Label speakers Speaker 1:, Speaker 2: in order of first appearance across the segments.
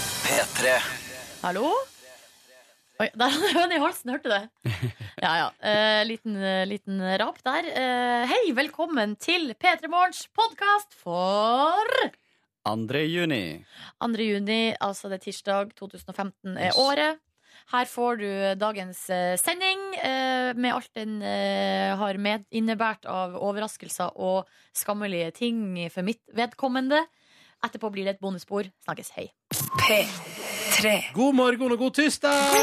Speaker 1: P3.
Speaker 2: Hallo? Oi, der hadde jeg høne i halsen, hørte du det? Ja, ja. Eh, liten, eh, liten rap der. Eh, hei, velkommen til P3 Morgens podkast for
Speaker 3: 2. juni.
Speaker 2: 2. juni, altså det er tirsdag 2015 er
Speaker 3: Yes.
Speaker 2: året. Her får du dagens eh, sending eh, med alt den eh, har med innebært av overraskelser og skammelige ting for mitt vedkommende. Etterpå blir det et bonusspor. Snakkes, hei.
Speaker 4: God morgen og god tirsdag!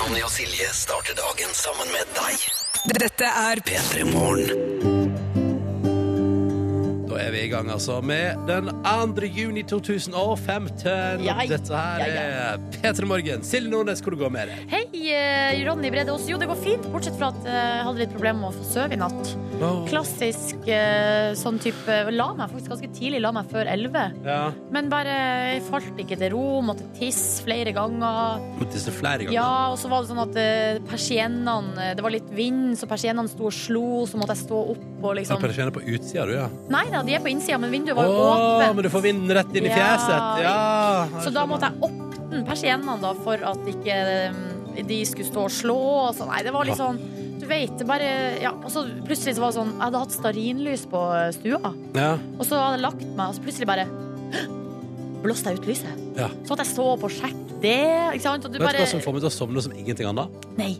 Speaker 1: Ronny og Silje starter dagen sammen med deg.
Speaker 5: Dette er
Speaker 1: P3 Morgen.
Speaker 4: Da er vi i gang altså med den 2. juni 2015.
Speaker 2: Ja,
Speaker 4: Dette her
Speaker 2: ja, ja.
Speaker 4: er P3 Morgen. Silje Nordnes, hvor det går med deg?
Speaker 2: Hei, eh, Ronny Bredås. Jo, det går fint, bortsett fra at eh, jeg hadde litt problemer med å få sove i natt. Klassisk eh, sånn type La meg faktisk ganske tidlig, la meg før elleve.
Speaker 4: Ja.
Speaker 2: Men bare jeg falt ikke til ro, måtte tisse flere ganger.
Speaker 4: Måtte tisse flere ganger.
Speaker 2: Ja, og så var det sånn at eh, persiennene eh, Det var litt vind, så persiennene sto og slo, så måtte jeg stå opp og
Speaker 4: Sånn.
Speaker 2: liksom
Speaker 4: Persienner på utsida, du, ja.
Speaker 2: Nei da, de er på innsida, men vinduet var jo
Speaker 4: Å, men
Speaker 2: åpent.
Speaker 4: du får vinden rett inn i
Speaker 2: Ja.
Speaker 4: fjeset. Ja.
Speaker 2: Så da måtte jeg åpne persiennene da, for at ikke eh, de skulle stå og slå. Og så, nei, det var litt
Speaker 4: Ja.
Speaker 2: sånn Du vet, det bare ja. Og så plutselig så var det sånn Jeg hadde hatt stearinlys på eh, stua,
Speaker 4: Ja.
Speaker 2: og så hadde jeg lagt meg, og så plutselig bare blåste jeg ut lyset.
Speaker 4: Ja.
Speaker 2: Så måtte jeg stå opp og sjekke det. Ikke sant? Og du
Speaker 4: Vet du
Speaker 2: bare
Speaker 4: hva som får meg til å sovne som ingenting annet?
Speaker 2: Nei.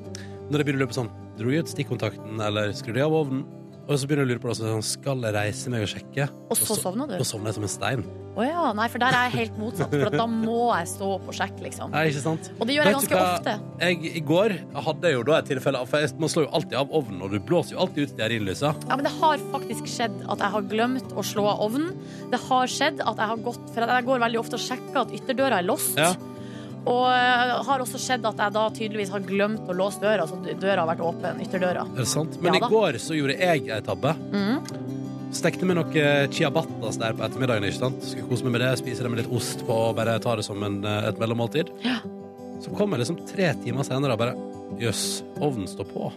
Speaker 4: Når jeg begynner å løpe sånn Dro jeg ut stikkontakten, eller skrudde jeg av ovnen? Og så begynner jeg å lure på det, sånn, skal jeg reise meg og sjekke.
Speaker 2: Og så sovna du?
Speaker 4: Da sovner jeg som en stein.
Speaker 2: Å ja. Nei, for der er jeg helt motsatt. For at da må jeg stå opp og sjekke, liksom.
Speaker 4: Nei, ikke sant?
Speaker 2: Og det gjør jeg
Speaker 4: Vet du
Speaker 2: ganske
Speaker 4: hva?
Speaker 2: ofte.
Speaker 4: Jeg, I går hadde jeg jo da et tilfelle av- For jeg, man slår jo alltid av ovnen, og du blåser jo alltid ut stearinlysa.
Speaker 2: Ja, men det har faktisk skjedd at jeg har glemt å slå av ovnen. Det har skjedd at jeg har gått For jeg går veldig ofte og sjekker at ytterdøra er låst.
Speaker 4: Ja.
Speaker 2: Og eh, har også skjedd at jeg da tydeligvis har glemt å låse døra, så døra har vært åpen. Ytterdøra.
Speaker 4: Er det sant?
Speaker 2: Ja
Speaker 4: Men i
Speaker 2: da.
Speaker 4: går så gjorde jeg ei tabbe.
Speaker 2: Mhm.
Speaker 4: Stekte meg noe ciabattas der på ettermiddagen. ikke sant? Skulle kose meg med det, spise det med litt ost på og bare ta det som en, eh, et mellommåltid.
Speaker 2: Ja.
Speaker 4: Så kom jeg liksom tre timer senere og bare Jøss, ovnen står på.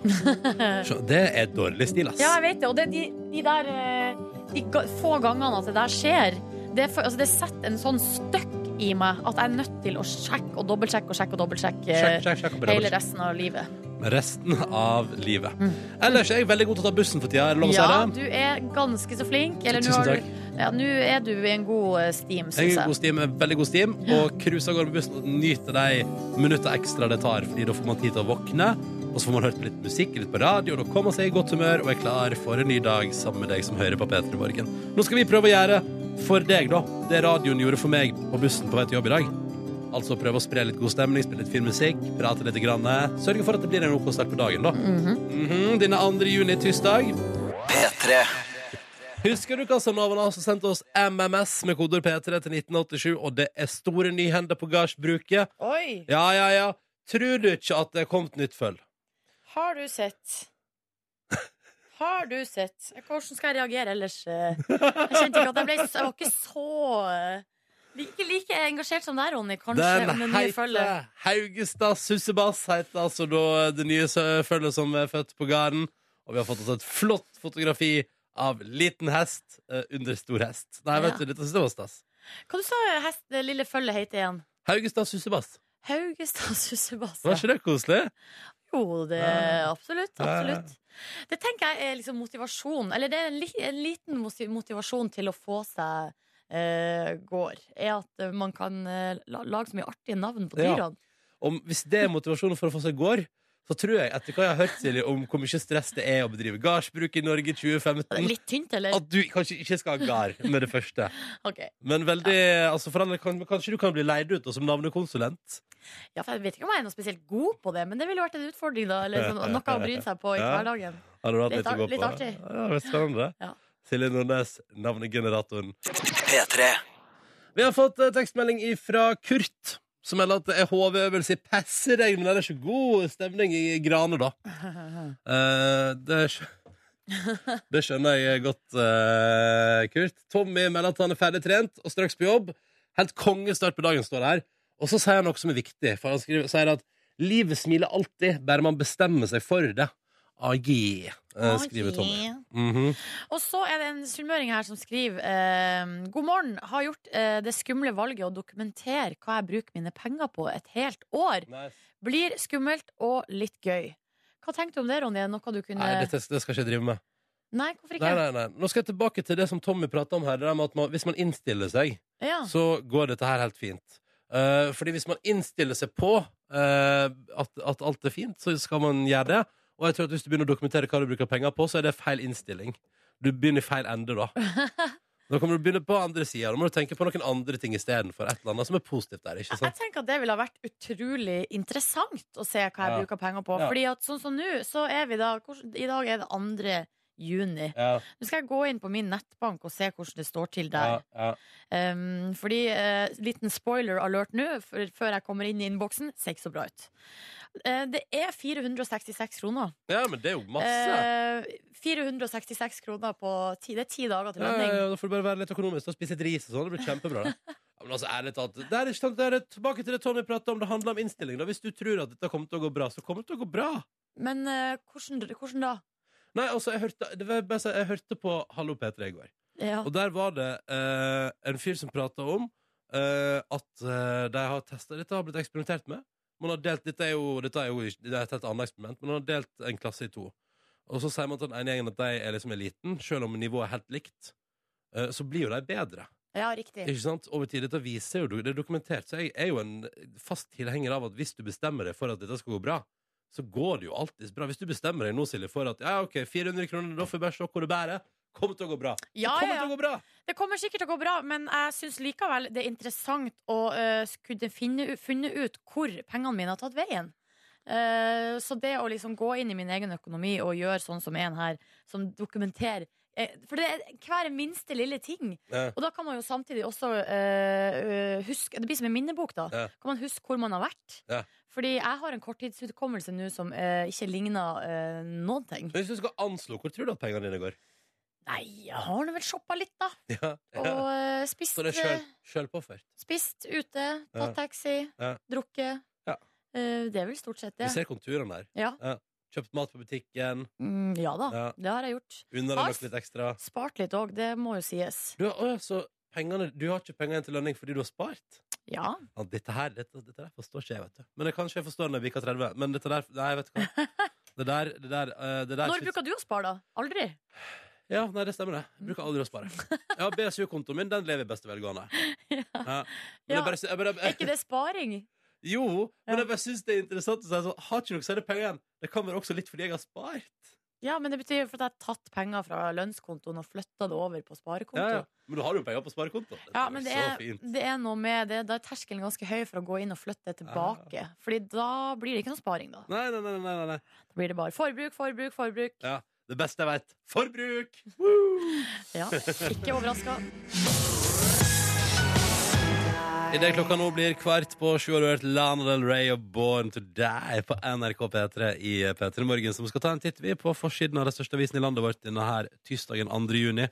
Speaker 4: Skjø- det er dårlig stil, ass.
Speaker 2: Ja, jeg vet det. Og det er de, de der eh, De ga- få gangene at det der skjer, det, er for, altså, det setter en sånn støkk i meg at jeg er nødt til å sjekke og dobbeltsjekke og sjekke og dobbeltsjekke
Speaker 4: Sjekk,
Speaker 2: eh,
Speaker 4: sjekk, sjekk. og bare-
Speaker 2: hele resten av livet.
Speaker 4: Med resten av livet. Ellers er jeg veldig god til å ta bussen for tida. Er det lov å
Speaker 2: Ja,
Speaker 4: si det?
Speaker 2: du er ganske så flink. Eller, nå
Speaker 4: Tusen
Speaker 2: har du-
Speaker 4: takk.
Speaker 2: Ja, nå er du i en god eh, steam,
Speaker 4: Jeg
Speaker 2: syns
Speaker 4: er
Speaker 2: jeg.
Speaker 4: god steam, er veldig god steam, og cruiser av gårde med bussen og nyter de minutter ekstra det tar, fordi da får man tid til å våkne, og så får man hørt på litt musikk, litt på radio, og da kommer man seg i godt humør og er klar for en ny dag sammen med deg som hører på P3 Morgen. Nå skal vi prøve å gjøre for deg, da, det radioen gjorde for meg på bussen på vei til jobb i dag. Altså prøve å spre litt god stemning, spille litt fin musikk, prate litt. Grann. Sørge for at det blir en OK start på dagen, da. Mhm, Denne 2. juni, tirsdag.
Speaker 1: P3.
Speaker 4: Husker du hva som var altså sendte oss MMS med koder P3 til 1987, og det er store nyhender på gardsbruket?
Speaker 2: Oi,
Speaker 4: Ja, ja, ja. Tror du ikke at det er kommet nytt føll?
Speaker 2: har du sett? Har du sett? Hvordan skal jeg reagere ellers? eh? Jeg kjente ikke at jeg ble så- Jeg var ikke så eh, Ikke like engasjert som deg, Ronny, kanskje, om det nye følget.
Speaker 4: heter Haugestad Sussebass, heter altså da det nye sø- føllet som er født på gården. Og vi har fått oss et flott fotografi av liten hest eh, under stor hest. Nei, vet
Speaker 2: Ja.
Speaker 4: du, dette synes jeg var stas.
Speaker 2: Hva du sa hest, det lille følget heter igjen?
Speaker 4: Haugestad Sussebass.
Speaker 2: Haugestad Sussebass.
Speaker 4: Var ikke det koselig?
Speaker 2: Jo, det
Speaker 4: Ja.
Speaker 2: absolutt.
Speaker 4: Ja, ja.
Speaker 2: absolutt. Det tenker jeg er liksom motivasjon. Eller det er en, li, en liten mosi- motivasjon til å få seg eh, gård. Er at eh, man kan eh, la, lage så mye artige navn på
Speaker 4: Ja.
Speaker 2: dyrene.
Speaker 4: om, hvis det er motivasjonen for å få seg gård, så tror jeg, etter hva jeg har hørt, Silje, om hvor mye stress det er å bedrive gardsbruk i Norge i
Speaker 2: Det er
Speaker 4: 2015,
Speaker 2: Litt tynt, eller?
Speaker 4: at du kanskje ikke skal ha gard med det første.
Speaker 2: Ok.
Speaker 4: Men veldig, altså for andre, kan, kanskje du kan bli leid ut da, som navnekonsulent?
Speaker 2: Ja, for jeg vet ikke om jeg er noe spesielt god på det, men det ville vært en utfordring, da. Eller sånn, noe å bryne seg på i
Speaker 4: Ja.
Speaker 2: hverdagen.
Speaker 4: Hadde du hatt
Speaker 2: Litt
Speaker 4: litt, å gå
Speaker 2: ar- litt
Speaker 4: på?
Speaker 2: artig.
Speaker 4: Ja, det var spennende.
Speaker 2: Ja.
Speaker 4: Silje Nordnes, navnegeneratoren.
Speaker 1: P3.
Speaker 4: Vi har fått eh, tekstmelding fra Kurt, som melder at det er HV-øvelse i passeregn, men det er ikke god stemning i Grane, da. Eh, det, skj det skjønner jeg godt, eh, Kurt. Tommy melder at han er ferdig trent og straks på jobb. Helt kongestart på dagen, står det her. Og så sier han noe som er viktig, for han skriver, sier at livet smiler alltid, bare man bestemmer seg for det. AG, eh, skriver Tommy. Mhm.
Speaker 2: Og så er det en sunnmøring her som skriver eh, God morgen, har gjort eh, det skumle valget å dokumentere hva jeg bruker mine penger på et helt år. Blir skummelt og litt gøy. Hva tenker du om det, Ronny? Er det Noe du kunne
Speaker 4: Nei, dette, det skal ikke jeg drive med.
Speaker 2: Nei, hvorfor ikke?
Speaker 4: Nei, nei, nei. Nå skal jeg tilbake til det som Tommy prata om her. Det der med at man, hvis man innstiller seg,
Speaker 2: Ja.
Speaker 4: så går dette her helt fint. Eh, fordi hvis man innstiller seg på eh, at, at alt er fint, så skal man gjøre det. Og jeg tror at hvis du begynner å dokumentere hva du bruker penger på, så er det feil innstilling. Du begynner i feil ende da. Da kan du begynne på andre sida. Da må du tenke på noen andre ting istedenfor. Et eller annet som er positivt der. ikke
Speaker 2: Jeg
Speaker 4: sant?
Speaker 2: tenker at det ville ha vært utrolig interessant å se hva jeg
Speaker 4: Ja.
Speaker 2: bruker penger på.
Speaker 4: Ja.
Speaker 2: Fordi at sånn som nå, så er vi da hvordan- I dag er det 2. juni.
Speaker 4: Ja,
Speaker 2: Nå skal jeg gå inn på min nettbank og se hvordan det står til
Speaker 4: ja,
Speaker 2: der.
Speaker 4: ja.
Speaker 2: Um, fordi, eh, liten spoiler alert nå, f- før jeg kommer inn i innboksen, ser ikke så bra ut. Eh, det er 466 kroner.
Speaker 4: ja, men det er jo masse.
Speaker 2: Eh, 466 kroner på ti, det er ti dager til
Speaker 4: Ja,
Speaker 2: lønning.
Speaker 4: ja, ja, da får du bare være litt økonomisk og spise litt ris og sånn. Det blir kjempebra. det. Ja, men altså, ærlig talt, det er, ikke sant, det er tilbake til det Tony pratet om. Det handler om innstilling. Da. Hvis du tror at dette kommer til å gå bra, så kommer det til å gå bra.
Speaker 2: Men eh, hvordan, hvordan da?
Speaker 4: Nei, altså, jeg hørte, det var bare, så- jeg hørte på Hallo P3 i går.
Speaker 2: Ja.
Speaker 4: Og der var det eh, en fyr som prata om eh, at eh, de har testa Dette har blitt eksperimentert med. Man har delt, dette er jo, dette er jo ikke- det er et helt annet eksperiment, men man har delt en klasse i to. Og så sier man til den ene gjengen at de er liksom eliten, selv om nivået er helt likt. eh, Så blir jo de bedre.
Speaker 2: ja, riktig.
Speaker 4: Ikke sant? Over tid, dette viser jo, det er dokumentert. Så jeg er jo en fast tilhenger av at hvis du bestemmer deg for at dette skal gå bra, så går det jo alltid bra. Hvis du bestemmer deg nå, Silje, for at ja, ok, 400 kroner, da får jeg bare se hvor det bærer. Kommer til å gå bra. Det
Speaker 2: Ja,
Speaker 4: kommer
Speaker 2: ja,
Speaker 4: til
Speaker 2: ja.
Speaker 4: å gå bra.
Speaker 2: Det kommer sikkert til å gå bra, men jeg syns likevel det er interessant å eh, kunne finne, u- funne ut hvor pengene mine har tatt veien. Eh, så det å liksom gå inn i min egen økonomi og gjøre sånn som en her, som dokumenterer eh, For det er hver minste lille ting.
Speaker 4: Ja.
Speaker 2: Og da kan man jo samtidig også eh, eh, huske Det blir som en minnebok, da.
Speaker 4: Ja.
Speaker 2: Kan man huske hvor man har vært.
Speaker 4: Ja.
Speaker 2: Fordi jeg har en korttidsutkommelse nå som eh, ikke ligner eh, noen ting.
Speaker 4: Men hvis du skal anslå, hvor tror du at pengene dine går?
Speaker 2: Nei, jeg har nå vel shoppa litt, da.
Speaker 4: Ja.
Speaker 2: Og eh, spist
Speaker 4: Så det er
Speaker 2: eh,
Speaker 4: sjøl- sjølpåført.
Speaker 2: Spist ute, tatt
Speaker 4: Ja.
Speaker 2: taxi,
Speaker 4: Ja.
Speaker 2: drukket.
Speaker 4: Ja.
Speaker 2: Eh, det er vel stort sett det.
Speaker 4: Du ser konturene der.
Speaker 2: Ja.
Speaker 4: Kjøpt mat på butikken,
Speaker 2: Mm, ja da,
Speaker 4: Ja.
Speaker 2: det har jeg gjort.
Speaker 4: unna deg
Speaker 2: Ass.
Speaker 4: nok litt ekstra.
Speaker 2: Spart litt òg, det må jo sies.
Speaker 4: Du, har- å, så pengene, du har ikke penger igjen til lønning fordi du har spart?
Speaker 2: Ja.
Speaker 4: Ja, dette her dette, dette der forstår ikke jeg, vet du. Men det kanskje jeg forstår når jeg bikker 30. Men dette der Nei, vet du hva. Det der, det der, eh, det der
Speaker 2: Når bruker du å spare, da? Aldri?
Speaker 4: Ja, nei, det stemmer, det. Jeg bruker aldri å spare. Jeg har BSU-kontoen min, den lever i beste velgående. Ja. Men
Speaker 2: Ja.
Speaker 4: jeg bare, sy- jeg bare,
Speaker 2: Er ikke det sparing?
Speaker 4: jo, men
Speaker 2: Ja.
Speaker 4: jeg bare syns det er interessant å si sånn Har ikke dere særlig penger igjen? Det kan være også litt fordi jeg har spart.
Speaker 2: Ja, men det betyr jo for at jeg har tatt penger fra lønnskontoen og flytta det over på sparekonto.
Speaker 4: Ja,
Speaker 2: Ja,
Speaker 4: ja. Men du har jo penger på sparekonto. Dette er
Speaker 2: men
Speaker 4: jo
Speaker 2: det
Speaker 4: så
Speaker 2: er,
Speaker 4: fint.
Speaker 2: det er noe med det. Da er terskelen ganske høy for å gå inn og flytte det tilbake. Fordi da blir det ikke noe sparing, da.
Speaker 4: Nei, nei, nei, nei, nei, nei.
Speaker 2: Da blir det bare forbruk, forbruk, forbruk.
Speaker 4: Ja. Det beste jeg veit. Forbruk!
Speaker 2: Ja, ikke overraska.
Speaker 4: Idet klokka nå blir kvart på sju, har du hørt Lana Del Rey og Born to Die på NRK P3 i P3 Morgen, som skal ta en titt vi på forsiden av den største avisen i landet vårt denne her tirsdagen 2. juni.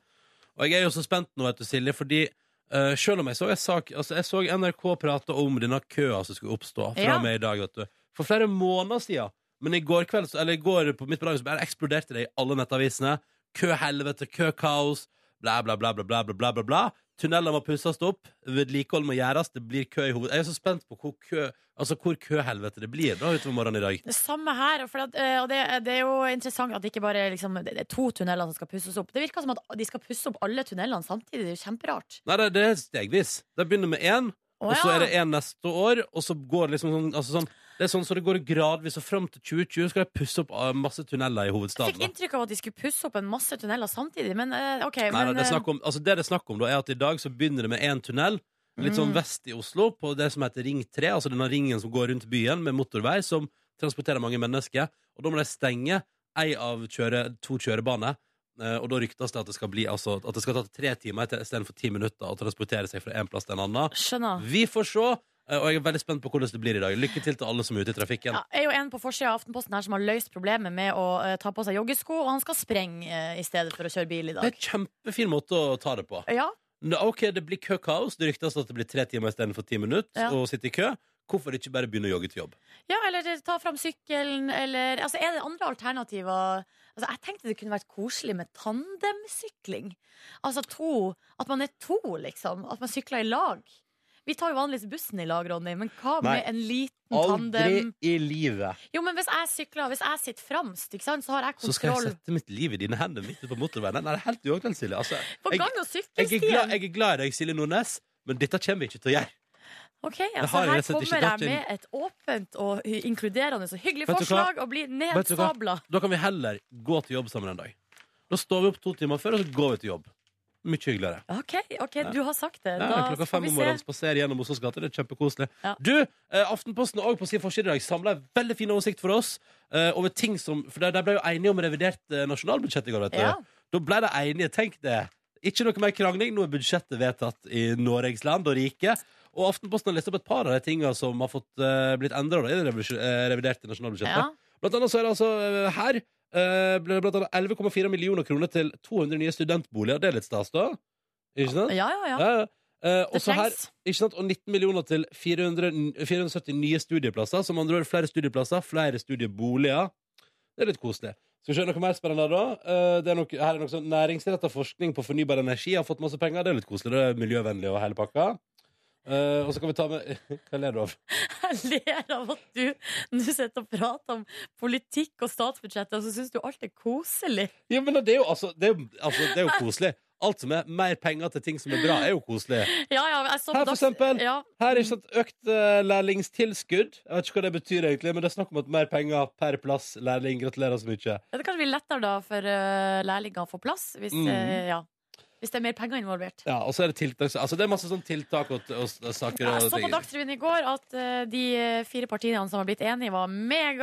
Speaker 4: Og jeg er jo så spent nå, vet du, Silje, fordi eh, selv om jeg så en sak Altså, jeg så NRK prate om denne køa som skulle oppstå fra
Speaker 2: Ja.
Speaker 4: og med i dag, vet du. For flere måneder siden. Men i går kveld, så- eller i går på midt på dagen, så bare eksploderte det i alle nettavisene. Køhelvete, køkaos, bla, bla, bla, bla, bla, bla, bla, bla, bla. Tunneler må pusses opp, vedlikehold må gjøres, det blir kø i hovedet. Jeg er så spent på hvor, kø, altså hvor køhelvete det blir da utover morgenen i dag.
Speaker 2: Det samme her. For at, eh, og det, det er jo interessant at det ikke bare er liksom, det det er to tunneler som skal pusses opp. Det virker som at de skal pusse opp alle tunnelene samtidig. Det er jo kjemperart.
Speaker 4: Nei, det, det er stegvis. Det begynner med én,
Speaker 2: Å,
Speaker 4: og så
Speaker 2: ja.
Speaker 4: er det én neste år, og så går det liksom sånn, altså sånn Det er sånn så det går gradvis, og fram til 2020 skal de pusse opp eh, masse tunneler i
Speaker 2: Jeg
Speaker 4: hovedstaden.
Speaker 2: fikk
Speaker 4: da.
Speaker 2: inntrykk av at de skulle pusse opp en masse tunneler samtidig. Men eh, OK.
Speaker 4: Nei, nei,
Speaker 2: men,
Speaker 4: det, er
Speaker 2: eh,
Speaker 4: snakk om, altså det det er snakk om, da, er at i dag så begynner det med én tunnel. Litt sånn
Speaker 2: Mm.
Speaker 4: vest i Oslo, på det som heter Ring 3, altså denne ringen som går rundt byen med motorvei, som transporterer mange mennesker. Og da må de stenge ei av kjøre, to kjørebaner. eh, Og da ryktes det at det skal bli altså, at det skal ta tre timer i stedet for ti minutter å transportere seg fra en plass til en annen.
Speaker 2: eh, Skjønner.
Speaker 4: Vi får se, eh, og jeg er veldig spent på hvordan det blir i dag. Lykke til til alle som er ute i trafikken.
Speaker 2: Ja, er jo en på forsida av Aftenposten her som har løst problemet med å eh, ta på seg joggesko, og han skal sprenge eh, i stedet for å kjøre bil i
Speaker 4: Det
Speaker 2: dag.
Speaker 4: er en kjempefin måte å ta det på.
Speaker 2: Ja,
Speaker 4: Nå, Ok, det blir køkaos. Det ryktes at det blir tre timer istedenfor ti minutter
Speaker 2: Ja.
Speaker 4: å sitte i kø. Hvorfor ikke bare begynne å jogge til jobb?
Speaker 2: Ja, eller ta fram sykkelen, eller altså, Er det andre alternativer? Altså, jeg tenkte det kunne vært koselig med tandemsykling. Altså to At man er to, liksom. At man sykler i lag. Vi tar jo vanligvis bussen i lag, Ronny, men hva
Speaker 4: Nei.
Speaker 2: med en liten
Speaker 4: Aldri
Speaker 2: tandem?
Speaker 4: i livet
Speaker 2: Jo, men hvis jeg sykler, hvis jeg sitter fremst, ikke sant, så har jeg
Speaker 4: så skal jeg
Speaker 2: kontroll.
Speaker 4: sette mitt liv i dine hender midt ute på motorveien. Nei, det er helt uaktuelt, Silje. Altså,
Speaker 2: På
Speaker 4: jeg,
Speaker 2: gang- og
Speaker 4: jeg, er glad,
Speaker 2: sykkelstien!
Speaker 4: jeg er glad i deg, Silje Nordnes, men dette kommer vi ikke til å gjøre.
Speaker 2: Ok, altså,
Speaker 4: har jeg
Speaker 2: her
Speaker 4: rett og slett ikke
Speaker 2: kommer
Speaker 4: tatt
Speaker 2: jeg med et åpent og hy- inkluderende og hyggelig
Speaker 4: Vet du hva?
Speaker 2: forslag og blir
Speaker 4: Vet du hva?
Speaker 2: nedsabla.
Speaker 4: Da kan vi heller gå til jobb sammen en dag. Da står vi opp to timer før, og så går vi til jobb. Mye hyggeligere.
Speaker 2: Ok, ok, du har sagt det.
Speaker 4: Ja,
Speaker 2: Da
Speaker 4: klokka
Speaker 2: skal
Speaker 4: fem
Speaker 2: vi
Speaker 4: om
Speaker 2: se.
Speaker 4: morgenen spaserer gjennom Oslos gater. Det er kjempekoselig.
Speaker 2: Ja.
Speaker 4: Du, eh, Aftenposten og på sin forside i dag samla en veldig fin oversikt for oss eh, over ting som For de, de ble jo enige om revidert eh, nasjonalbudsjett i går, vet du.
Speaker 2: Ja.
Speaker 4: Da ble de enige, tenk det. Ikke noe mer krangling, nå er budsjettet vedtatt i Norges land og rike. Og Aftenposten har lest opp et par av de tinga som har fått, eh, blitt endra i det revisjon- eh, reviderte
Speaker 2: Ja.
Speaker 4: nasjonalbudsjettet. Blant annet så er det altså eh, her eh, ble det blant annet 11,4 millioner kroner til 200 nye studentboliger. Det er litt stas, da. Ikke sant?
Speaker 2: Ja, ja, ja.
Speaker 4: Ja, ja. Eh,
Speaker 2: Det
Speaker 4: også her,
Speaker 2: trengs.
Speaker 4: ikke sant? Og 19 millioner til 400, n- 470 nye studieplasser. Som andre ord flere studieplasser, flere studieboliger. Det er litt koselig. Skal vi se noe mer spennende da? Eh, det er noe, her er noe sånn Næringsrettet forskning på fornybar energi har fått masse penger. Det er litt koselig. Det er miljøvennlig og hele pakka. Eh, og så kan vi ta med Hva ler du av?
Speaker 2: Jeg ler av at du nå sitter og prater om politikk og statsbudsjettet, og så syns du alt er koselig.
Speaker 4: Ja, men det er jo altså Det er jo, altså, det er jo koselig. Alt som er mer penger til ting som er bra, er jo koselig.
Speaker 2: Ja, ja, jeg så på
Speaker 4: Her, for
Speaker 2: dags-
Speaker 4: eksempel.
Speaker 2: Ja,
Speaker 4: Her er sånn økt eh, lærlingstilskudd. Jeg vet ikke hva det betyr egentlig, men det er snakk om at mer penger per plass lærling. Gratulerer så mye.
Speaker 2: Ja, det kan bli lettere da for uh, lærlinger å få plass, hvis,
Speaker 4: Mm.
Speaker 2: eh, ja. hvis det er mer penger involvert.
Speaker 4: Ja, og så er det tiltak Altså, det er masse sånne tiltak og, og, og saker og
Speaker 2: Jeg så på
Speaker 4: ting.
Speaker 2: Dagsrevyen i går at eh, de fire partiene som har blitt enige, var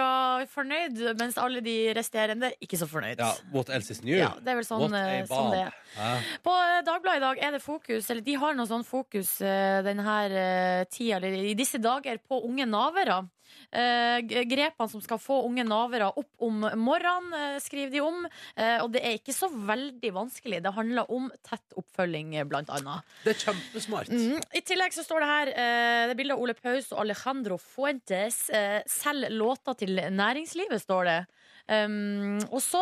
Speaker 2: megafornøyd, mens alle de resterende ikke så fornøyd.
Speaker 4: Ja, What else is new?
Speaker 2: Ja, det er vel sånn,
Speaker 4: What a
Speaker 2: eh, sånn det
Speaker 4: bomb.
Speaker 2: er.
Speaker 4: Hæ?
Speaker 2: På eh, Dagbladet i dag er det fokus, eller de har noe sånn fokus eh, den her eh, tida, eller i disse dager, på unge navere. Eh, g- Grepene som skal få unge navere opp om morgenen, eh, skriver de om. Eh, Og det er ikke så veldig vanskelig. Det handler om tett oppfølging, eh, blant annet.
Speaker 4: Det er kjempesmart.
Speaker 2: Mm. I tillegg så står det her eh, Det er bilde av Ole Paus og Alejandro Fuentes. Eh, selv låter til næringslivet, står det. Um, og så,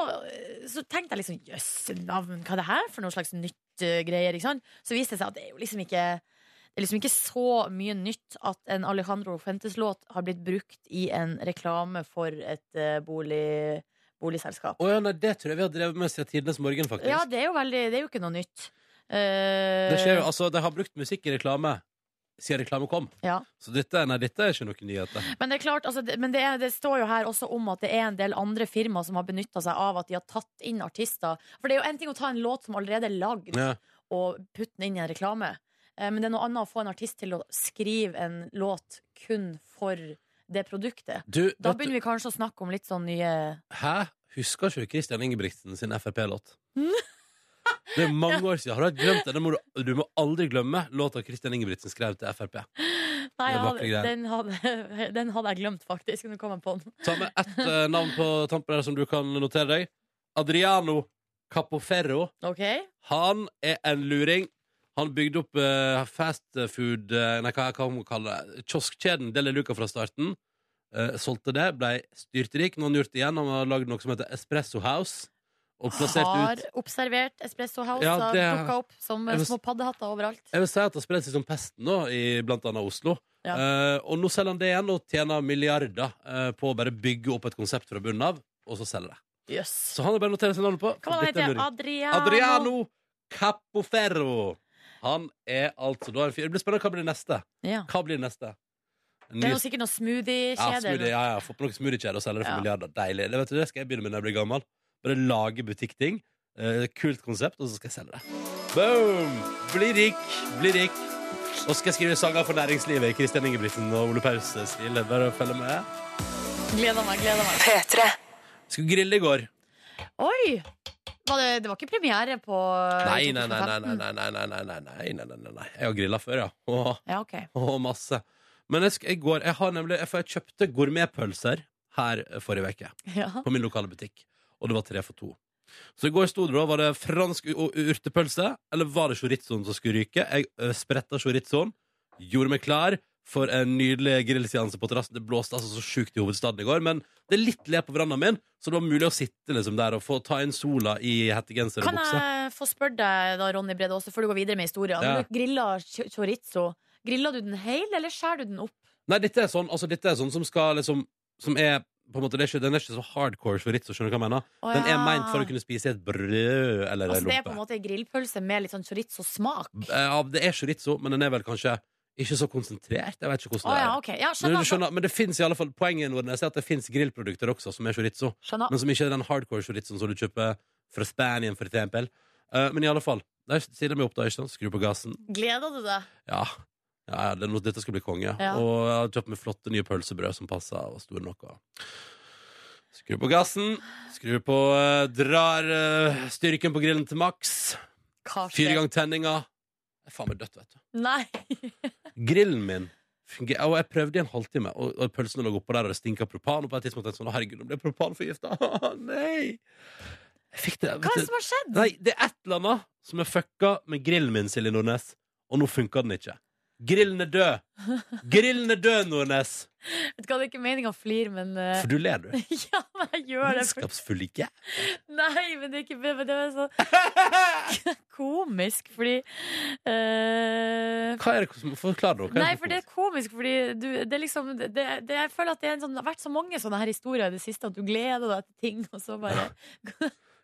Speaker 2: så tenkte jeg liksom Jøss, navn, hva er det her for noe slags nytt eh, greier? Ikke sant? Så viste det seg at det er jo liksom ikke det er liksom ikke så mye nytt at en Alejandro Fuentes-låt har blitt brukt i en reklame for et eh, bolig, boligselskap.
Speaker 4: Å ja, nei, det tror jeg vi har drevet med siden tidenes morgen, faktisk.
Speaker 2: Ja, det er jo veldig Det er jo ikke noe nytt. Eh,
Speaker 4: det skjer jo, altså, De har brukt musikk i reklame siden reklame kom.
Speaker 2: Ja.
Speaker 4: Så dette, nei, dette er ikke noen nyheter.
Speaker 2: Men det er klart, altså, det, men det, er, det står jo her også om at det er en del andre firmaer som har benytta seg av at de har tatt inn artister. For det er jo en ting å ta en låt som allerede er lagd,
Speaker 4: Ja.
Speaker 2: og putte den inn i en reklame. Eh, Men det er noe annet å få en artist til å skrive en låt kun for det produktet.
Speaker 4: Du,
Speaker 2: Da
Speaker 4: vet du-
Speaker 2: begynner vi kanskje å snakke om litt sånn nye
Speaker 4: Hæ? Husker ikke du Christian Ingebrigtsen sin Frp-låt? Det er mange år siden. Har du glemt det? det må du, du må aldri glemme låta Christian Ingebrigtsen skrev til Frp.
Speaker 2: Nei,
Speaker 4: Det
Speaker 2: jeg
Speaker 4: er vakre
Speaker 2: hadde,
Speaker 4: greier.
Speaker 2: den, hadde, den hadde jeg glemt, faktisk. Nå kom jeg på den.
Speaker 4: Ta med ett eh, navn på tampen her som du kan notere deg. Adriano Capoferro.
Speaker 2: OK?
Speaker 4: Han er en luring. Han bygde opp eh, fast food eh, Nei, hva, hva må man kalle det? Kioskkjeden Deli Luca fra starten. Eh, solgte det, ble styrtrik. Nå har han gjort det igjen. Han har lagd noe som heter Espresso House. Og plassert ut
Speaker 2: Har observert Espresso House
Speaker 4: Ja,
Speaker 2: har
Speaker 4: det-
Speaker 2: dukka opp som eh,
Speaker 4: Jeg vil-
Speaker 2: små paddehatter overalt.
Speaker 4: Jeg vil si at det har spredt seg som pesten nå, i blant annet Oslo.
Speaker 2: Ja.
Speaker 4: Eh, og nå selger han det igjen og tjener milliarder eh, på å bare bygge opp et konsept fra bunnen av, og så selger det.
Speaker 2: Jøss.
Speaker 4: Så han har bare notert seg navnet på.
Speaker 2: Hva var det
Speaker 4: Dette
Speaker 2: han
Speaker 4: lurer
Speaker 2: heter?
Speaker 4: jeg. Adriano Capoferro. Han er altså da en fyr. Det blir spennende hva blir det neste.
Speaker 2: Ja.
Speaker 4: Hva blir det neste? En
Speaker 2: Det
Speaker 4: ny-
Speaker 2: er jo sikkert noe
Speaker 4: ja,
Speaker 2: smoothie-kjede.
Speaker 4: smoothie,
Speaker 2: eller noe.
Speaker 4: ja, ja, få på noen smoothiekjeder og selge det for
Speaker 2: Ja.
Speaker 4: milliarder. Deilig. Det, vet du, det skal jeg begynne med når jeg blir gammel. Bare lage butikkting. Eh, kult konsept, og så skal jeg selge det. Boom! Bli rik, bli rik. Og så skal jeg skrive sanger for næringslivet i Kristian Ingebrigtsen og Ole Paus-stil. Bare følg med.
Speaker 2: Gleder meg, gleder meg.
Speaker 4: Skulle grille i går.
Speaker 2: Oi! Var det, det var ikke premiere på
Speaker 4: Nei, nei, nei, nei, nei, nei, nei, nei, nei, nei, nei, nei, nei, nei, nei. Jeg har grilla før, ja. Åh,
Speaker 2: Ja, ok.
Speaker 4: åh, masse. Men jeg, sk- jeg går, jeg har nemlig, jeg, for jeg kjøpte gourmetpølser her forrige uke.
Speaker 2: Ja.
Speaker 4: på min lokale butikk. Og det var tre for to. Så i går sto det da, var det fransk u- u- urtepølse, eller var det chorizoen som skulle ryke? Jeg ø, spretta chorizoen, eh, gjorde meg klar, for en nydelig grillseanse på terrassen. Det blåste altså så sjukt i hovedstaden i går, men det er litt le på verandaen min, så det var mulig å sitte liksom der og få ta inn sola i hettegenser og
Speaker 2: Kan
Speaker 4: bukse.
Speaker 2: jeg få spørre deg, da, Ronny Brede Aase, før du går videre med historien?
Speaker 4: Ja.
Speaker 2: Når du griller ch- chorizo, griller du den hel, eller skjærer du den opp?
Speaker 4: Nei, dette er sånn, altså, dette er sånn som skal liksom Som er på en måte, det er ikke, Den er ikke så hardcore chorizo, skjønner du hva jeg mener?
Speaker 2: Å,
Speaker 4: Den er
Speaker 2: ja.
Speaker 4: meint for å kunne spise i et brød eller
Speaker 2: Altså,
Speaker 4: en
Speaker 2: det er på en
Speaker 4: lompe.
Speaker 2: måte en grillpølse med litt sånn chorizo-smak.
Speaker 4: Eh, Ja, det er chorizo, men den er vel kanskje ikke så konsentrert. Jeg vet ikke
Speaker 2: Å
Speaker 4: hvordan det
Speaker 2: ja,
Speaker 4: er.
Speaker 2: ok. Ja,
Speaker 4: Men,
Speaker 2: skjønner.
Speaker 4: du skjønner, men det finnes i alle fall poenget når jeg ser at det finnes grillprodukter også som er chorizo,
Speaker 2: skjønner.
Speaker 4: men som ikke er den hardcore chorizoen som du kjøper fra Spanien, for eksempel. Eh, men i alle fall, der stiller jeg meg opp da, ikke sant? Skru på gassen.
Speaker 2: Gleder du deg?
Speaker 4: Ja, ja ja, det er noe, dette skal bli konge.
Speaker 2: Ja.
Speaker 4: Og jeg har kjøpt meg flotte nye pølsebrød som passer og var store nok. Og... Skru på gassen, skru på eh, Drar eh, styrken på grillen til maks.
Speaker 2: Hva
Speaker 4: Fire
Speaker 2: skjer?
Speaker 4: ganger tenninga. Det er faen meg dødt, vet du.
Speaker 2: Nei.
Speaker 4: Grillen min funger- og Jeg prøvde i en halvtime, og, og pølsene lå oppå der, og det stinka propan. Og på et tidspunkt tenkte jeg sånn, «Å, herregud, nå ble jeg propanforgifta. Å, nei! Jeg fikk det.
Speaker 2: Hva er
Speaker 4: vet
Speaker 2: det
Speaker 4: du.
Speaker 2: som har skjedd?
Speaker 4: Nei, det er et eller annet som er fucka med grillen min, Silje Nordnes. Og nå funker den ikke. Grillen er død. Grillen er død, Nordnes.
Speaker 2: Vet du hva, det er ikke meningen å flire, men eh,
Speaker 4: For du ler, du.
Speaker 2: Ja, men jeg gjør det. For...
Speaker 4: Vennskapsfull ikke.
Speaker 2: Nei, men det er ikke men Det er så komisk, fordi eh,
Speaker 4: Hva er det som Forklar det. hva er
Speaker 2: Nei,
Speaker 4: som-
Speaker 2: for det er komisk, fordi du, det er liksom det, det, Jeg føler at det, er en sånn, det har vært så mange sånne her historier i det siste at du gleder deg til ting, og så bare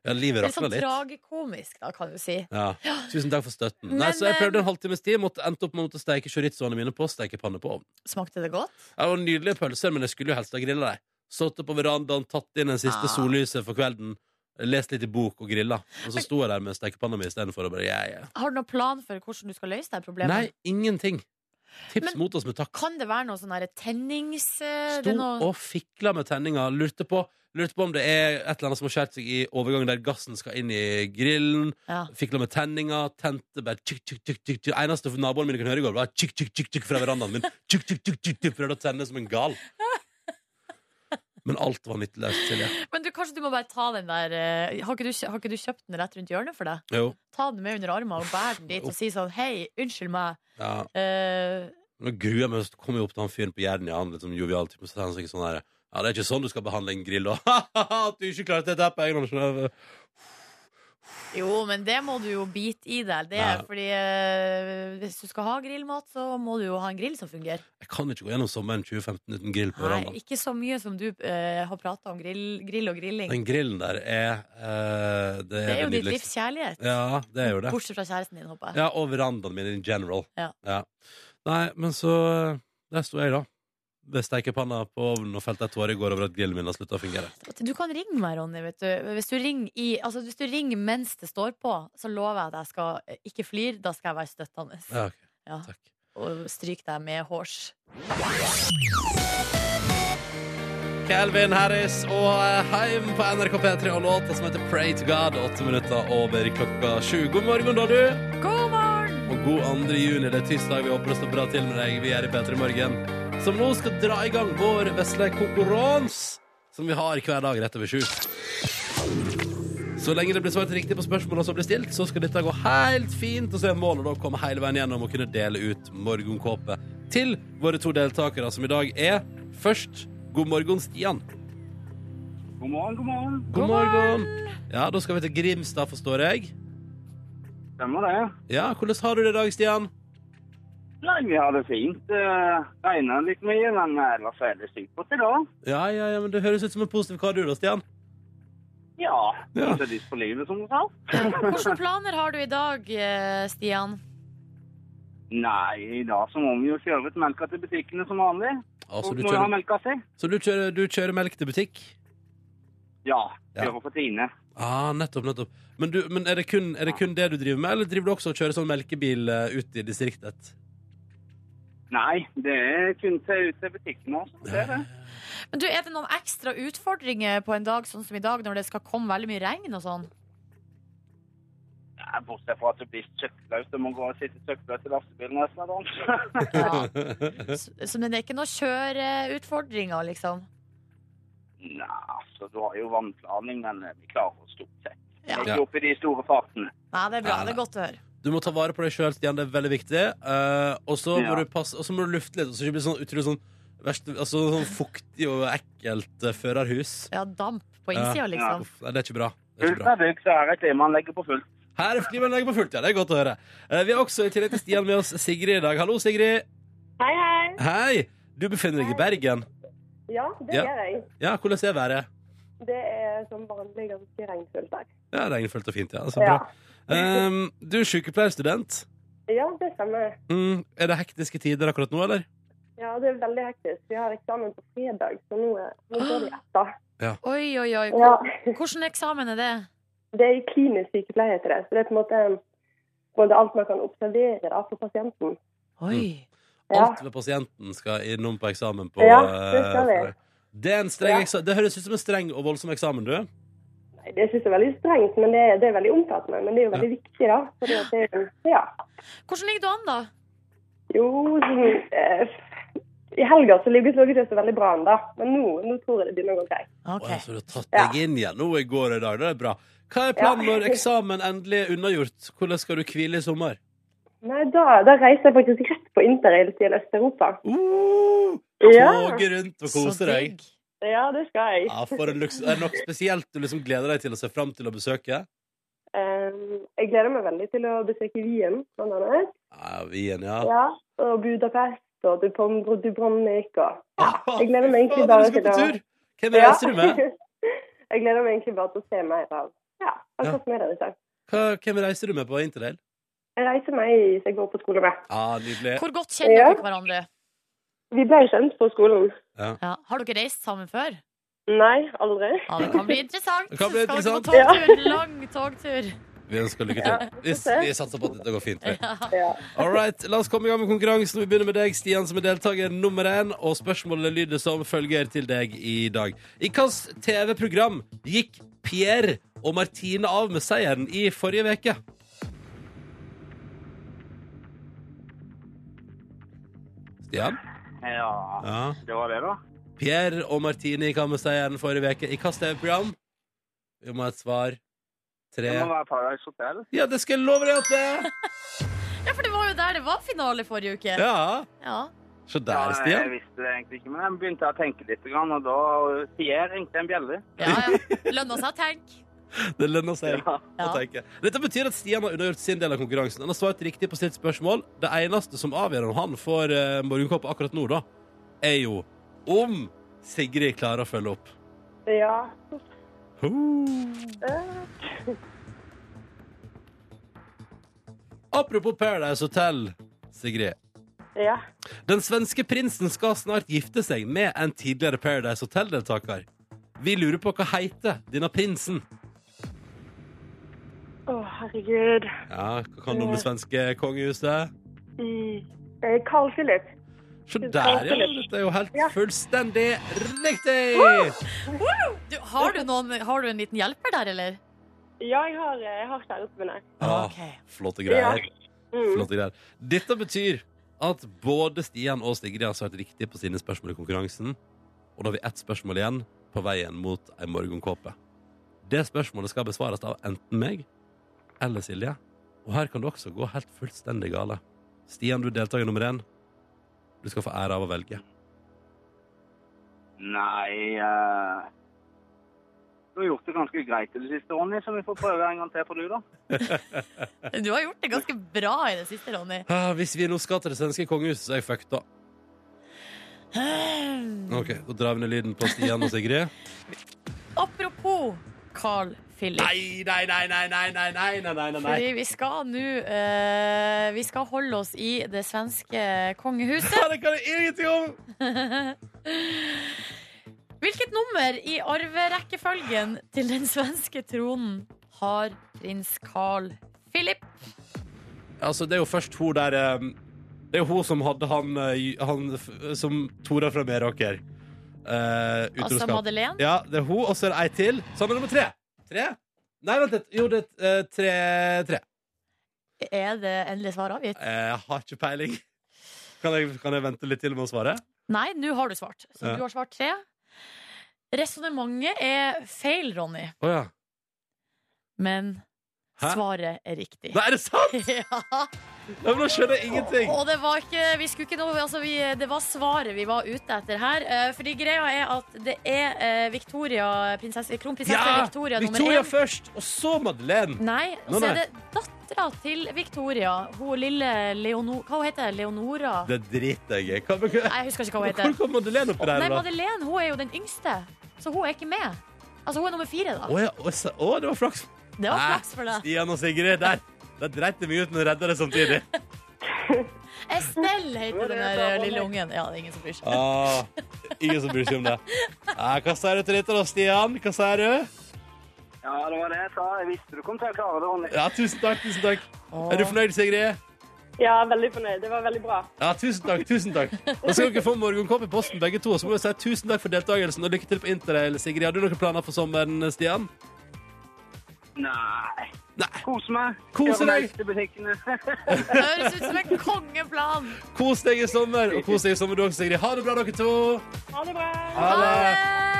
Speaker 4: Ja, livet
Speaker 2: Det er
Speaker 4: rakna
Speaker 2: sånn
Speaker 4: litt.
Speaker 2: tragikomisk, da, kan du si.
Speaker 4: Ja. Tusen takk for støtten.
Speaker 2: Men,
Speaker 4: Nei, så jeg
Speaker 2: eh,
Speaker 4: prøvde en halvtimes tid. Måtte endte opp med å måtte steike chorizoene mine på steikepanne på ovnen.
Speaker 2: Smakte det godt?
Speaker 4: Det var nydelige pølser, men jeg skulle jo helst ha grilla dem. Stått opp på verandaen, tatt inn den siste
Speaker 2: Ah.
Speaker 4: sollyset for kvelden, lest litt i bok og grilla. Og så sto jeg der med steikepanna mi istedenfor og bare yeah, yeah.
Speaker 2: Har du noen plan for hvordan du skal løse det her problemet?
Speaker 4: Nei, ingenting. Tips
Speaker 2: Men-
Speaker 4: mot oss med takk.
Speaker 2: Kan det være noe sånn her tennings... eh,
Speaker 4: Sto
Speaker 2: det er noe...
Speaker 4: og fikla med tenninga. Lurte på, lurte på om det er et eller annet som har skjært seg i overgangen der gassen skal inn i grillen.
Speaker 2: Ja.
Speaker 4: Fikla med tenninga, tente bare tjukk, tjukk, tjukk, tjukk, tjukk. Eneste naboen min kunne høre i går, var tjukk, tjukk, tjukk, tjukk fra verandaen min. Tjukk, tjukk, tjukk, tjukk, tjukk, prøvde å tenne som en gal. Men alt var nytteløst, Silje.
Speaker 2: Men du, kanskje du må bare ta den der eh, har ikke, du, kjø- har ikke du kjøpt den rett rundt hjørnet for deg?
Speaker 4: Jo.
Speaker 2: Ta den med under armen og bær den dit og si sånn Hei, unnskyld meg.
Speaker 4: Ja.
Speaker 2: eh,
Speaker 4: Nå gruer jeg meg, så kommer jeg opp til han fyren på Jernia, han litt sånn jovial type, så sier han sikkert sånn her Ja, det er ikke sånn du skal behandle en grill, og at du ikke klarte dette på egen hånd. skjønner du?»
Speaker 2: jo, men det må du jo bite i deg. Det er
Speaker 4: Ja.
Speaker 2: fordi eh, hvis du skal ha grillmat, så må du jo ha en grill som fungerer.
Speaker 4: Jeg kan ikke gå gjennom sommeren 2015 uten grill på
Speaker 2: Nei,
Speaker 4: verandaen.
Speaker 2: ikke så mye som du eh, har prata om grill, grill og grilling.
Speaker 4: Den grillen der er eh, Det er,
Speaker 2: Det er jo ditt livs
Speaker 4: nydeligste.
Speaker 2: kjærlighet.
Speaker 4: Ja, det er jo det.
Speaker 2: Bortsett fra kjæresten din, håper jeg.
Speaker 4: Ja, og verandaen min in general.
Speaker 2: Ja.
Speaker 4: Nei, men så eh, Der sto jeg, da. Ved steikepanna på ovnen og felte ei tåre i går over at grillen min har slutta å fungere.
Speaker 2: Du kan ringe meg, Ronny. Vet du. Hvis, du ringer i, altså, hvis du ringer mens det står på, så lover jeg at jeg skal eh, ikke flire. Da skal jeg være støttende.
Speaker 4: Ja, ok.
Speaker 2: Ja.
Speaker 4: Takk.
Speaker 2: Og stryk deg med hårs.
Speaker 4: Calvin Harris og eh, Heim på NRK P3 og låta som heter Pray to God. Åtte minutter over klokka sju. God morgen, da, du.
Speaker 2: God morgen!
Speaker 4: Og god 2. juni. Det er tirsdag. Vi håper det står bra til med deg. Vi er i P3 Morgen, som nå skal dra i gang vår vesle konkurranse, som vi har hver dag rett over sju. Så lenge det blir svart riktig på spørsmålene som blir stilt, så skal dette gå helt fint. Og så er målet da å komme hele veien gjennom og kunne dele ut morgenkåpe til våre to deltakere, som i dag er først God morgen, Stian.
Speaker 5: God morgen, god morgen.
Speaker 4: God morgen. Ja, da skal vi til Grimstad, forstår jeg.
Speaker 5: Stemmer det.
Speaker 4: Ja, hvordan har du det i dag, Stian?
Speaker 5: Nei, vi har det fint. Uh, regner litt mye, men eh, ellers er det supert i dag.
Speaker 4: Ja, ja, ja, men det høres ut som en positiv kar, du da, Stian.
Speaker 5: Ja.
Speaker 4: Ja.
Speaker 5: Ikke lyst på livet, som du sa.
Speaker 2: Hvilke planer har du i dag, eh, Stian?
Speaker 5: Nei, i dag så må vi jo kjøre ut melka til butikkene som vanlig.
Speaker 4: Altså,
Speaker 5: Folk
Speaker 4: du
Speaker 5: må jo ha
Speaker 4: kjører,
Speaker 5: melka si.
Speaker 4: så du kjører, du kjører melk til butikk?
Speaker 5: Ja.
Speaker 4: Ja.
Speaker 5: Kjører for Tine.
Speaker 4: Ah, nettopp, nettopp. Men, du, men er, det kun, er det kun det du driver med, eller driver du også og kjører sånn melkebil eh, ut i distriktet?
Speaker 5: Nei, det er kun til ut til butikken også. Det er det.
Speaker 2: Men du, Er det noen ekstra utfordringer på en dag sånn som i dag, når det skal komme veldig mye regn og sånn?
Speaker 5: Nei, bortsett fra at du blir søkkløs. Du må gå og sitte søkkløs i lastebilen resten av dagen.
Speaker 2: Ja. Så, så- men det er ikke noen kjøreutfordringer, liksom?
Speaker 5: Nei, altså, du har jo vannplaning, men eh, vi klarer oss stort sett.
Speaker 2: Ja.
Speaker 5: Ikke opp i de store fartene.
Speaker 2: Nei, det er bra.
Speaker 4: Ja.
Speaker 2: Det er godt å høre.
Speaker 4: Du må ta vare på deg sjøl, Stian. Det er veldig viktig. Eh, og så må
Speaker 5: Ja.
Speaker 4: du passe, og så må du lufte litt, så det ikke blir sånn utrolig sånn verst, altså, sånn fuktig og ekkelt eh, førerhus.
Speaker 2: Ja, damp på innsida,
Speaker 4: Ja.
Speaker 2: liksom.
Speaker 4: Uff, nei, det er ikke bra. Det er ikke
Speaker 5: Fullt
Speaker 4: bra.
Speaker 5: av duk, så er det klimaet man legger på fullt.
Speaker 4: Her er klimaanlegget på fullt, ja. Det er godt å høre. Eh, vi har også i tillegg til Stian med oss Sigrid i dag. Hallo, Sigrid.
Speaker 6: Hei, hei.
Speaker 4: Hei! Du befinner deg i Bergen.
Speaker 6: Ja, det
Speaker 4: Ja.
Speaker 6: gjør jeg.
Speaker 4: Ja, hvordan er været?
Speaker 6: Det er som vanlig ganske regnfullt her.
Speaker 4: Ja, regnfullt og fint, ja. Så
Speaker 6: Ja.
Speaker 4: bra. Ehm, du er sykepleierstudent.
Speaker 6: ja, det stemmer.
Speaker 4: Mm, er det hektiske tider akkurat nå, eller?
Speaker 6: Ja, det er veldig hektisk. Vi har eksamen på fredag, så nå, er- nå går det etter.
Speaker 2: Oi, oi, oi.
Speaker 6: Ja.
Speaker 2: Hvordan eksamen er det?
Speaker 6: Det er i klinisk sykepleie til det, så det er på en måte, på en måte alt man kan observere da, for pasienten.
Speaker 4: Mm.
Speaker 2: Oi.
Speaker 6: Ja.
Speaker 4: Alt ved pasienten skal innom på eksamen på
Speaker 6: Ja, det skal vi.
Speaker 4: eh, Det, er en streng
Speaker 6: Ja.
Speaker 4: eksa- det høres ut som en streng og voldsom eksamen, du.
Speaker 6: Nei, det synes jeg er veldig strengt, men det er, det er veldig omfattende. Men det er jo veldig viktig da. For det, det, er- ja.
Speaker 2: Hvordan ligger du an, da?
Speaker 6: Jo, sånn, eh, i helga så ligger det ikke så veldig bra an da. Men nå, nå tror jeg det begynner å gå greit.
Speaker 2: Ok.
Speaker 4: Å, så du har tatt deg inn igjen nå i går og i dag. Det er bra. Hva er planen
Speaker 6: Ja.
Speaker 4: når eksamen endelig er unnagjort? Hvordan skal du hvile i sommer?
Speaker 6: Nei, da, da reiser jeg faktisk rett på interrail til Øst-Europa.
Speaker 4: Uh,
Speaker 6: Ja.
Speaker 4: Toge rundt og
Speaker 2: Så
Speaker 4: kose deg.
Speaker 2: digg.
Speaker 6: Ja, det skal jeg.
Speaker 4: Ja, for en luksus. Er det noe spesielt du liksom gleder deg til å se fram til å besøke?
Speaker 6: Ehm, jeg gleder meg veldig til å besøke Wien, blant annet.
Speaker 4: Ja, Wien, ja.
Speaker 6: Ja. Og Budapest og Dubron- Dubrovnik og ja. Jeg gleder meg egentlig
Speaker 4: Fader,
Speaker 6: bare
Speaker 4: du skal
Speaker 6: til
Speaker 4: på
Speaker 6: å
Speaker 4: tur! Hvem reiser du med?
Speaker 6: jeg gleder meg egentlig bare til å se mer av
Speaker 4: Ja.
Speaker 6: ja, akkurat med dere. så.
Speaker 4: Hva, hvem reiser du med på interrail?
Speaker 6: Jeg reiser meg i så jeg går på skole med.
Speaker 4: Ja, nydelig.
Speaker 2: Hvor godt kjenner
Speaker 6: Ja.
Speaker 2: dere hverandre?
Speaker 6: Vi ble kjent på skolen.
Speaker 2: Ja. Har dere reist sammen før?
Speaker 6: Nei, aldri.
Speaker 2: Ja, det kan bli interessant.
Speaker 4: Det kan bli
Speaker 2: Skal
Speaker 4: interessant.
Speaker 2: dere på togtur? Lang togtur.
Speaker 4: Vi ønsker lykke til. Vi, vi satser på at dette går fint. vi.
Speaker 6: Ja.
Speaker 4: All right, La oss komme i gang med konkurransen. Vi begynner med deg, Stian, som er deltaker nummer én. Og spørsmålet lyder som følger til deg i dag. I hvilket TV-program gikk Pierre og Martine av med seieren i forrige uke? Stian?
Speaker 5: Ja,
Speaker 4: Ja.
Speaker 5: det var det, da.
Speaker 4: Pierre og Martine gikk av med seieren forrige uke. I hvilket TV-program? Vi må ha et svar. Tre
Speaker 5: Det må være Paradise Hotel.
Speaker 4: Ja, det skal jeg love deg at det er!
Speaker 2: Ja, for det var jo der det var finale forrige uke.
Speaker 4: Ja.
Speaker 2: Ja.
Speaker 4: Se
Speaker 5: Ja,
Speaker 4: der,
Speaker 5: jeg
Speaker 4: Stian.
Speaker 5: visste det egentlig ikke, men jeg begynte å tenke litt, grann, og da Pierre ringte en bjelle.
Speaker 2: Ja, ja. Lønna seg å tenke.
Speaker 4: Det lønner seg.
Speaker 5: Ja.
Speaker 2: Ja.
Speaker 4: å tenke. Dette betyr at Stian har undergjort sin del av konkurransen. Han har svart riktig på sitt spørsmål. Det eneste som avgjør om han får eh, morgenkåpe akkurat nå, da, er jo om Sigrid klarer å følge opp.
Speaker 6: ja.
Speaker 5: Eh.
Speaker 4: Apropos Paradise Hotel, Sigrid.
Speaker 6: ja.
Speaker 4: Den svenske prinsen skal snart gifte seg med en tidligere Paradise Hotel-deltaker. Vi lurer på hva heter denne prinsen?
Speaker 6: Å, herregud.
Speaker 4: Ja, Hva kan du om det svenske kongehuset?
Speaker 6: Mm. Eh, Carl Philip.
Speaker 4: Se der, ja. Dette er jo helt
Speaker 6: Ja.
Speaker 4: fullstendig riktig!
Speaker 2: Du, har, du noen, har du en liten hjelper der, eller?
Speaker 6: Ja, jeg har, eh, jeg har kjæresten min her.
Speaker 4: Ah,
Speaker 2: Ok.
Speaker 4: Flotte greier.
Speaker 6: Mm.
Speaker 4: Flotte greier. Dette betyr at både Stian og Stigrid har svart riktig på sine spørsmål i konkurransen. Og da har vi ett spørsmål igjen på veien mot ei morgenkåpe. Det spørsmålet skal besvares av enten meg eller Silje. Og her kan det også gå helt fullstendig gale. Stian, du er deltaker nummer én. Du skal få ære av å velge.
Speaker 5: Nei eh, Du har gjort det ganske greit i det siste, Ronny, så vi får prøve en gang til på du, da.
Speaker 2: Du har gjort det ganske bra i det siste, Ronny.
Speaker 4: Ah, hvis vi nå skal til det svenske kongehuset, så er jeg fucked, da. Ok, Da drar vi ned lyden på Stian og Sigrid.
Speaker 2: Apropos Carl Philip.
Speaker 4: Nei, nei, nei, nei, nei, nei, nei, nei, nei, nei.
Speaker 2: Fordi vi skal nå eh, Vi skal holde oss i det svenske kongehuset.
Speaker 4: det kan jeg ingenting om!
Speaker 2: Hvilket nummer i arverekkefølgen til den svenske tronen har prins Carl Philip?
Speaker 4: Altså, det er jo først hun der eh, Det er jo hun som hadde han, eh, j- han f- som Tora fra Meråker. Uh,
Speaker 2: Altså
Speaker 4: utroskap.
Speaker 2: Madeleine?
Speaker 4: Ja, det er hun, og så er det ei til. Sammen nummer tre. Tre? Nei, vent litt. Jo, det er eh, tre, tre.
Speaker 2: Er det endelig svar avgitt?
Speaker 4: Eh, Jeg har ikke peiling. Kan jeg, kan jeg vente litt til med å svare?
Speaker 2: Nei, nå har du svart. Så
Speaker 4: Ja.
Speaker 2: du har svart tre. Resonnementet er feil, Ronny.
Speaker 4: Å ja.
Speaker 2: Men
Speaker 4: Hæ?
Speaker 2: Svaret er riktig.
Speaker 4: Nei, er det sant?!
Speaker 2: Ja.
Speaker 4: Nei, men da skjønner jeg ingenting.
Speaker 2: Og det var ikke Vi skulle ikke noe altså vi, Det var svaret vi var ute etter her. Eh, Fordi greia er at det er eh, Victoria, prinsesse, kronprinsesse
Speaker 4: Ja!
Speaker 2: Victoria nummer
Speaker 4: Victoria
Speaker 2: én.
Speaker 4: først, og så Madeleine.
Speaker 2: Nei, og
Speaker 4: Nå,
Speaker 2: så er
Speaker 4: nei.
Speaker 2: det dattera til Victoria. Hun lille Leonor... Hva hun heter hun? Leonora?
Speaker 4: Det driter jeg i. Hva- hva-
Speaker 2: Nei, jeg husker ikke hva hun
Speaker 4: Hvor
Speaker 2: heter.
Speaker 4: kom Madeleine oppi der,
Speaker 2: Nei,
Speaker 4: da?
Speaker 2: Madeleine hun er jo den yngste, så hun er ikke med. Altså, hun er nummer fire, da.
Speaker 4: Å ja, å, se- å, det var flaks.
Speaker 2: Det var flaks for
Speaker 4: Nei,
Speaker 2: deg.
Speaker 4: Stian og Sigrid, der. Der dreit jeg meg ut, men redda det samtidig.
Speaker 2: Estelle heter den der eh, lille ungen. Ja, det er ingen som bryr seg.
Speaker 4: Ah, ingen som bryr seg om det. Nei, hva sier du til dette, da, Stian? Hva sier du?
Speaker 5: Ja, det var det jeg sa. Jeg visste du kom til å klare det, Ronny.
Speaker 4: Ja, tusen takk, tusen takk. Ah. Er du fornøyd, Sigrid?
Speaker 6: Ja, veldig fornøyd. Det var veldig bra.
Speaker 4: Ja, tusen takk. tusen takk Da skal dere få morgenkopp i posten, begge to. Og så må vi si tusen takk for deltakelsen og lykke til på interrail, Sigrid. Har du noen planer for sommeren, Stian?
Speaker 5: Nei.
Speaker 4: Nei.
Speaker 5: Kose meg.
Speaker 4: Kose
Speaker 5: Kjøre
Speaker 4: deg.
Speaker 5: meg til butikkene.
Speaker 2: Det høres ut som en kongeplan.
Speaker 4: Kos deg i sommer, og kos deg i sommer du også, Sigrid. Ha det bra, dere to.
Speaker 6: Ha det bra.
Speaker 4: Ha det.
Speaker 2: Ha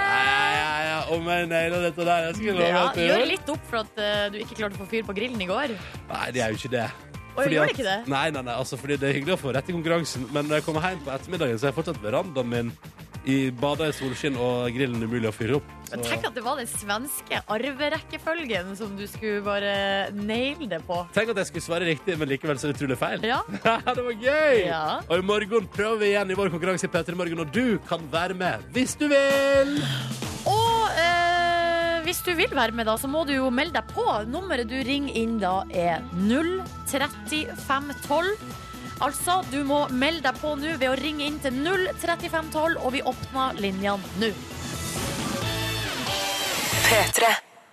Speaker 4: Ja,
Speaker 2: det!
Speaker 4: ja, ja. Om jeg nailer dette der, jeg skulle
Speaker 2: Ja,
Speaker 4: love at jeg
Speaker 2: gjør
Speaker 4: gjør.
Speaker 2: litt opp for at eh, du ikke klarte å få fyr på grillen i går.
Speaker 4: Nei, det er jo ikke det.
Speaker 2: Og
Speaker 4: Fordi
Speaker 2: gjør
Speaker 4: at-
Speaker 2: det ikke det?
Speaker 4: Nei, nei, nei, altså, fordi det er hyggelig å få rett i konkurransen, men når jeg kommer hjem på ettermiddagen, så er jeg fortsatt verandaen min i bada i solskinn og grillen umulig å fyre opp. Så-
Speaker 2: Men tenk at det var den svenske arverekkefølgen som du skulle bare naile det på.
Speaker 4: Tenk at jeg skulle svare riktig, men likevel så utrolig feil.
Speaker 2: Ja.
Speaker 4: det var gøy!
Speaker 2: Ja.
Speaker 4: Og i morgen prøver vi igjen i vår konkurranse i P3 Morgen, og du kan være med hvis du vil!
Speaker 2: Og eh, hvis du vil være med, da, så må du jo melde deg på. Nummeret du ringer inn da, er 03512. Altså, du må melde deg på nå ved å ringe inn til 03512, og vi åpner linjene nå.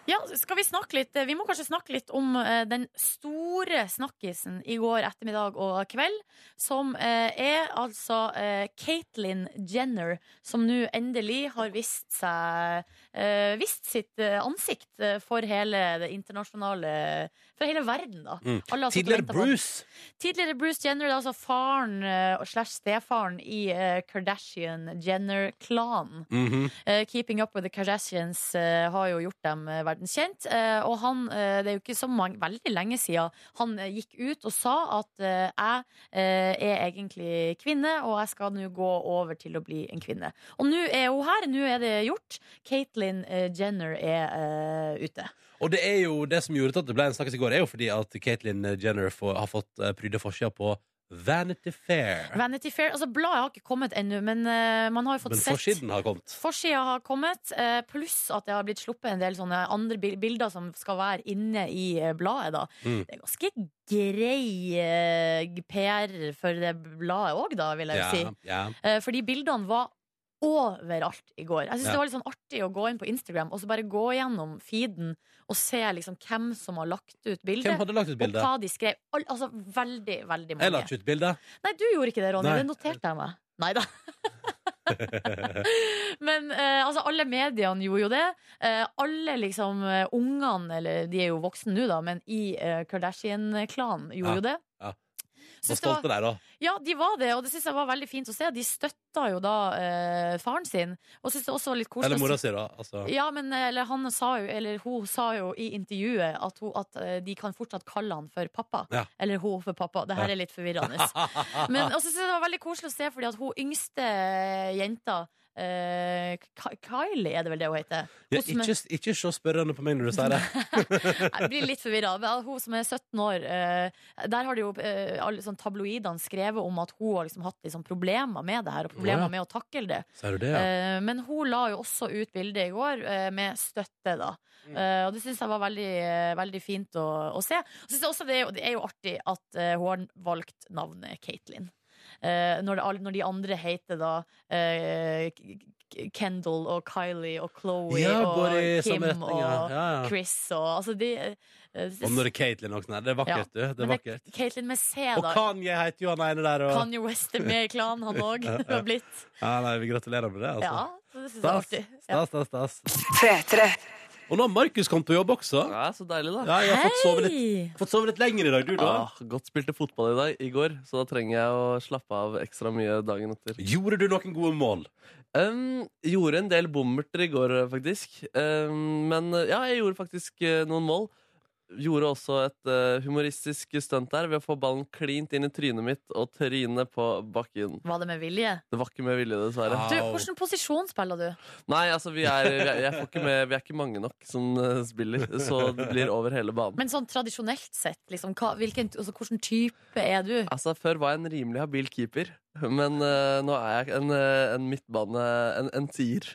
Speaker 2: Ja, skal Vi snakke litt Vi må kanskje snakke litt om eh, den store snakkisen i går ettermiddag og kveld, som eh, er altså eh, Caitlyn Jenner, som nå endelig har vist seg eh, Vist sitt eh, ansikt eh, for hele det internasjonale For hele verden, da.
Speaker 4: Mm.
Speaker 2: Alle har satt og
Speaker 4: Tidligere
Speaker 2: ventet på den.
Speaker 4: Bruce.
Speaker 2: Tidligere Bruce Jenner, det er altså faren eh, og slash stefaren i eh, Kardashian-Jenner-klanen.
Speaker 4: Mhm.
Speaker 2: Eh, Keeping Up With The Kardashians eh, har jo gjort dem eh, verdenskjent. eh, og han, eh, det er jo ikke så mange, veldig lenge siden han eh, gikk ut og sa at eh, jeg eh, er egentlig kvinne, og jeg skal nå gå over til å bli en kvinne. Og nå er hun her, nå er det gjort. Caitlyn eh, Jenner er eh, ute.
Speaker 4: Og det er jo det som gjorde at det ble en snakkes i går, er jo fordi at Caitlyn Jenner får, har fått eh, pryde forsida på Vanity Fair.
Speaker 2: Vanity Fair, altså Bladet har ikke kommet ennå, men eh, man har jo fått
Speaker 4: Men
Speaker 2: sett
Speaker 4: forsiden har kommet.
Speaker 2: Forsida har kommet, eh, pluss at det har blitt sluppet en del sånne andre bil- bilder som skal være inne i eh, bladet. da.
Speaker 4: Mm.
Speaker 2: Det er ganske grei eh, PR for det bladet òg, da, vil jeg jo si.
Speaker 4: ja.
Speaker 2: Eh, fordi bildene var overalt i går. Jeg synes
Speaker 4: Ja.
Speaker 2: Det var litt sånn artig å gå inn på Instagram og så bare gå gjennom feeden og se liksom hvem som har lagt ut
Speaker 4: Hvem
Speaker 2: bildet.
Speaker 4: hadde lagt ut
Speaker 2: Og
Speaker 4: bildet?
Speaker 2: hva de skrev. Al altså veldig, veldig
Speaker 4: Jeg la
Speaker 2: mange.
Speaker 4: ikke ut bilde.
Speaker 2: Nei, du gjorde ikke det, Ronny.
Speaker 4: Nei.
Speaker 2: Det noterte jeg meg. Nei da. Men eh, altså, alle mediene gjorde jo det. Eh, alle liksom eh, ungene, eller de er jo voksne nå, da, men i eh, Kardashian-klanen gjorde
Speaker 4: Ja,
Speaker 2: jo det.
Speaker 4: ja. Så
Speaker 2: Synes det var,
Speaker 4: stolte der, da.
Speaker 2: ja, de var det, og det syns jeg var veldig fint å se. De støtta jo da eh, faren sin, og syns det også var litt koselig.
Speaker 4: Eller
Speaker 2: å
Speaker 4: mora
Speaker 2: se-
Speaker 4: si, da. Altså.
Speaker 2: Ja, men eh, eller han sa jo, eller hun sa jo i intervjuet at, hun, at eh, de kan fortsatt kalle han for pappa.
Speaker 4: Ja.
Speaker 2: Eller hun for pappa. Det her er litt forvirrende. Men også synes jeg det var veldig koselig å se, fordi at hun yngste jenta eh, Ka- Kylie er det vel det hun heter?
Speaker 4: Ja,
Speaker 2: Hun som Eh, er,
Speaker 4: ikke, ikke se spørrende på meg når du sier det.
Speaker 2: jeg blir litt forvirra. Hun som er 17 år, eh, der har det jo eh, alle sånn tabloidene skrevet om at hun har liksom hatt liksom problemer med det her, og
Speaker 4: Ja.
Speaker 2: problemer med å takle det.
Speaker 4: Sier du det, ja?
Speaker 2: Eh, Men hun la jo også ut bilde i går eh, med støtte, da.
Speaker 4: Mm.
Speaker 2: Eh, Og det syns jeg var veldig, eh, veldig fint å, å se. Og synes jeg også det, er jo- det er jo artig at eh, hun har valgt navnet Katelyn. Eh, når, det, all- når de andre heter da eh, K- K- Kendall og Kylie og Chloe
Speaker 4: Ja, går i
Speaker 2: og Kim
Speaker 4: samme retning, ja.
Speaker 2: og
Speaker 4: ja, ja.
Speaker 2: Chris og altså de eh, det-
Speaker 4: Og når det er Caitlyn også. Nei, det er vakkert, du. Det
Speaker 2: men
Speaker 4: er vakkert.
Speaker 2: Katelyn med C,
Speaker 4: Og
Speaker 2: da.
Speaker 4: Kanye heter jo han ene der, og
Speaker 2: Kanye West er med i klanen, han òg. Det har blitt.
Speaker 4: ja, nei, Vi gratulerer med det, altså.
Speaker 2: Ja, så det syns jeg er
Speaker 4: Stas,
Speaker 2: artig. Ja.
Speaker 4: stas, stas, stas. Og nå har Markus kommet på jobb også.
Speaker 7: Ja, så deilig, da.
Speaker 4: Ja, jeg har fått sove litt,
Speaker 2: Hei!
Speaker 4: fått sove litt lenger i dag, du, da.
Speaker 7: Ah, godt spilte fotball i dag i går, så da trenger jeg å slappe av ekstra mye dagen etter.
Speaker 4: Gjorde du noen gode mål?
Speaker 7: Um, gjorde en del bommerter i går, faktisk. Um, men ja, jeg gjorde faktisk eh, noen mål. gjorde også et eh, humoristisk stunt der ved å få ballen klint inn i trynet mitt og trynet på bakken.
Speaker 2: Var det med vilje?
Speaker 7: Det var ikke med vilje, dessverre.
Speaker 4: Au.
Speaker 2: Du, hvordan posisjon spiller du?
Speaker 7: Nei, altså, vi er, vi, er, jeg får ikke med, vi er ikke mange nok som eh, spiller, så det blir over hele banen.
Speaker 2: Men sånn tradisjonelt sett, liksom, hva, hvilken, altså, hvordan type er du?
Speaker 7: Altså, Før var jeg en rimelig habil keeper, men eh, nå er jeg en, eh, en midtbane... En, en tier.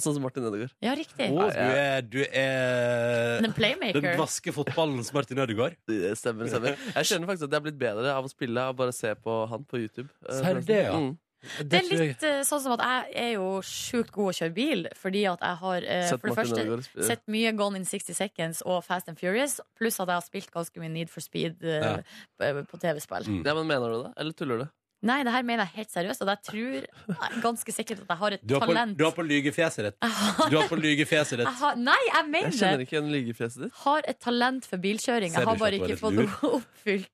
Speaker 7: Sånn som Martin Ødegaard.
Speaker 2: Ja, riktig.
Speaker 4: Å, du er, du er
Speaker 2: En
Speaker 4: den
Speaker 2: playmaker.
Speaker 4: vaske fotballens Martin Ødegaard.
Speaker 7: Det Stemmer, stemmer. Jeg kjenner faktisk at jeg har blitt bedre av å spille og bare se på han på YouTube. eh,
Speaker 4: Ser du det, ja?
Speaker 7: Mm.
Speaker 2: Det
Speaker 4: Det
Speaker 2: er
Speaker 4: tror jeg-
Speaker 2: litt eh, sånn som at jeg er jo sjukt god å kjøre bil, fordi at jeg har eh,
Speaker 7: Sett
Speaker 2: for det
Speaker 7: Martin
Speaker 2: første
Speaker 7: Ødegaard spille.
Speaker 2: sett mye Gone in 60 Seconds og Fast and Furious, pluss at jeg har spilt ganske mye Need for Speed eh, på- på TV-spill.
Speaker 4: Mm.
Speaker 7: Ja, men Mener du det, eller tuller du?
Speaker 2: Nei, det her mener jeg helt seriøst, og jeg tror jeg er ganske sikkert at jeg har et
Speaker 4: Du har på,
Speaker 2: talent.
Speaker 4: du har på lygefjeset ditt.
Speaker 2: Jeg har-
Speaker 4: Du har på lygefjeset
Speaker 2: jeg
Speaker 4: ditt.
Speaker 2: har, nei, jeg
Speaker 7: Jeg
Speaker 2: mener
Speaker 7: kjenner
Speaker 2: det!
Speaker 7: ikke igjen lygefjeset ditt.
Speaker 2: Har et talent for bilkjøring.
Speaker 4: Ser
Speaker 2: Jeg
Speaker 4: du
Speaker 2: har
Speaker 4: ikke
Speaker 2: bare
Speaker 4: at du er
Speaker 2: ikke fått
Speaker 4: litt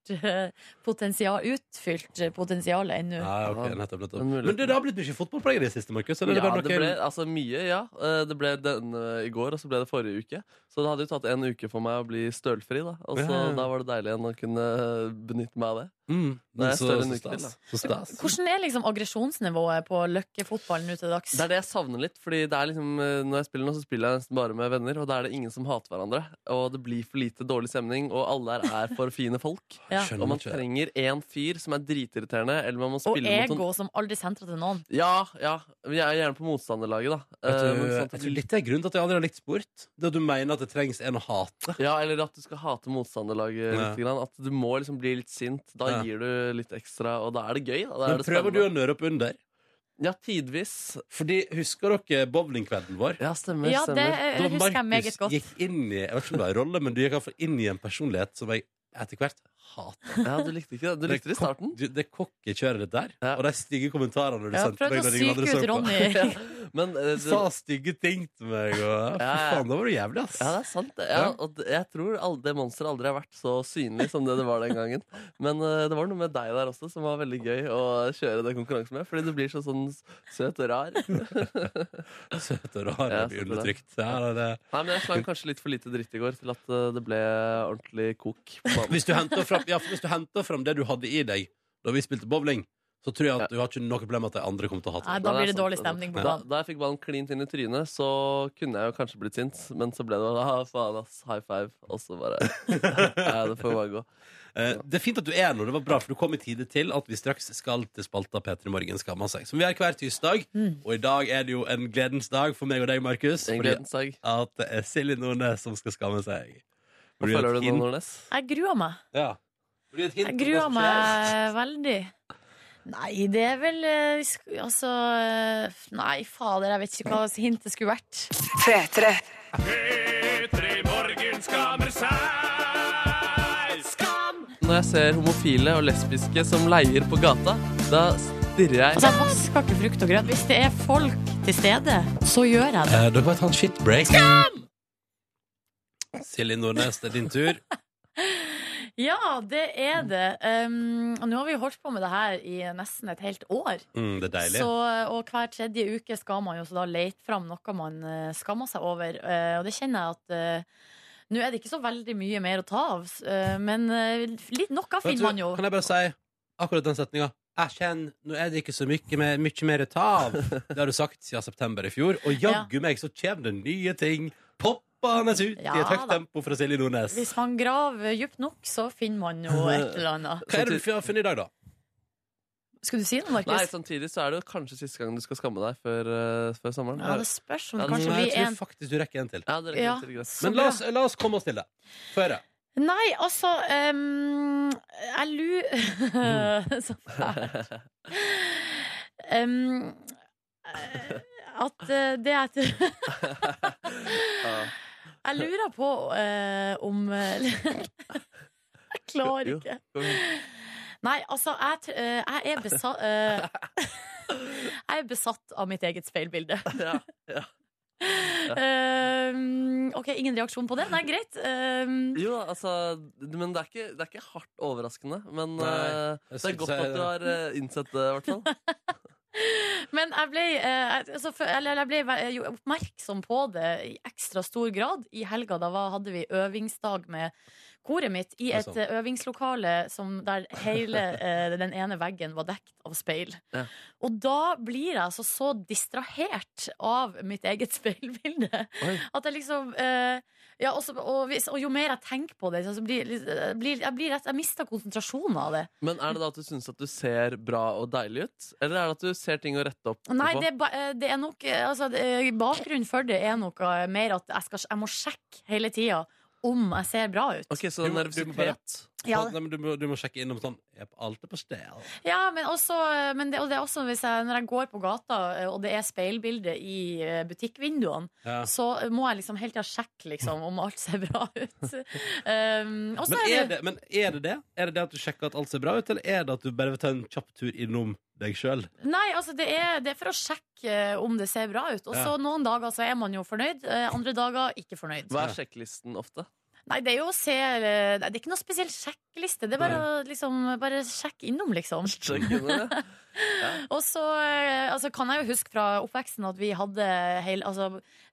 Speaker 2: oppfylt eh, potensial, utfylt eh, potensialet ennå.
Speaker 4: Ja, ok, nettopp, nettopp.
Speaker 7: En mulighet.
Speaker 4: Men det, det har blitt mye fotball på deg i det siste, Markus. Eller er det
Speaker 7: Ja,
Speaker 4: bare
Speaker 7: det ble,
Speaker 4: noe
Speaker 7: altså mye, ja. Eh, Det ble denne i går, og så ble det forrige uke. Så det hadde jo tatt en uke for meg å bli stølfri, da. Og så
Speaker 4: Ja.
Speaker 7: da var det deilig igjen å kunne eh, benytte meg av det.
Speaker 4: mm,
Speaker 7: Nei, jeg
Speaker 4: så,
Speaker 7: står en
Speaker 4: så
Speaker 7: uke til,
Speaker 4: stas. Så stas.
Speaker 2: Hvordan er liksom aggresjonsnivået på løkkefotballen nå til dags?
Speaker 7: Det er det jeg savner litt, fordi det er liksom, eh, når jeg spiller nå, så spiller jeg nesten bare med venner, og da er det ingen som hater hverandre. Og det blir for lite dårlig stemning, og alle er, er for fine folk.
Speaker 2: Ja.
Speaker 4: Skjønner
Speaker 7: Og man
Speaker 4: ikke.
Speaker 7: trenger én fyr som er dritirriterende, eller man må
Speaker 2: Og
Speaker 7: spille mot noen
Speaker 2: ego som aldri sentrer til noen.
Speaker 7: Ja, ja. Jeg er gjerne på motstanderlaget, da.
Speaker 4: Vet
Speaker 7: Eh,
Speaker 4: du,
Speaker 7: men sånn
Speaker 4: jeg
Speaker 7: at
Speaker 4: tror
Speaker 7: du-
Speaker 4: litt det er grunnen til at jeg aldri har likt sport. Det at du mener at det trengs en å hate.
Speaker 7: Ja, eller at du skal hate motstanderlaget
Speaker 4: Ja.
Speaker 7: litt. Grann. At du må liksom bli litt sint. Da
Speaker 4: Ja.
Speaker 7: gir du litt ekstra, og da er det gøy. Da, da er
Speaker 4: Men
Speaker 7: det
Speaker 4: prøver du å
Speaker 7: spennende.
Speaker 4: nøre opp under?
Speaker 7: Ja, tidvis.
Speaker 4: Fordi, Husker dere bowlingkvelden vår?
Speaker 7: Ja, stemmer.
Speaker 2: Ja, det
Speaker 7: stemmer.
Speaker 2: eh, husker jeg meget godt.
Speaker 4: gikk inn i Jeg vet ikke om det var en rolle, men du gikk i hvert fall inn i en personlighet som jeg etter hvert hater.
Speaker 7: Ja, du likte ikke det. Du likte det i starten.
Speaker 4: Du, det kokkekjøret ditt der,
Speaker 7: Ja.
Speaker 4: og de stygge kommentarene du
Speaker 2: Jeg har
Speaker 4: sendte
Speaker 2: prøvd
Speaker 4: meg
Speaker 2: å
Speaker 4: når
Speaker 2: psyke
Speaker 4: ingen andre
Speaker 2: ut
Speaker 4: så på.
Speaker 2: Ronny.
Speaker 7: Ja, men eh, du,
Speaker 4: Sa stygge ting til meg, og fy
Speaker 7: Ja, ja.
Speaker 4: faen, da var du jævlig, ass.
Speaker 7: ja, det er sant. det. Ja, og det- jeg tror all- det monsteret aldri har vært så synlig som det det var den gangen. Men eh, det var noe med deg der også som var veldig gøy å kjøre den konkurransen med. Fordi du blir så sånn søt og rar.
Speaker 4: Søt og rar
Speaker 7: Ja,
Speaker 4: og blir
Speaker 7: sant det.
Speaker 4: undertrykt. Ja, det, er det.
Speaker 7: Nei, men Jeg slang kanskje litt for lite dritt i går til at eh, det ble ordentlig kok. på banen.
Speaker 4: Hvis du henter fram, ja, for hvis du henter fram det du hadde i deg da vi spilte bowling, så tror jeg at du har ikke noe problem med at de andre kommer til å hate
Speaker 2: Nei,
Speaker 4: deg.
Speaker 2: da
Speaker 7: Nei,
Speaker 2: blir det
Speaker 7: er sant,
Speaker 2: dårlig
Speaker 7: er sant.
Speaker 2: stemning på
Speaker 7: Da,
Speaker 2: banen.
Speaker 7: da jeg fikk ballen klint inn i trynet, så kunne jeg jo kanskje blitt sint. Men så ble det ah, faen ass, high five, og så bare Ja, det får bare gå.
Speaker 4: Eh, Det er fint at du er her nå, det var bra, for du kom i tide til at vi straks skal til spalta P3 Morgen skammer seg, som vi har hver tirsdag. Og i dag er det jo en gledens dag for meg og deg, Markus,
Speaker 7: Mm. En
Speaker 4: fordi
Speaker 7: gledens dag.
Speaker 4: at det er Silje Nordnes som skal skamme seg.
Speaker 7: Hva
Speaker 4: Blir det
Speaker 7: føler
Speaker 4: et
Speaker 7: du nå,
Speaker 4: hint?
Speaker 7: Nordnes?
Speaker 2: Jeg gruer meg.
Speaker 4: Ja. Blir det et hint
Speaker 2: Jeg
Speaker 4: om hva
Speaker 2: gruer
Speaker 4: som
Speaker 2: meg
Speaker 4: skjer?
Speaker 2: veldig. Nei, det er vel eh, vi sk- Altså eh, Nei, fader, jeg vet ikke hva hintet skulle vært.
Speaker 7: Når jeg ser homofile og lesbiske som leier på gata, da stirrer jeg
Speaker 2: Altså, jeg vasker ikke frukt og grønt. Hvis det er folk til stede, så gjør jeg det.
Speaker 4: Eh, dere vet han shitbreak? Silje Nordnes, det er din tur.
Speaker 2: Ja, det er det. Um, og nå har vi jo holdt på med det her i nesten et helt år.
Speaker 4: Mm, det er deilig.
Speaker 2: Så, og hver tredje uke skal man jo så da lete fram noe man eh, skammer seg over. Eh, Og det kjenner jeg at eh, nå er det ikke så veldig mye mer å ta av, s- eh, men eh, litt noe
Speaker 4: Vet du,
Speaker 2: finner man jo.
Speaker 4: Kan jeg bare si akkurat den setninga? Jeg kjenner, nå er det ikke så mye, mer- mye mer å ta av. Det har du sagt siden september i fjor. Og jaggu meg så kommer det nye ting poppende ut i
Speaker 2: Ja
Speaker 4: et høyt
Speaker 2: da.
Speaker 4: tempo fra Silje Nordnes.
Speaker 2: Hvis man graver dypt nok, så finner man jo et eller annet.
Speaker 4: Hva er det du har funnet i dag, da?
Speaker 2: Skulle du si noe,
Speaker 7: Nei,
Speaker 2: Markus?
Speaker 7: samtidig så er det jo kanskje siste gang du skal skamme deg før, eh, før sommeren.
Speaker 2: Ja, det spørs om det
Speaker 7: Ja,
Speaker 2: kanskje
Speaker 4: Nei,
Speaker 2: blir
Speaker 4: Mm, jeg
Speaker 2: en
Speaker 4: tror faktisk du rekker en til.
Speaker 7: Ja, det
Speaker 2: Ja.
Speaker 7: rekker til gress.
Speaker 2: så
Speaker 4: Men
Speaker 2: bra.
Speaker 4: la oss, la oss komme oss til det. Før det.
Speaker 2: Nei, altså ehm, Jeg lurer Så fælt. Ehm, eh, at eh, det at
Speaker 7: Ja.
Speaker 2: Jeg lurer på eh, om eh, Jeg klarer
Speaker 7: Jo.
Speaker 2: ikke. Nei, altså, jeg, tr- eh, jeg er besatt Jeg er besatt av mitt eget speilbilde.
Speaker 7: Ja, ja.
Speaker 2: Ehm, OK, ingen reaksjon på det? Nei, greit. Ehm,
Speaker 7: Jo, altså Men det er ikke, det er ikke hardt overraskende. Men
Speaker 4: Nei,
Speaker 7: eh,
Speaker 4: jeg
Speaker 7: det er
Speaker 4: skulle
Speaker 7: godt
Speaker 4: si
Speaker 7: at du
Speaker 4: det.
Speaker 7: har eh, innsett det, i hvert fall.
Speaker 2: Men jeg ble, eh, altså, for, eller, jeg ble ve- jo oppmerksom på det i ekstra stor grad i helga. Da var, hadde vi øvingsdag med koret mitt i
Speaker 4: Oi,
Speaker 2: et
Speaker 4: sant.
Speaker 2: eh, øvingslokale som, der hele eh, den ene veggen var dekt av speil.
Speaker 7: Ja.
Speaker 2: Og da blir jeg altså så distrahert av mitt eget speilbilde
Speaker 7: Oi.
Speaker 2: at jeg liksom eh, ja, og, så- og, hvis, og jo mer jeg tenker på det, så blir, blir jeg, blir rett, jeg mister konsentrasjonen av det.
Speaker 7: Men er det da at du syns at du ser bra og deilig ut? Eller er det at du ser ting å rette opp
Speaker 2: Nei,
Speaker 7: på?
Speaker 2: det, er ba- eh, det er nok eh, altså, det- eh, Bakgrunnen for det er noe mer at jeg, skal, jeg må sjekke hele tida om jeg ser bra ut.
Speaker 7: Ok, så det er
Speaker 4: Du må- du må bare-
Speaker 7: nervøsitet
Speaker 2: Ja,
Speaker 4: Nei, men du, må, du må sjekke innom sånn Er alt er på sted?
Speaker 2: ja men, også, eh, men det, og det er også hvis jeg, når jeg går på gata, eh, og det er speilbilde i eh, butikkvinduene,
Speaker 4: Ja.
Speaker 2: så eh, må jeg liksom hele tida sjekke liksom, om alt ser bra ut. Um, og så
Speaker 4: Men
Speaker 2: er
Speaker 4: er,
Speaker 2: det
Speaker 4: det, men er det det? Er det det at du sjekker at alt ser bra ut, eller er det at du bare vil ta en kjapp tur innom deg sjøl?
Speaker 2: Nei, altså det er, det er for å sjekke eh, om det ser bra ut. Og så
Speaker 4: Ja.
Speaker 2: noen dager så er man jo fornøyd, eh, andre dager ikke fornøyd.
Speaker 7: Hva er sjekklisten ofte?
Speaker 2: Nei, det er jo å se eh, Det er ikke noe spesiell sjekkliste. Det er bare å liksom, bare sjekke innom, liksom.
Speaker 7: Sjekk inn i det.
Speaker 2: Og så eh, altså, kan jeg jo huske fra oppveksten at vi hadde hele Altså,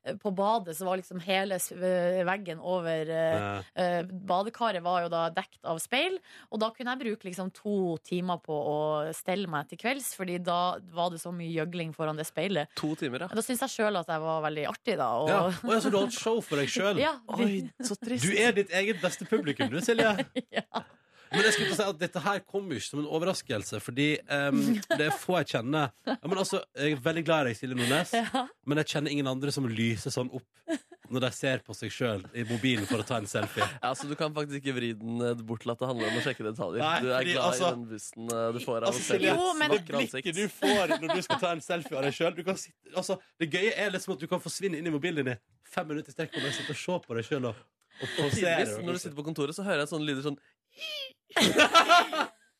Speaker 2: eh, på badet så var liksom hele s- eh, veggen over eh, eh, Badekaret var jo da dekt av speil, og da kunne jeg bruke liksom to timer på å stelle meg til kvelds, Fordi da var det så mye gjøgling foran det speilet.
Speaker 7: To timer, ja.
Speaker 2: Da syns jeg sjøl at jeg var veldig artig, da. Og,
Speaker 4: Ja. Å, ja, så du har et show for deg sjøl?
Speaker 2: Ja,
Speaker 7: Oi, så trist.
Speaker 4: Du er ditt eget beste publikum, du, Silje.
Speaker 2: Ja.
Speaker 4: Men jeg skulle til å si at dette her kommer jo ikke som en overraskelse, fordi ehm, det er få jeg kjenner ja, men altså, Jeg er veldig glad i deg, Silje Nordnes,
Speaker 2: Ja.
Speaker 4: men jeg kjenner ingen andre som lyser sånn opp når de ser på seg sjøl i mobilen for å ta en selfie.
Speaker 7: Ja, så du kan faktisk ikke vri den eh, bort til at det handler om å sjekke detaljer.
Speaker 4: Nei,
Speaker 7: du er
Speaker 4: fordi,
Speaker 7: glad
Speaker 4: altså-
Speaker 7: i den busten eh, du får av
Speaker 4: Altså,
Speaker 7: å se
Speaker 4: Silje,
Speaker 2: Jo, men-
Speaker 4: det
Speaker 7: vakre
Speaker 4: blikket
Speaker 7: ansikt.
Speaker 4: du får når du skal ta en selfie av deg sjøl altså, Det gøye er liksom at du kan forsvinne inn i mobilen din i fem minutter i strekk og bare sitte og se på deg sjøl. Og, og posere.
Speaker 7: Tidvis, når du sitter på kontoret, så hører jeg sånne lyder sånn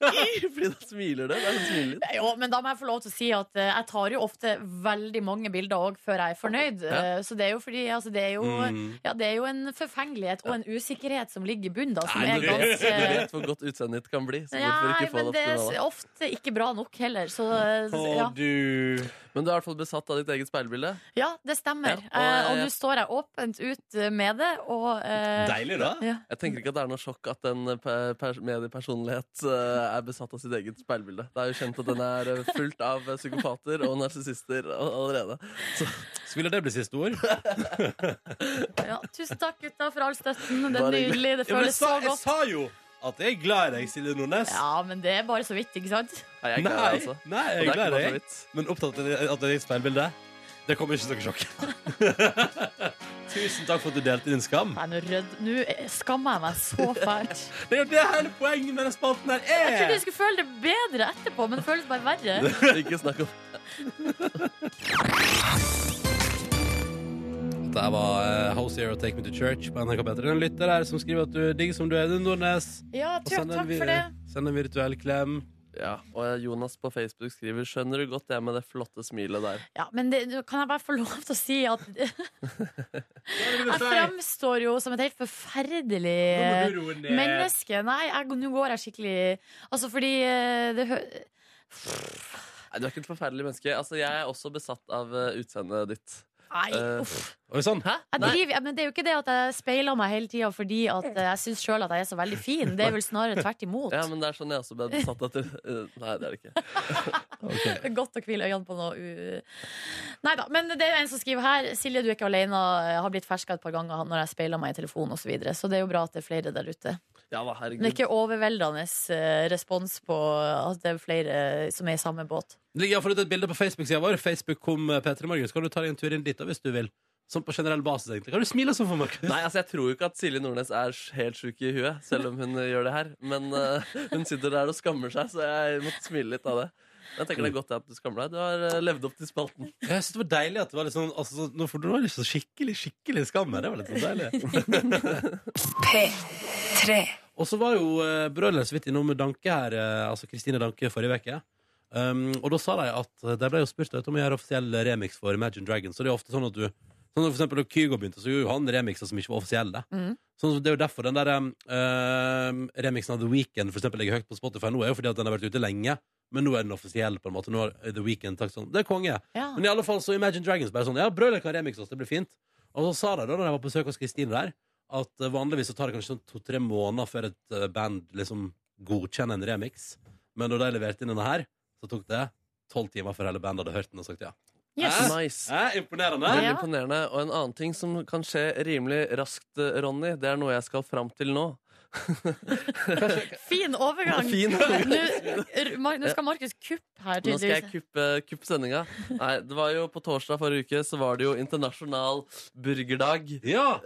Speaker 7: Fordi da smiler det. Det er sånn en smilelyd.
Speaker 2: Jo, men da må jeg få lov til å si at eh, jeg tar jo ofte veldig mange bilder òg før jeg er fornøyd.
Speaker 7: Ja.
Speaker 2: Eh, Så det er jo fordi altså, det, er jo,
Speaker 4: Mm.
Speaker 2: ja, det er jo en forfengelighet og en usikkerhet som ligger i bunnen, da, som
Speaker 4: Nei,
Speaker 2: er
Speaker 4: men det-
Speaker 2: ganske
Speaker 7: Du vet hvor godt utseendet ditt kan bli. Så hvorfor
Speaker 2: Nei,
Speaker 7: ikke få
Speaker 2: men
Speaker 7: det
Speaker 2: det
Speaker 7: optimale?
Speaker 2: er ofte ikke bra nok heller, så eh,
Speaker 4: Å,
Speaker 2: ja.
Speaker 4: du
Speaker 7: Men du er i hvert fall besatt av ditt eget speilbilde.
Speaker 2: ja, det stemmer.
Speaker 7: Ja, og,
Speaker 2: Eh, og
Speaker 7: eh,
Speaker 2: nå står jeg åpent ut eh, med det, og eh,
Speaker 4: Deilig, da.
Speaker 2: ja.
Speaker 7: Jeg tenker ikke at det er noe sjokk at en eh, per- pers- mediepersonlighet eh, er besatt av sitt eget speilbilde. Det er jo kjent at den er eh, fullt av eh, psykopater og narsissister all- allerede.
Speaker 4: Skulle det bli siste ord?
Speaker 2: ja. Tusen takk, gutta, for all støtten. Det
Speaker 7: Bare
Speaker 2: er
Speaker 7: hyggelig.
Speaker 2: nydelig. Det
Speaker 4: Ja, men jeg
Speaker 2: føles så
Speaker 4: sa, jeg
Speaker 2: godt.
Speaker 4: sa jo at jeg er glad i deg, Silje Nordnes.
Speaker 2: Ja, men det er bare så vidt, ikke sant?
Speaker 7: Nei, jeg er
Speaker 4: Nei,
Speaker 7: glad, i det, altså.
Speaker 4: nei, jeg
Speaker 7: Og det
Speaker 4: er
Speaker 7: er ikke
Speaker 4: glad i
Speaker 7: bare så
Speaker 4: deg.
Speaker 7: vidt.
Speaker 4: Men opptatt av at det er ditt speilbilde. Det kommer ikke som noe sjokk. Tusen takk for at du delte din skam.
Speaker 2: Nei, nå rød- Nå eh, skammer jeg meg så fælt.
Speaker 4: Det er jo det hele poenget med denne spalten her
Speaker 2: Jeg trodde jeg
Speaker 4: er!
Speaker 2: skulle føle det bedre etterpå, men det føles bare verre.
Speaker 7: Ikke snakk om
Speaker 4: Der var eh, Hosier og Take Me To Church på NRK P3. En lytter her som skriver at du er digg som du er, du, Nordnes.
Speaker 2: Ja,
Speaker 4: Og
Speaker 2: takk,
Speaker 4: send en
Speaker 2: takk
Speaker 4: vi-
Speaker 2: for det.
Speaker 4: Send en virtuell klem.
Speaker 7: ja, Og Jonas på Facebook skriver Skjønner du godt det med det flotte smilet der?
Speaker 2: Ja, men det, nå kan jeg bare få lov til å si at jeg fremstår jo som et helt forferdelig menneske. Nei, jeg, nå går jeg skikkelig Altså, fordi eh, det hø...
Speaker 7: Nei, Du er ikke et forferdelig menneske. Altså, Jeg er også besatt av eh, utseendet ditt.
Speaker 2: Nei,
Speaker 7: Eh,
Speaker 2: uff.
Speaker 4: Oi sånn. sann.
Speaker 7: Hæ?
Speaker 2: Jeg
Speaker 7: Nei,
Speaker 2: driver, men det er jo ikke det at jeg speiler meg hele tida fordi at eh, jeg syns sjøl at jeg er så veldig fin. Det er vel snarere tvert imot.
Speaker 7: ja, men det er sånn jeg også ble besatt av eh, Nei, det er det ikke.
Speaker 2: Det er Godt å hvile øynene på noe u- Neida, men det er jo en som skriver her Silje, du er ikke alene, Jeg har blitt ferska et par ganger Når jeg speiler meg i telefonen og så videre Så det er jo bra at det er flere der ute
Speaker 7: Ja, da,
Speaker 2: Men
Speaker 7: herregud.
Speaker 2: ikke overveldende eh, respons på At det er flere som er i samme båt
Speaker 4: Det ligger iallfall ut et bilde på Facebook-sida vår. Facebook kom eh, P3 Morgen. Så kan du ta deg en tur inn dit da, hvis du vil. Sånn på generell basis, egentlig. Kan du smile sånn for meg?
Speaker 7: Nei, altså Jeg tror jo ikke at Silje Nordnes er sj- helt sjuk i huet, selv om hun eh, gjør det her. Men eh, hun sitter der og skammer seg, så jeg måtte smile litt av det. Jeg tenker det er godt at du skammer deg. Du har eh, levd opp til spalten.
Speaker 4: Jeg synes det var deilig at det var litt sånn altså, så- Nå for nå var det ikke så skikkelig, skikkelig skam her. Det var litt sånn deilig. Og så var jo eh, brødrene så vidt innom Danke her, eh, altså Kristine Danke, forrige uke. eh, Um, og da sa de at de ble jo spurt vet du, om å gjøre offisiell remix for Imagine Dragons. Så det er ofte sånn at du Sånn som for eksempel da Kygo begynte, så gjorde jo han remixer som ikke var offisielle.
Speaker 2: Mhm.
Speaker 4: Sånn som det er jo derfor den der um, um, remixen av The Weeknd for eksempel ligger høyt på Spotify nå, er jo fordi at den har vært ute lenge. Men nå er den offisiell, på en måte. Nå har The Weeknd sagt sånn. Det er konge.
Speaker 2: Ja.
Speaker 4: Men i alle fall så Imagine Dragons bare sånn Ja, brødre kan remikse oss, det blir fint. Og så sa de da, da jeg var på besøk hos Kristine der, at eh, vanligvis så tar det kanskje sånn to-tre måneder før et eh, band liksom godkjenner en remix. Men når de leverte inn denne her, så tok det tolv timer før hele bandet hadde hørt den og sagt ja.
Speaker 2: Yes.
Speaker 4: Hæ?
Speaker 7: Nice.
Speaker 4: Hæ? Imponerende.
Speaker 7: Veldig
Speaker 2: Ja.
Speaker 7: imponerende. Og en annen ting som kan skje rimelig raskt, eh, Ronny, det er noe jeg skal fram til nå.
Speaker 2: Fin overgang.
Speaker 7: Fin overgang.
Speaker 2: Nå, r- Mar- nå skal Markus kuppe her,
Speaker 7: Nå skal jeg
Speaker 2: tydeligvis.
Speaker 7: kuppe, kuppe sendinga. Nei, det var jo på torsdag forrige uke, så var det jo internasjonal burgerdag.
Speaker 4: Ja!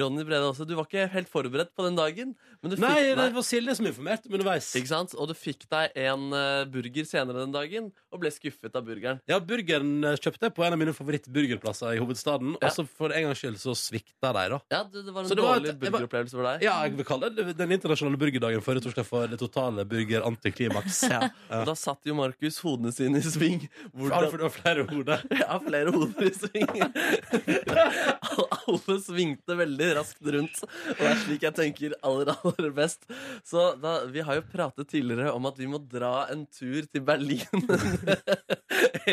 Speaker 7: Ronny Brede også. Du var ikke helt forberedt på den dagen. Men du fikk,
Speaker 4: Nei, det
Speaker 7: nei,
Speaker 4: var Silje som informerte meg underveis.
Speaker 7: ikke sant? Og du fikk deg en eh, burger senere den dagen, og ble skuffet av burgeren.
Speaker 4: Ja, burgeren eh, kjøpte jeg på en av mine favorittburgerplasser i hovedstaden.
Speaker 7: Ja.
Speaker 4: Og så for en gangs skyld så svikta de, da.
Speaker 7: Ja, det, det var
Speaker 4: Så
Speaker 7: en
Speaker 4: det var et-
Speaker 7: dårlig
Speaker 4: det var-
Speaker 7: burgeropplevelse for deg.
Speaker 4: Ja, jeg vil kalle det den internasjonale burgerdagen forrige torsdag for det totale burger-antiklimaks.
Speaker 7: Ja. Og da satt jo Markus hodene sine i sving.
Speaker 4: Har du for det var flere hoder?
Speaker 7: Jeg har flere hoder i sving. Al- Alle svingte veldig raskt rundt. Og det er slik jeg tenker aller, aller best. Så da, vi har jo pratet tidligere om at vi må dra en tur til Berlin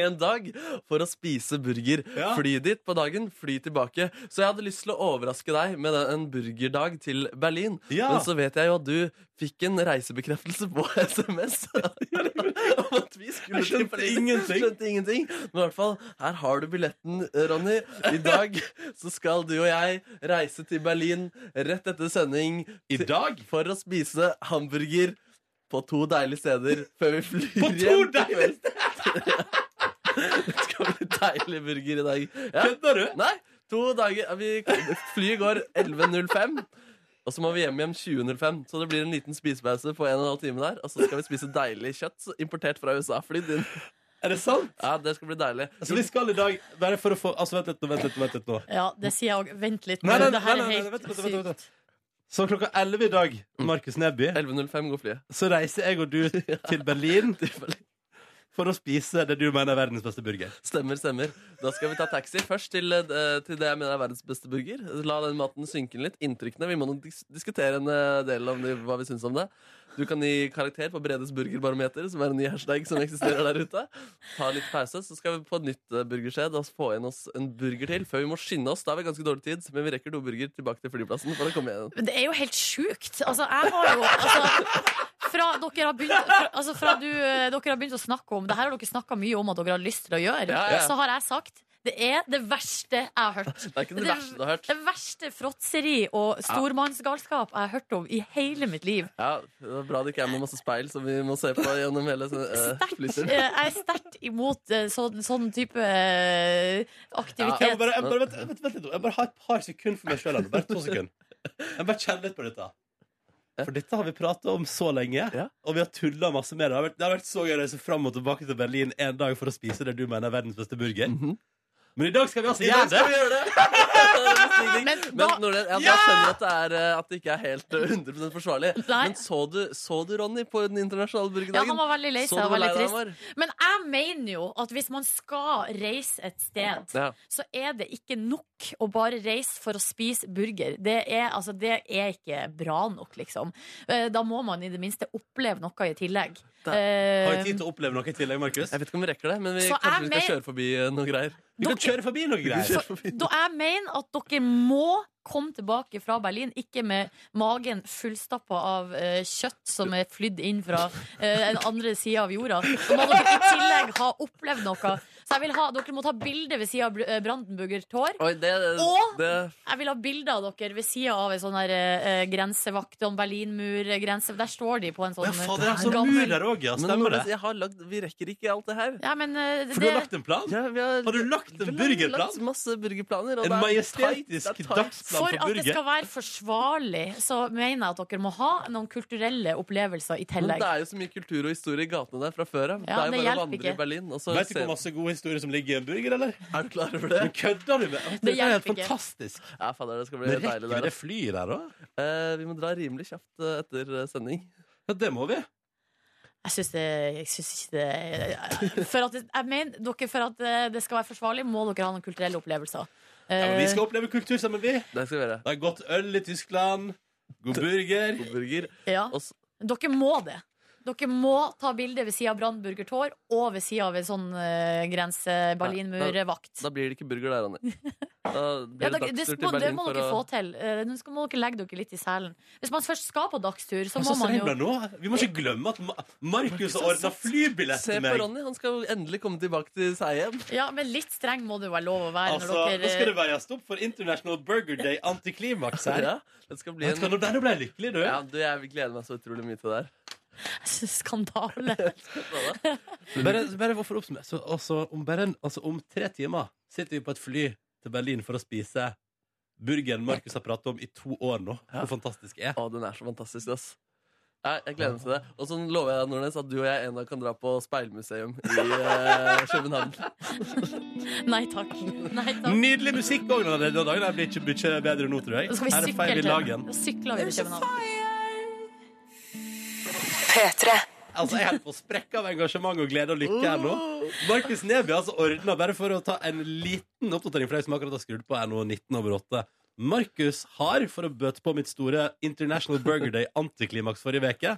Speaker 7: en dag for å spise burger.
Speaker 4: Ja.
Speaker 7: Fly dit på dagen, fly tilbake. Så jeg hadde lyst til å overraske deg med den- en burgerdag til Berlin.
Speaker 4: Ja.
Speaker 7: Men så vet jeg jo at du fikk en reisebekreftelse på SMS om at vi skulle
Speaker 4: Jeg skjønte ingenting.
Speaker 7: Skjønte ingenting. Men i hvert fall, her har du billetten, Ronny. I dag så skal du og jeg reise til Berlin rett etter sending
Speaker 4: I dag?
Speaker 7: for å spise hamburger på to deilige steder før vi flyr
Speaker 4: På to
Speaker 7: hjem til
Speaker 4: deilige
Speaker 7: kvelds. Det skal bli deilig burger i dag. Ja.
Speaker 4: Kødder du?
Speaker 7: Nei, to dager vi, Flyet går 11.05 Og så må vi hjem igjen 20.05 Så det blir en liten spisepause på en og en halv time der Og så skal vi spise deilig kjøtt Importert fra USA Flydd inn.
Speaker 4: Er det sant?
Speaker 7: Ja, det skal bli deilig
Speaker 4: Så vi skal i dag bare for å få Altså, vent litt nå, vent litt nå. Vent litt nå.
Speaker 2: Ja, det sier jeg òg. Vent litt.
Speaker 4: Nei, nei,
Speaker 2: det her
Speaker 4: nei, nei,
Speaker 2: er
Speaker 4: nei,
Speaker 2: helt
Speaker 4: vent, vent, vent, vent.
Speaker 2: sykt.
Speaker 4: Så klokka 11 i dag, Markus Neby,
Speaker 7: 11.05 går flyet
Speaker 4: så reiser jeg og du til Berlin for å spise det du mener er verdens beste burger.
Speaker 7: Stemmer, stemmer Da skal vi ta taxi først til, eh, til det jeg mener er verdens beste burger La den maten synke litt Inntrykkene, vi må nok dis diskutere en eh, del om det, hva vi synes om det Du kan gi karakter på Bredes burgerbarometer Som er en ny hashtag som eksisterer der ute Ta litt pause, så skal vi på et nytt eh, burgerskjed Og få inn oss en burger til Før vi må skynde oss, da har vi ganske dårlig tid Men vi rekker to burger tilbake til flyplassen For å komme igjen
Speaker 2: Men det er jo helt sjukt. Altså, jeg har jo altså, fra, dere har begynt, fra, altså, fra du, eh, dere har begynt å snakke om Det her har dere snakka mye om at dere har lyst til å gjøre.
Speaker 7: Ja, ja.
Speaker 2: Så har jeg sagt det er det verste jeg har hørt.
Speaker 7: Det er ikke det, verste du har hørt
Speaker 2: Det verste fråtseri og stormannsgalskap jeg har hørt om i hele mitt liv.
Speaker 7: Ja, det var bra det ikke er med masse speil Som vi må se på gjennom hele uh,
Speaker 2: Sterkt,
Speaker 7: flyturen
Speaker 2: eh, jeg er sterkt imot eh, sånn, sånn type eh,
Speaker 4: Jeg må
Speaker 2: aktivitet.
Speaker 4: bare, jeg bare, vent, vent, vent litt nå. Jeg bare har et par sekunder for meg sjøl. Bare to sekunder. Jeg bare kjenner litt på dette. For dette har vi prata om så lenge,
Speaker 7: Ja.
Speaker 4: og vi har tulla masse med det. Det har vært, det har vært så gøy å reise fram og tilbake til Berlin en dag for å spise det du mener er verdens beste burger. Men i dag skal vi altså
Speaker 7: Mhm. I dag
Speaker 4: gjøre
Speaker 7: skal vi
Speaker 4: det!
Speaker 7: gjøre det! Men,
Speaker 2: Men
Speaker 7: da,
Speaker 2: da-
Speaker 7: Nordnes, ja, da
Speaker 4: Ja!
Speaker 7: skjønner jeg at det, er, eh, at det ikke er helt eh, 100 forsvarlig.
Speaker 2: Nei.
Speaker 7: Men så du, så du Ronny på den internasjonale
Speaker 2: Ja,
Speaker 7: burgerdagen?
Speaker 2: han var veldig lei
Speaker 7: Så
Speaker 2: seg og
Speaker 7: du hvor
Speaker 2: veldig
Speaker 7: lei han
Speaker 2: trist.
Speaker 7: var?
Speaker 2: Men jeg mener jo at hvis man skal reise et sted,
Speaker 7: Ja.
Speaker 2: så er det ikke nok å bare reise for å spise burger. Det er, altså, det er ikke bra nok, liksom. Eh, Da må man i det minste oppleve noe i tillegg.
Speaker 7: Da-
Speaker 2: Eh,
Speaker 4: Har vi tid til å oppleve noe i tillegg, Markus?
Speaker 7: Jeg vet ikke om vi rekker det, men vi,
Speaker 2: Så
Speaker 7: kanskje
Speaker 2: er
Speaker 7: vi skal
Speaker 2: med-
Speaker 7: kjøre forbi eh, noen greier.
Speaker 4: Vi kan
Speaker 2: dere-
Speaker 4: kjøre forbi noe greier.
Speaker 2: så, da jeg mener at dere må komme tilbake fra Berlin, ikke med magen fullstappa av eh, kjøtt som er flydd inn fra eh, den andre sida av jorda. Så må dere i tillegg ha opplevd noe. Så jeg vil ha, dere må ta bilde ved sida av Br- eh, Brandenburger Tor.
Speaker 7: Oi, det,
Speaker 2: Og-
Speaker 7: det,
Speaker 2: Jeg vil ha bilde av dere ved sida av en sånn her, eh, grensevakt og en Berlinmur-grense. Der står de på en
Speaker 4: Å,
Speaker 2: sånn
Speaker 4: Ja, faen, det er så
Speaker 2: gammel-
Speaker 4: mur der òg, ja.
Speaker 7: men
Speaker 4: Stemmer
Speaker 7: Nordnes,
Speaker 4: det?
Speaker 7: jeg har lagd, vi rekker ikke alt det her.
Speaker 2: Ja, men eh,
Speaker 4: For du
Speaker 2: det,
Speaker 4: har lagt en plan?
Speaker 7: Ja, vi har,
Speaker 4: Har du lagt en
Speaker 7: vi har
Speaker 4: burgerplan?
Speaker 7: lagt masse burgerplaner. og
Speaker 4: En
Speaker 7: det er tight, det
Speaker 4: majestetisk
Speaker 7: er tight.
Speaker 2: for
Speaker 4: dagsplan
Speaker 2: at
Speaker 4: for
Speaker 2: det
Speaker 4: burger?
Speaker 2: skal være forsvarlig, så mener jeg at dere må ha noen kulturelle opplevelser i
Speaker 7: Men
Speaker 2: tillegg.
Speaker 7: det er jo så mye kultur og historie i gatene der fra før av.
Speaker 2: Ja, det
Speaker 7: det er jo bare å
Speaker 2: hjelper
Speaker 7: vandre
Speaker 2: ikke.
Speaker 7: i Berlin. Og så
Speaker 4: Vet du
Speaker 7: se-
Speaker 4: hvor masse gode historier som ligger i en burger, eller?
Speaker 7: Er du klar over det?
Speaker 4: Men kødder du med? Det er
Speaker 2: hjelper
Speaker 4: helt
Speaker 2: ikke.
Speaker 4: fantastisk.
Speaker 7: Ja, fader, det skal bli
Speaker 4: Men
Speaker 7: deilig
Speaker 4: rekker vi
Speaker 7: der.
Speaker 4: det flyet der, da?
Speaker 7: Eh, vi må dra rimelig kjapt eh, etter eh, sending.
Speaker 4: Ja, det må vi.
Speaker 2: Jeg syns det Jeg syns ikke det For at, jeg mener, dere, for at eh, det skal være forsvarlig, må dere ha noen kulturelle opplevelser. Eh,
Speaker 4: Ja, men vi skal oppleve kultur sammen, vi.
Speaker 7: Det skal vi gjøre.
Speaker 4: Det er godt øl i Tyskland. God burger.
Speaker 7: God burger.
Speaker 2: Eh, ja.
Speaker 7: Og s-
Speaker 2: Dere må det. Dere må ta bilde ved sida av Brannburger Tår og ved sida av en sånn eh, grense-Berlinmur-vakt.
Speaker 7: Da blir det ikke burger der, Ronny. Da blir
Speaker 2: Ja,
Speaker 7: det
Speaker 2: dere- det, må,
Speaker 7: dagstur til
Speaker 2: det
Speaker 7: Berlin
Speaker 2: må
Speaker 7: for
Speaker 2: dere få
Speaker 7: å
Speaker 2: til. Eh, Nå skal- må dere legge dere litt i selen. Hvis man først skal på dagstur, så må
Speaker 4: Altså,
Speaker 2: man
Speaker 4: se
Speaker 2: jo
Speaker 4: her nå. Vi må ikke glemme at Ma- Markus altså, har ordna flybillett
Speaker 7: Se
Speaker 4: til
Speaker 7: på
Speaker 4: meg.
Speaker 7: Ronny, han skal endelig komme tilbake til seg igjen.
Speaker 2: Ja, men litt streng må det jo være lov å være
Speaker 4: Altså,
Speaker 2: når
Speaker 4: Nå skal
Speaker 2: dere
Speaker 4: det veies opp for International Burger Day antiklimaks her.
Speaker 7: Ja, det skal bli
Speaker 4: Vet du hva,
Speaker 7: en...
Speaker 4: Nå ble nå ble jeg lykkelig, du.
Speaker 7: Ja, du, jeg gleder meg så utrolig mye til det her.
Speaker 2: Skandale.
Speaker 4: Bare, bare for å oppsummere så, altså, om, bare, en- altså, om tre timer sitter vi på et fly til Berlin for å spise burgeren Markus har pratet om i to år nå.
Speaker 7: Ja.
Speaker 4: Hvor fantastisk er.
Speaker 7: Å, den er så fantastisk, ass. Jeg, jeg gleder meg til det. Og så lover jeg Nordnes at du og jeg en dag kan dra på speilmuseum i eh, København.
Speaker 2: Nei takk. Nei takk.
Speaker 4: Nydelig musikk òg denne dagen. Det blir ikke mye bedre nå, tror jeg.
Speaker 2: Da skal vi
Speaker 4: Her
Speaker 2: sykle
Speaker 4: feirer vi
Speaker 2: til
Speaker 4: lagen.
Speaker 2: da sykler vi til København.
Speaker 4: Altså, jeg er helt på sprekk av engasjement og glede og lykke her nå. Markus Neby altså ordna, bare for å ta en liten oppdatering for deg som akkurat har skrudd på er nå 19 over 8. Markus har, for å bøte på mitt store International Burger Day antiklimaks forrige uke,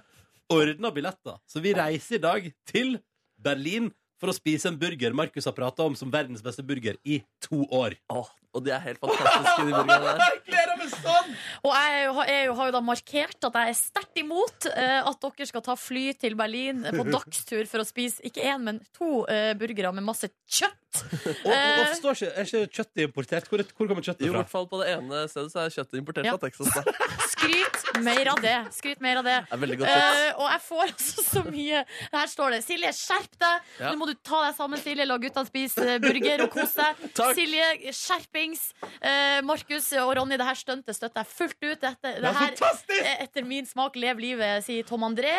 Speaker 4: ordna billetter. Så vi reiser i dag til Berlin for å spise en burger Markus har prata om som verdens beste burger i to år.
Speaker 7: Å, og de er helt fantastiske, de burgerne der.
Speaker 4: gleder meg sånn!
Speaker 2: Og jeg har- jeg har jo da markert at jeg er sterkt imot eh, at dere skal ta fly til Berlin på dagstur for å spise ikke én, men to eh, burgere med masse kjøtt.
Speaker 4: Og, og,
Speaker 2: Eh.
Speaker 4: og forstår ikke, Er ikke kjøttet importert? Hvor, hvor kommer kjøttet
Speaker 7: Jo, i
Speaker 4: fra?
Speaker 7: hvert fall på det ene stedet så er kjøttet importert
Speaker 2: Ja.
Speaker 7: fra Texas. Da. Det
Speaker 2: Skryt mer av det. Skryt mer av det.
Speaker 7: er veldig godt kjøtt.
Speaker 2: Eh, og jeg får altså så mye Her står det Silje, skjerp deg!
Speaker 7: Ja.
Speaker 2: Nå må du ta deg sammen, Silje. La guttene spise eh, burger og kose deg.
Speaker 7: Takk.
Speaker 2: Silje, skjerpings. Eh, Markus og Ronny, det her stuntet støtter jeg fullt ut. Dette, det
Speaker 4: er
Speaker 2: her
Speaker 4: fantastisk!
Speaker 2: er etter min smak. Lev livet, sier Tom André.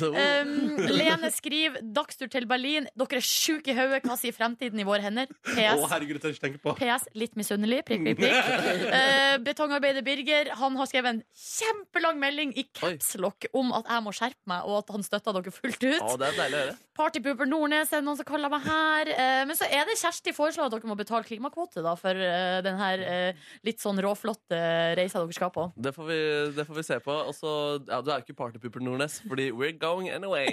Speaker 7: Så,
Speaker 2: Um, Lene skriver 'Dagstur til Berlin'. Dere er sjuke i hodet. Hva sier fremtiden i våre hender?
Speaker 4: Å,
Speaker 2: PS.
Speaker 4: herregud, det tør jeg ikke tenke på.
Speaker 2: PS, litt misunnelig. Prikk, prikk, prikk. Eh, betongarbeider Birger Han har skrevet en kjempelang melding i capslock om at jeg må skjerpe meg, og at han støtter dere fullt
Speaker 7: Å,
Speaker 2: ut.
Speaker 7: det er deilig å høre.
Speaker 2: Partypooper Nordnes er det noen som kaller meg her. Eh, men så er det Kjersti foreslår at dere må betale klimakvote da, for eh, den her eh, litt sånn råflotte reisa dere skal på.
Speaker 7: Det får vi, det får vi se på. Og så, ja, du er jo ikke partypooper, Nordnes, fordi we're going anyway.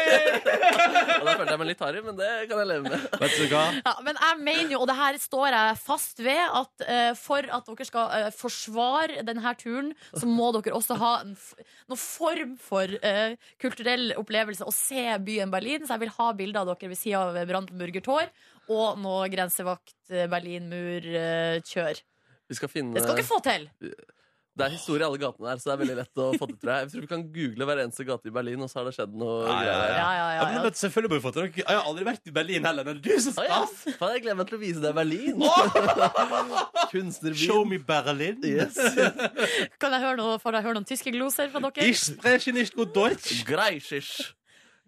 Speaker 7: og da følte jeg meg litt harry, men det kan jeg leve med.
Speaker 4: Vet du hva?
Speaker 2: Ja, men jeg mener jo, og det her står jeg fast ved, at eh, for at dere skal eh, forsvare denne turen, så må dere også ha en f noen form for eh, kulturell opplevelse og se byen Berlin. Så jeg vil ha bilder av dere ved sida av Brandenburger Tor og noe grensevakt eh, Berlinmur-kjør.
Speaker 7: Vi skal finne
Speaker 2: det skal dere få til!
Speaker 7: Det er historie i alle gatene her, så det er veldig lett å få til, tror jeg. Jeg tror vi kan google hver eneste gate i Berlin, og så har det skjedd noe
Speaker 4: Ja, ja,
Speaker 7: greier.
Speaker 2: Ja, ja,
Speaker 4: Ja,
Speaker 2: ja,
Speaker 4: men
Speaker 2: ja.
Speaker 4: vet du, selvfølgelig må vi få til noe. Jeg har aldri vært i Berlin heller. Men du som
Speaker 7: Å ja!
Speaker 4: skal
Speaker 7: Faen, jeg gleder meg til å vise deg Berlin!
Speaker 4: Show
Speaker 7: Kunstnerbyen.
Speaker 4: me Berlin.
Speaker 7: Yes.
Speaker 2: Kan jeg høre noe, får jeg høre noen tyske gloser fra dere?
Speaker 4: Ich spreche nicht gut Deutsch.
Speaker 7: Greischisch.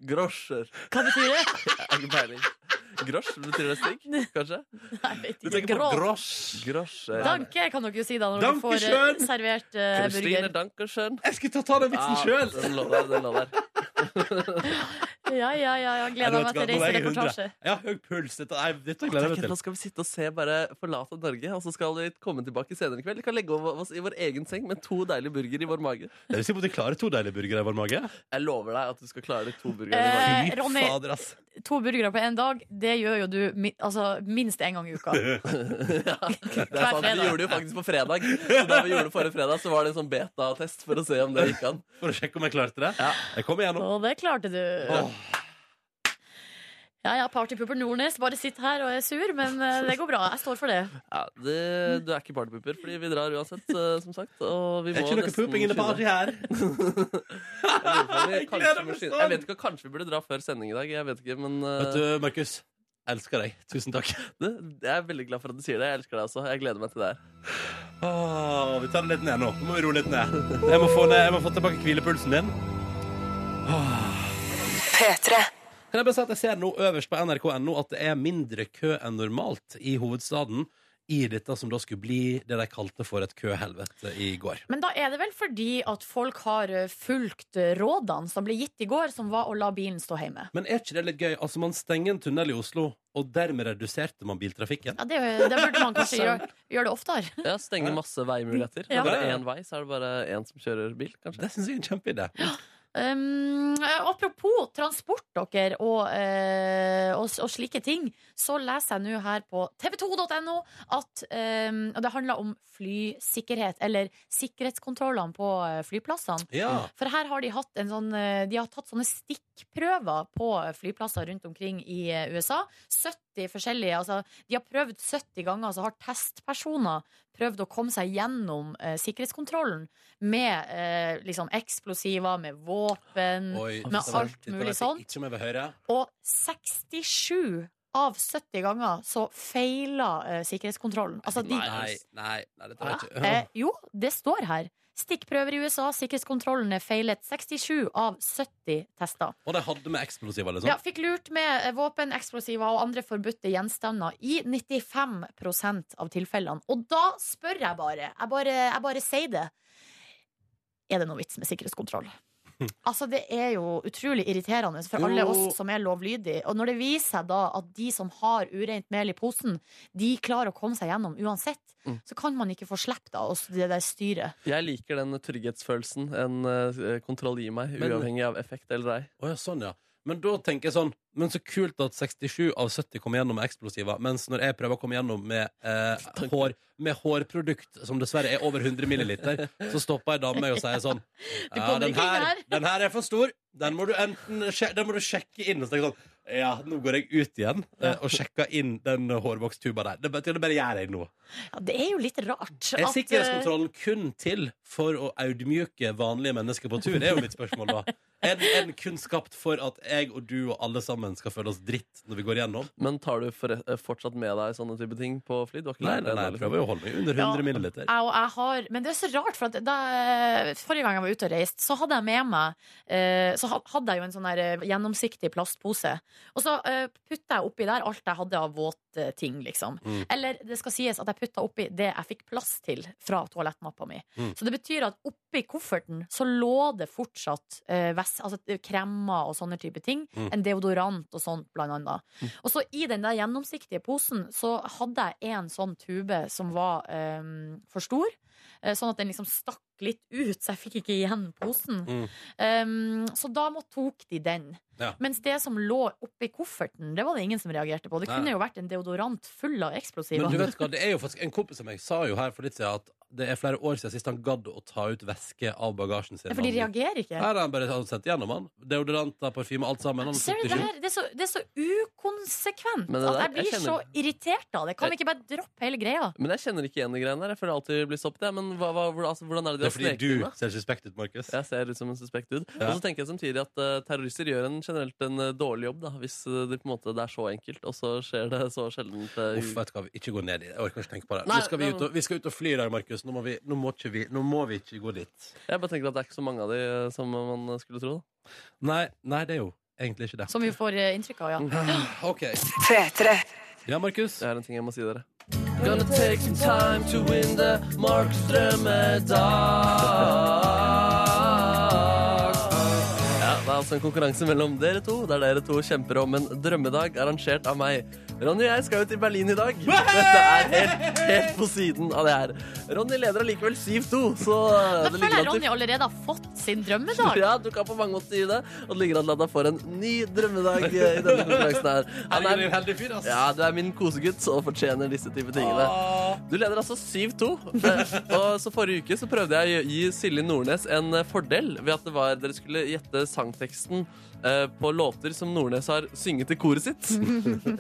Speaker 7: Groscher.
Speaker 2: Hva betyr det?
Speaker 7: Jeg har ikke peiling. Grosj, betyr det stikk? Kanskje?
Speaker 2: Nei, jeg
Speaker 4: Du
Speaker 2: vet
Speaker 4: tenker
Speaker 2: ikke.
Speaker 4: på
Speaker 2: Grå.
Speaker 4: grosch.
Speaker 7: Grosjer.
Speaker 2: Danke kan dere jo si da når dere får eh,
Speaker 4: Dankeschön.
Speaker 2: servert eh, burger.
Speaker 7: Christine Dankersen.
Speaker 4: Jeg skulle ta, ta den vitsen sjøl.
Speaker 7: Ah, den lå der. Den lå der.
Speaker 2: Ja, ja, ja, jeg gleder meg til reisereportasje.
Speaker 4: Jeg har høy puls. Dette, nei, dette gleder jeg
Speaker 7: Tenk,
Speaker 4: meg
Speaker 7: nå
Speaker 4: til.
Speaker 7: skal vi sitte og se bare forlate Norge, og så skal vi komme tilbake senere i kveld. Vi kan legge over oss i vår egen seng med to deilige burgere i vår mage.
Speaker 4: Er du sikker på at de klarer to deilige burgere i vår mage?
Speaker 7: Jeg lover deg at du skal klare de to burgerne i magen.
Speaker 2: Eh,
Speaker 4: Fy
Speaker 2: Ronny.
Speaker 4: fader, ass.
Speaker 2: To burgere på én dag, det gjør jo du mi altså, minst én gang i uka.
Speaker 7: Det er sant,
Speaker 2: fredag.
Speaker 7: Vi gjorde det jo faktisk på fredag. Så da vi gjorde det forrige fredag, så var det en sånn beta-test for å se om det gikk an.
Speaker 4: For å sjekke om jeg klarte det. Jeg kom igjennom.
Speaker 2: Og det klarte du.
Speaker 4: Åh.
Speaker 2: Ja ja, partypooper Nordnes, bare sitt her og er sur, men eh, det går bra. Jeg står for det.
Speaker 7: Ja, det, du er ikke partypooper, fordi vi drar uansett, eh, som sagt. Og vi
Speaker 4: Det er
Speaker 7: må
Speaker 4: ikke noe
Speaker 7: nesten
Speaker 4: pooping inne på
Speaker 7: skynde.
Speaker 4: party her.
Speaker 7: Jeg,
Speaker 4: Jeg gleder meg sånn.
Speaker 7: vet ikke, Kanskje vi burde dra før sending i dag. Jeg vet ikke, men
Speaker 4: Vet
Speaker 7: eh,
Speaker 4: du, Markus. Jeg elsker deg. Tusen takk.
Speaker 7: det- jeg er veldig glad for at du sier det. Jeg elsker deg også. Jeg gleder meg til det her.
Speaker 4: Åh, Ah, vi tar det litt ned nå. Nå må vi roe litt ned. Jeg må få, ned, jeg må få tilbake hvilepulsen din. Kan jeg bare si at jeg ser nå øverst på nrk.no at det er mindre kø enn normalt i hovedstaden. i dette som da skulle bli det de kalte for et køhelvete i går.
Speaker 2: Men da er det vel fordi at folk har eh, fulgt eh, rådene som ble gitt i går, som var å la bilen stå hjemme.
Speaker 4: Men er ikke det litt gøy? Altså, man stenger en tunnel i Oslo, og dermed reduserte man biltrafikken.
Speaker 2: Ja, det, det burde man kanskje gjøre, gjøre det oftere.
Speaker 7: Ja, Stenge masse veimuligheter. Det
Speaker 2: Ja.
Speaker 7: er Bare én vei, så er det bare én som kjører bil, kanskje.
Speaker 4: Det syns jeg er en kjempeidé.
Speaker 2: Um, eh, apropos transport dere og, eh, og, s- og slike ting, så leser jeg nå her på tv2.no at um, og det handler om flysikkerhet, eller sikkerhetskontrollene på eh, flyplassene.
Speaker 4: Ja.
Speaker 2: For her har de hatt en sånn eh, De har tatt sånne stikkprøver på flyplasser rundt omkring i eh, USA. 70 forskjellige. Altså, de har prøvd 70 ganger, altså har testpersoner prøvd å komme seg gjennom eh, sikkerhetskontrollen med eh, liksom eksplosiver, med våpen
Speaker 4: Oi,
Speaker 2: Mm. med
Speaker 4: sant.
Speaker 2: alt
Speaker 4: Dette
Speaker 2: mulig
Speaker 4: vet jeg
Speaker 2: sånt.
Speaker 4: Ikke om jeg vil høre.
Speaker 2: Og 67 av 70 ganger så feila eh, sikkerhetskontrollen. Altså, de,
Speaker 4: Nei, nei, nei dette er ikke
Speaker 2: Eh, jo, det står her. Stikkprøver i USA, sikkerhetskontrollene feilet 67 av 70 tester.
Speaker 4: Og de hadde med eksplosiver, liksom?
Speaker 2: Ja, fikk lurt med eh, våpen, eksplosiver og andre forbudte gjenstander i 95 av tilfellene. Og da spør jeg bare, jeg bare, jeg bare sier det. Er det noe vits med sikkerhetskontroll? Altså, Det er jo utrolig irriterende for alle
Speaker 4: Jo.
Speaker 2: oss som er lovlydige. Og når det viser seg da at de som har ureint mel i posen, de klarer å komme seg gjennom uansett,
Speaker 7: Mm.
Speaker 2: så kan man ikke få slipp av oss det der styret.
Speaker 7: Jeg liker den trygghetsfølelsen en eh, kontroll gir meg,
Speaker 4: Men-
Speaker 7: uavhengig av effekt eller ei.
Speaker 4: Å ja, sånn, ja. Men da tenker jeg sånn Men så kult at 67 av 70 kommer gjennom med eksplosiver, mens når jeg prøver å komme gjennom med, eh, hår, med hårprodukt, som dessverre er over 100 milliliter, så stopper ei dame meg og sier sånn Ja,
Speaker 2: kommer
Speaker 4: den
Speaker 2: ikke inn
Speaker 4: her,
Speaker 2: her."
Speaker 4: den her er for stor. Den må du enten sje- den må du sjekke inn. Og så tenker jeg sånn Ja, nå går jeg ut igjen eh, og sjekker inn den hårvokstuba der. Det betyr det bare gjør jeg nå.
Speaker 2: Ja, Det er jo litt rart.
Speaker 4: Er
Speaker 2: at, eh,
Speaker 4: sikkerhetskontrollen kun til for å audmyke vanlige mennesker på tur? Det er jo mitt spørsmål da. Er den- er den kun skapt for at jeg og du og alle sammen skal føle oss dritt når vi går gjennom?
Speaker 7: Men tar du for, eh, fortsatt med deg sånne type ting på fly? Du har ikke
Speaker 4: Nei,
Speaker 7: lært
Speaker 4: nei, nei,
Speaker 7: det ennå,
Speaker 4: jeg
Speaker 7: liksom.
Speaker 4: prøver jo å holde meg under 100 milliliter.
Speaker 2: Jeg, og jeg har, men det er så rart, for at da, forrige gang jeg var ute og reiste, så hadde jeg med meg eh, Så ha- hadde jeg jo en sånn der eh, gjennomsiktig plastpose. Og så eh, putta jeg oppi der alt jeg hadde av våte ting, liksom.
Speaker 4: Mm.
Speaker 2: Eller det skal sies at jeg putta oppi det jeg fikk plass til fra toalettmappa mi.
Speaker 4: Mm.
Speaker 2: Så det betyr at oppi kofferten så lå det fortsatt eh, væs- altså, kremmer og sånne type ting.
Speaker 4: Mm.
Speaker 2: En deodorant og sånt, blant annet. Og så i den der gjennomsiktige posen så hadde jeg en sånn tube som var eh, for stor. eh, Sånn at den liksom stakk litt ut, så jeg fikk ikke igjen posen.
Speaker 4: Mm.
Speaker 2: Um, så da må tok de den.
Speaker 4: Ja.
Speaker 2: Mens det som lå oppi kofferten, det var det ingen som reagerte på. Det
Speaker 4: Nei.
Speaker 2: kunne jo vært en deodorant full av eksplosiver.
Speaker 4: Men du vet hva, det er jo faktisk En kompis av meg sa jo her for litt siden at det er flere år siden sist han gadd å ta ut væske av bagasjen sin.
Speaker 2: Ja, for de reagerer ikke.
Speaker 4: Her har han bare han sendt gjennom han. Deodoranter, parfyme, alt sammen. Han
Speaker 2: Ser du, det, her, det, er så, det er så ukonsekvent
Speaker 7: Men det
Speaker 2: at
Speaker 7: der-
Speaker 2: jeg blir
Speaker 7: jeg
Speaker 2: så
Speaker 7: kjenner-
Speaker 2: irritert av det. Kan vi ikke bare droppe hele greia?
Speaker 7: Men jeg kjenner ikke igjen de greiene der. Jeg føler alltid jeg blir stoppet. jeg. Men hva, hva, hvordan- altså, hvordan er
Speaker 4: Det
Speaker 7: det
Speaker 4: er
Speaker 7: de har
Speaker 4: fordi
Speaker 7: sneket inn,
Speaker 4: du
Speaker 7: da?
Speaker 4: ser suspekt ut, Markus.
Speaker 7: Jeg ser ut som en suspekt dude.
Speaker 4: Ja.
Speaker 7: Og så tenker jeg samtidig at eh, terrorister gjør en generelt en eh, dårlig jobb, da, hvis eh, det på en måte det er så enkelt, og så skjer det så eh, sjelden.
Speaker 4: Uff, vet du hva, vi ikke gå ned i det. Jeg orker ikke tenke på det.
Speaker 7: Nei,
Speaker 4: nå skal vi,
Speaker 7: nei,
Speaker 4: ut og, vi skal ut og fly i dag, Markus. Nå må, vi, nå, må ikke vi, nå må vi ikke gå dit.
Speaker 7: Jeg bare tenker at det er ikke så mange av de eh, som man skulle tro. Da.
Speaker 4: Nei, nei det er jo egentlig ikke det.
Speaker 2: Som vi får eh, inntrykk av, ja.
Speaker 4: OK. Ja, Markus.
Speaker 7: Jeg har en ting jeg må si dere. Gonna take some time to win the Mark Strømmedag. Ja, det er altså en konkurranse mellom dere to, der dere to kjemper om en drømmedag arrangert av meg. Ronny og jeg skal jo til Berlin i dag. Dette er helt, helt på siden av det her. Ronny leder allikevel 7-2, så
Speaker 2: Da føler
Speaker 7: det ligger
Speaker 2: jeg
Speaker 7: an til
Speaker 2: Ronny allerede har fått sin drømmedag.
Speaker 7: ja, du kan på mange måter si det. Og det ligger an til at han får en ny drømmedag eh, i denne konkurransen her. Han
Speaker 4: Herregud,
Speaker 7: er
Speaker 4: du er en heldig fyr, ass.
Speaker 7: ja, du er min kosegutt og fortjener disse type tingene. Du leder altså 7-2. Eh, Og så forrige uke så prøvde jeg å gi Silje Nordnes en eh, fordel ved at det var dere skulle gjette sangteksten eh, på låter som Nordnes har synget i koret sitt.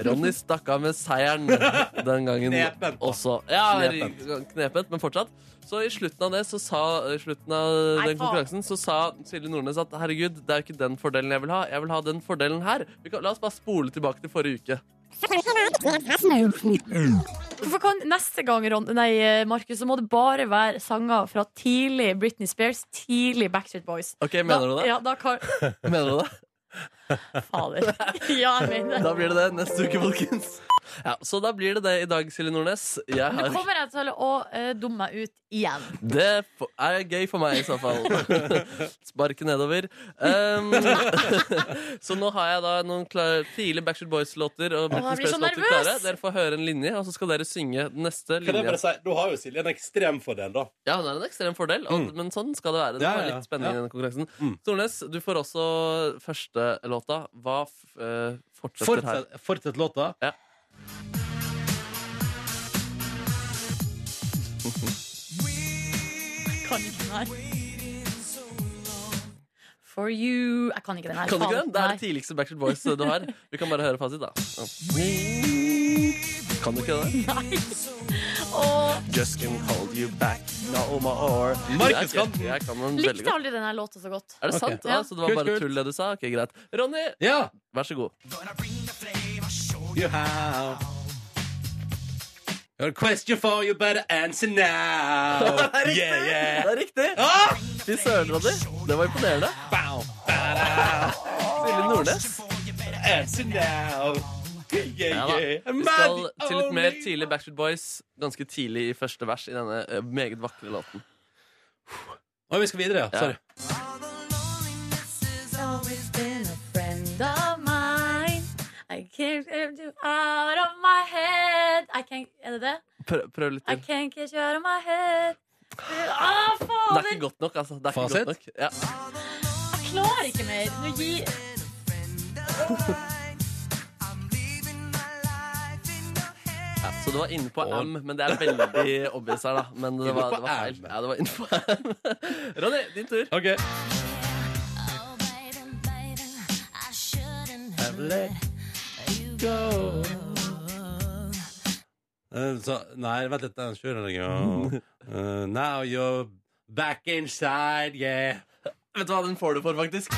Speaker 7: Ronny stakk av med seieren den gangen
Speaker 4: Knepent, da.
Speaker 7: også. Ja,
Speaker 4: Knepent.
Speaker 7: knepent, men fortsatt. Så i slutten av det så sa i slutten av
Speaker 2: Nei,
Speaker 7: den
Speaker 2: faen.
Speaker 7: konkurransen så sa Silje Nordnes at herregud, det er jo ikke den fordelen jeg vil ha. Jeg vil ha den fordelen her. Vi kan, la oss bare spole tilbake til forrige uke.
Speaker 2: Hvorfor kan neste gang, Ron, nei, eh, Markus, så må det bare være sanger fra tidlig Britney Spears, tidlig Backstreet Boys?
Speaker 7: Ok, Mener
Speaker 2: da,
Speaker 7: du det?
Speaker 2: Ja, da kan
Speaker 7: Mener du det?
Speaker 2: Fader. Ja, jeg mener det.
Speaker 7: Da blir det det neste uke, folkens. Ja, så da blir det det i dag, Silje Nordnes. Jeg
Speaker 2: Nå
Speaker 7: har...
Speaker 2: kommer jeg til å eh, dumme meg ut igjen.
Speaker 7: Det f- er gøy for meg i så fall. Sparke nedover. Um, så nå har jeg da noen klare, tidlige Backstreet Boys-låter og
Speaker 2: Åh, jeg
Speaker 7: Britney
Speaker 2: blir så
Speaker 7: Spears-låter
Speaker 2: nervøs!
Speaker 7: klare. Dere får høre en linje, og så skal dere synge den neste
Speaker 4: Kan jeg
Speaker 7: linja.
Speaker 4: bare si, Nå har jo Silje en ekstrem fordel, da.
Speaker 7: Ja, hun er en ekstrem fordel, og, men sånn skal det være. Det
Speaker 4: Ja,
Speaker 7: var
Speaker 4: ja,
Speaker 7: litt spenning
Speaker 4: ja.
Speaker 7: i denne konkurransen.
Speaker 4: Mm.
Speaker 7: Stornes, du får også første låta. Hva f eh, fortsetter her?
Speaker 4: Fortsett, fortsett låta.
Speaker 7: Ja.
Speaker 2: Kan ikke den her. For you Jeg kan ikke den her.
Speaker 7: Kan du ikke
Speaker 2: faen.
Speaker 7: den? Det er
Speaker 2: Nei.
Speaker 7: det tidligste Backstreet Boys du har. Vi kan bare høre fasit, da. Kan du ikke det?
Speaker 2: Og
Speaker 7: Just can call you back now, my or
Speaker 4: Markus kan
Speaker 7: Jeg,
Speaker 4: den.
Speaker 7: jeg kan den veldig
Speaker 2: likte
Speaker 7: godt.
Speaker 2: aldri den her låta så godt.
Speaker 7: Er det
Speaker 4: Ok.
Speaker 7: sant?
Speaker 2: Ja.
Speaker 7: Ah, så det var
Speaker 4: Kult,
Speaker 7: bare
Speaker 4: kult.
Speaker 7: tull det du sa? Ok, greit. Ronny,
Speaker 4: Ja!
Speaker 7: vær så god.
Speaker 4: You have Your question for you better answer now.
Speaker 7: riktig!
Speaker 4: yeah, yeah.
Speaker 7: Det er riktig!
Speaker 4: Ah!
Speaker 7: Fy søren, Ronny. Det var imponerende.
Speaker 4: Bow, bow,
Speaker 7: Silje Nordnes.
Speaker 4: answer now.
Speaker 7: Ja
Speaker 4: Yeah,
Speaker 7: da.
Speaker 4: yeah.
Speaker 7: Vi skal
Speaker 4: Mad-
Speaker 7: til litt mer
Speaker 4: only-
Speaker 7: tidlig Backstreet Boys, ganske tidlig i første vers i denne eh, meget vakre låten.
Speaker 4: Oi, vi skal videre, ja.
Speaker 7: Ja.
Speaker 4: Sorry.
Speaker 2: Always been a friend of mine. I can't get you out of my head. I can't, er det det?
Speaker 7: Prøv, prøv litt
Speaker 2: I
Speaker 7: til.
Speaker 2: can't get you out of my head. Ah,
Speaker 7: Det er
Speaker 2: fader!
Speaker 7: ikke godt nok, altså. Det er ikke
Speaker 4: Fasit?
Speaker 7: godt nok. Ja.
Speaker 2: Jeg klarer ikke mer. Nå gi
Speaker 7: Ja, så du var inne på
Speaker 4: Åh.
Speaker 7: M, men det er veldig obvious her, da. Men det
Speaker 4: Inne
Speaker 7: var,
Speaker 4: på
Speaker 7: det var feil.
Speaker 4: M.
Speaker 7: Ja, det var inne på M. Ronny, din tur.
Speaker 4: OK. Eh, Så, nei, vent litt. Den kjører jeg jo. Eh, Now you're back inside, yeah.
Speaker 7: Vet du hva den får du for, faktisk?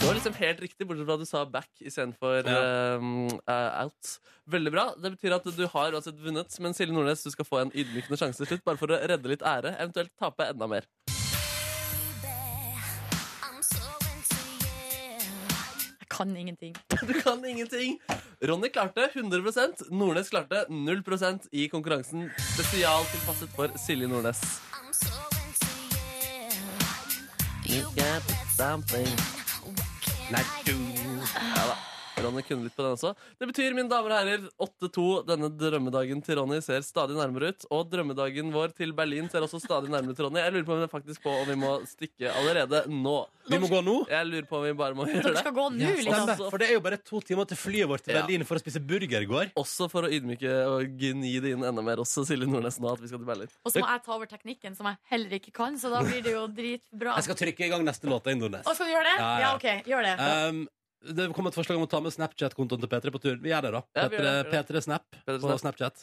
Speaker 7: Det var liksom helt riktig, bortsett fra at du sa back istedenfor
Speaker 4: Ja.
Speaker 7: um, eh, out. Veldig bra. Det betyr at du har uansett vunnet, men Silje Nordnes, du skal få en ydmykende sjanse til slutt, bare for å redde litt ære, eventuelt tape enda mer.
Speaker 2: Jeg kan ingenting.
Speaker 7: Du kan ingenting. Ronny klarte 100 Nordnes klarte 0 i konkurransen spesialtilpasset for Silje Nordnes.
Speaker 4: Nei, du.
Speaker 7: Ronny kunne litt på den også. Det betyr, mine damer og herrer, 8-2. Denne drømmedagen til Ronny ser stadig nærmere ut. Og drømmedagen vår til Berlin ser også stadig nærmere ut, Ronny. Jeg lurer på om det faktisk på om vi må stikke allerede nå.
Speaker 4: Vi må gå nå.
Speaker 7: Jeg lurer på om vi bare må
Speaker 2: Dere
Speaker 7: gjøre det.
Speaker 2: skal gå nå, liksom.
Speaker 4: Stemmer, for det er jo bare to timer til flyet vårt til
Speaker 7: altså. Ja.
Speaker 4: Berlin for å spise burger i går.
Speaker 7: Også for å ydmyke og gni det inn enda mer også, Silje Nordnes, nå at vi skal til Berlin.
Speaker 2: Og så må jeg ta over teknikken, som jeg heller ikke kan, så da blir det jo dritbra.
Speaker 4: Jeg skal trykke i gang neste låt av Indones.
Speaker 2: Å, skal du gjøre det?
Speaker 4: Ja,
Speaker 2: Ja,
Speaker 4: ja.
Speaker 2: OK. Gjør det.
Speaker 4: Um, det kom et forslag om å ta med Snapchat-kontoen til P3 på tur. Vi gjør det, da.
Speaker 7: Ja, vi gjør
Speaker 4: P3,
Speaker 7: det, vi gjør
Speaker 4: P3 Snap
Speaker 7: P3
Speaker 4: på
Speaker 7: Snap.
Speaker 4: Snapchat.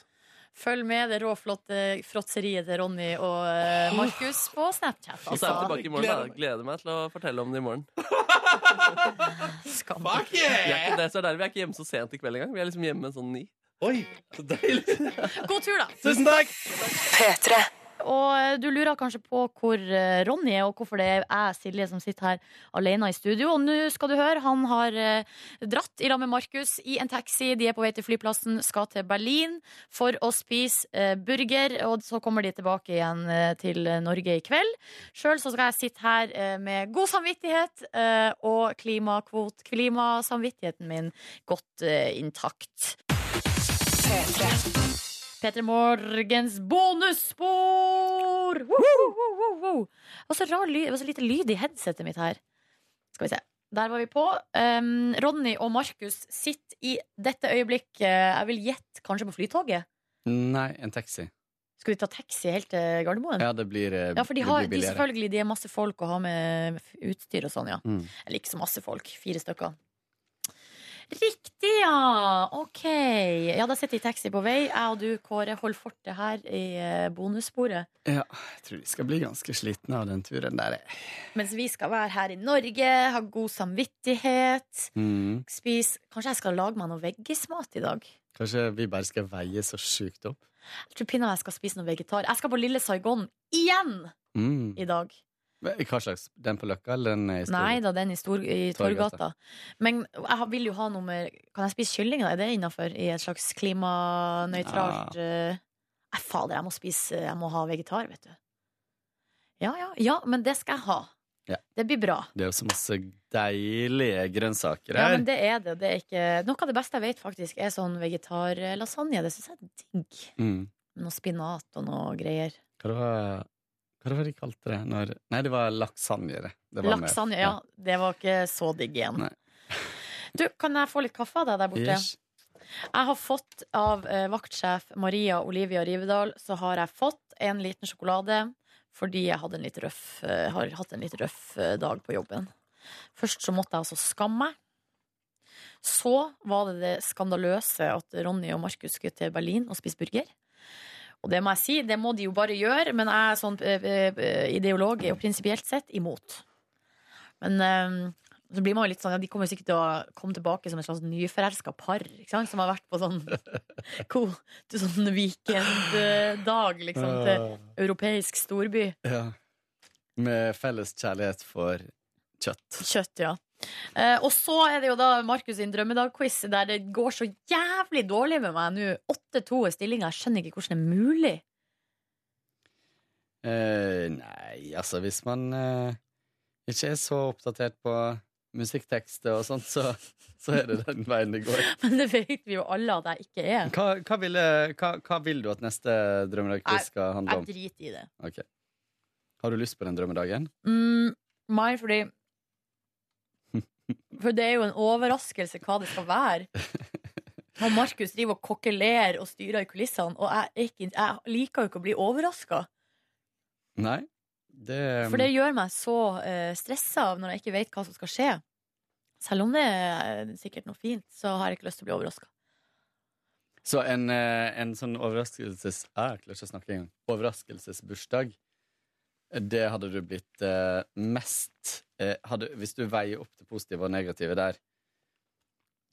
Speaker 2: Følg med det råflotte fråtseriet til Ronny og eh, Markus på Snapchat.
Speaker 7: Og så er jeg
Speaker 2: Altså.
Speaker 7: tilbake i morgen. da. Jeg gleder meg til å fortelle om det i morgen.
Speaker 2: Skam.
Speaker 7: Vi er ikke, det, så der, vi er ikke hjemme så sent i kveld engang. Vi er liksom hjemme sånn ni.
Speaker 4: Oi, så deilig!
Speaker 2: God tur, da.
Speaker 4: Tusen takk!
Speaker 2: Og eh, du lurer kanskje på hvor eh, Ronny er, og hvorfor det er jeg, Silje, som sitter her alene i studio. Og nå skal du høre, han har eh, dratt i lag med Markus i en taxi. De er på vei til flyplassen, skal til Berlin for å spise eh, burger. Og så kommer de tilbake igjen eh, til eh, Norge i kveld. Sjøl så skal jeg sitte her eh, med god samvittighet eh, og klimakvot, klimasamvittigheten min godt eh, intakt. P3 Morgens bonusspor! Woo, woo, woo, woo, woo. Det var så rar lyd- det var så lite lyd i headsetet mitt her. Skal vi se. Der var vi på. Um, Ronny og Markus sitter i dette øyeblikk eh, Jeg vil gjette kanskje på flytoget.
Speaker 3: Nei, en taxi.
Speaker 2: Skal de ta taxi helt til Gardermoen? Ja,
Speaker 3: Ja, det blir, eh,
Speaker 2: for de
Speaker 3: det
Speaker 2: har
Speaker 3: blir
Speaker 2: de
Speaker 3: billigere.
Speaker 2: selvfølgelig de er masse folk å ha med f- utstyr og sånn, ja.
Speaker 3: Mm.
Speaker 2: Eller ikke så masse folk. Fire stykker. Riktig, ja! Ok. Ja, da sitter de i taxi på vei. Jeg og du, Kåre, holder fortet her i eh, bonussporet.
Speaker 3: Ja, jeg tror vi skal bli ganske slitne av den turen der. jeg.
Speaker 2: Mens vi skal være her i Norge, ha god samvittighet,
Speaker 3: Mm.
Speaker 2: spise Kanskje jeg skal lage meg noe veggismat i dag?
Speaker 3: Kanskje vi bare skal veie så sjukt opp?
Speaker 2: Jeg tror pinadø jeg skal spise noe vegetar. Jeg skal på Lille Saigon igjen
Speaker 3: Mm.
Speaker 2: i dag.
Speaker 3: Men Hva slags? Den på Løkka, eller den i Stor-
Speaker 2: Nei da, den i, stor, i
Speaker 3: Torggata.
Speaker 2: Torgata. Men jeg har- vil jo ha noe med Kan jeg spise kylling, da? Er det innafor? I et slags klimanøytralt eh, Nei, fader, jeg må spise Jeg må ha vegetar, vet du. Ja, ja. Ja, men det skal jeg ha.
Speaker 3: Ja.
Speaker 2: Det blir bra.
Speaker 3: Det er jo så masse deilige grønnsaker
Speaker 2: Ja,
Speaker 3: her.
Speaker 2: men det er det. det er ikke... Noe av det beste jeg vet, faktisk, er sånn vegetarlasagne. Det syns jeg er digg.
Speaker 3: mm.
Speaker 2: Med noe spinat og noe greier.
Speaker 3: Hva det var hva det var de kalte det? Når... Nei, det var laksanje. det. Det var med.
Speaker 2: Laksanje, ja. Det var ikke så digg igjen.
Speaker 3: Nei.
Speaker 2: Du, kan jeg få litt kaffe av deg der borte?
Speaker 3: Ish.
Speaker 2: Jeg har fått av eh, vaktsjef Maria Olivia Rivedal Så har jeg fått en liten sjokolade Fordi jeg hadde en litt røff, eh, har hatt en litt røff eh, dag på jobben Først så måtte jeg altså skamme meg Så var det det skandaløse At Ronny og Markus skulle til Berlin og spise burger Og det må jeg si, det må de jo bare gjøre Men jeg er sånn eh, eh, ideolog og prinsipielt sett imot Men... eh, så blir man jo litt sånn, ja, De kommer jo sikkert til å komme tilbake som et slags nyforelska par. Ikke sant? Som har vært på sånn, ko, til sånn weekenddag liksom, til europeisk storby.
Speaker 3: Ja. Med felles kjærlighet for kjøtt.
Speaker 2: Kjøtt, ja. Eh, og så er det jo da Markus sin drømmedag-quiz, der det går så jævlig dårlig med meg nå. 8-2 er stillinga. Jeg skjønner ikke hvordan det er mulig.
Speaker 3: Eh, nei, altså hvis man eh, ikke er så oppdatert på musikktekster og sånt, så, så er det den veien det går.
Speaker 2: Men det vet vi jo alle at jeg ikke er.
Speaker 3: Hva, hva, vil, eh, hva, hva vil du at neste
Speaker 2: Nei,
Speaker 3: drømmedag skal handle
Speaker 2: Jeg
Speaker 3: om?
Speaker 2: driter i det.
Speaker 3: Ok. Har du lyst på den drømmedagen?
Speaker 2: Mm, nei, fordi For det er jo en overraskelse hva det skal være. Og Markus driver og kokkelerer og styrer i kulissene, og jeg, er ikke, jeg liker jo ikke å bli overraska.
Speaker 3: Nei? Det,
Speaker 2: For det gjør meg så uh, stressa av når jeg ikke vet hva som skal skje. Selv om det er sikkert noe fint, så har jeg ikke lyst til å bli overraska.
Speaker 3: Så en, eh, en sånn overraskelses... Ah, Jeg klarer ikke å snakke engang. Overraskelsesbursdag. Det hadde du blitt eh, mest eh, hadde, Hvis du veier opp det positive og negative der.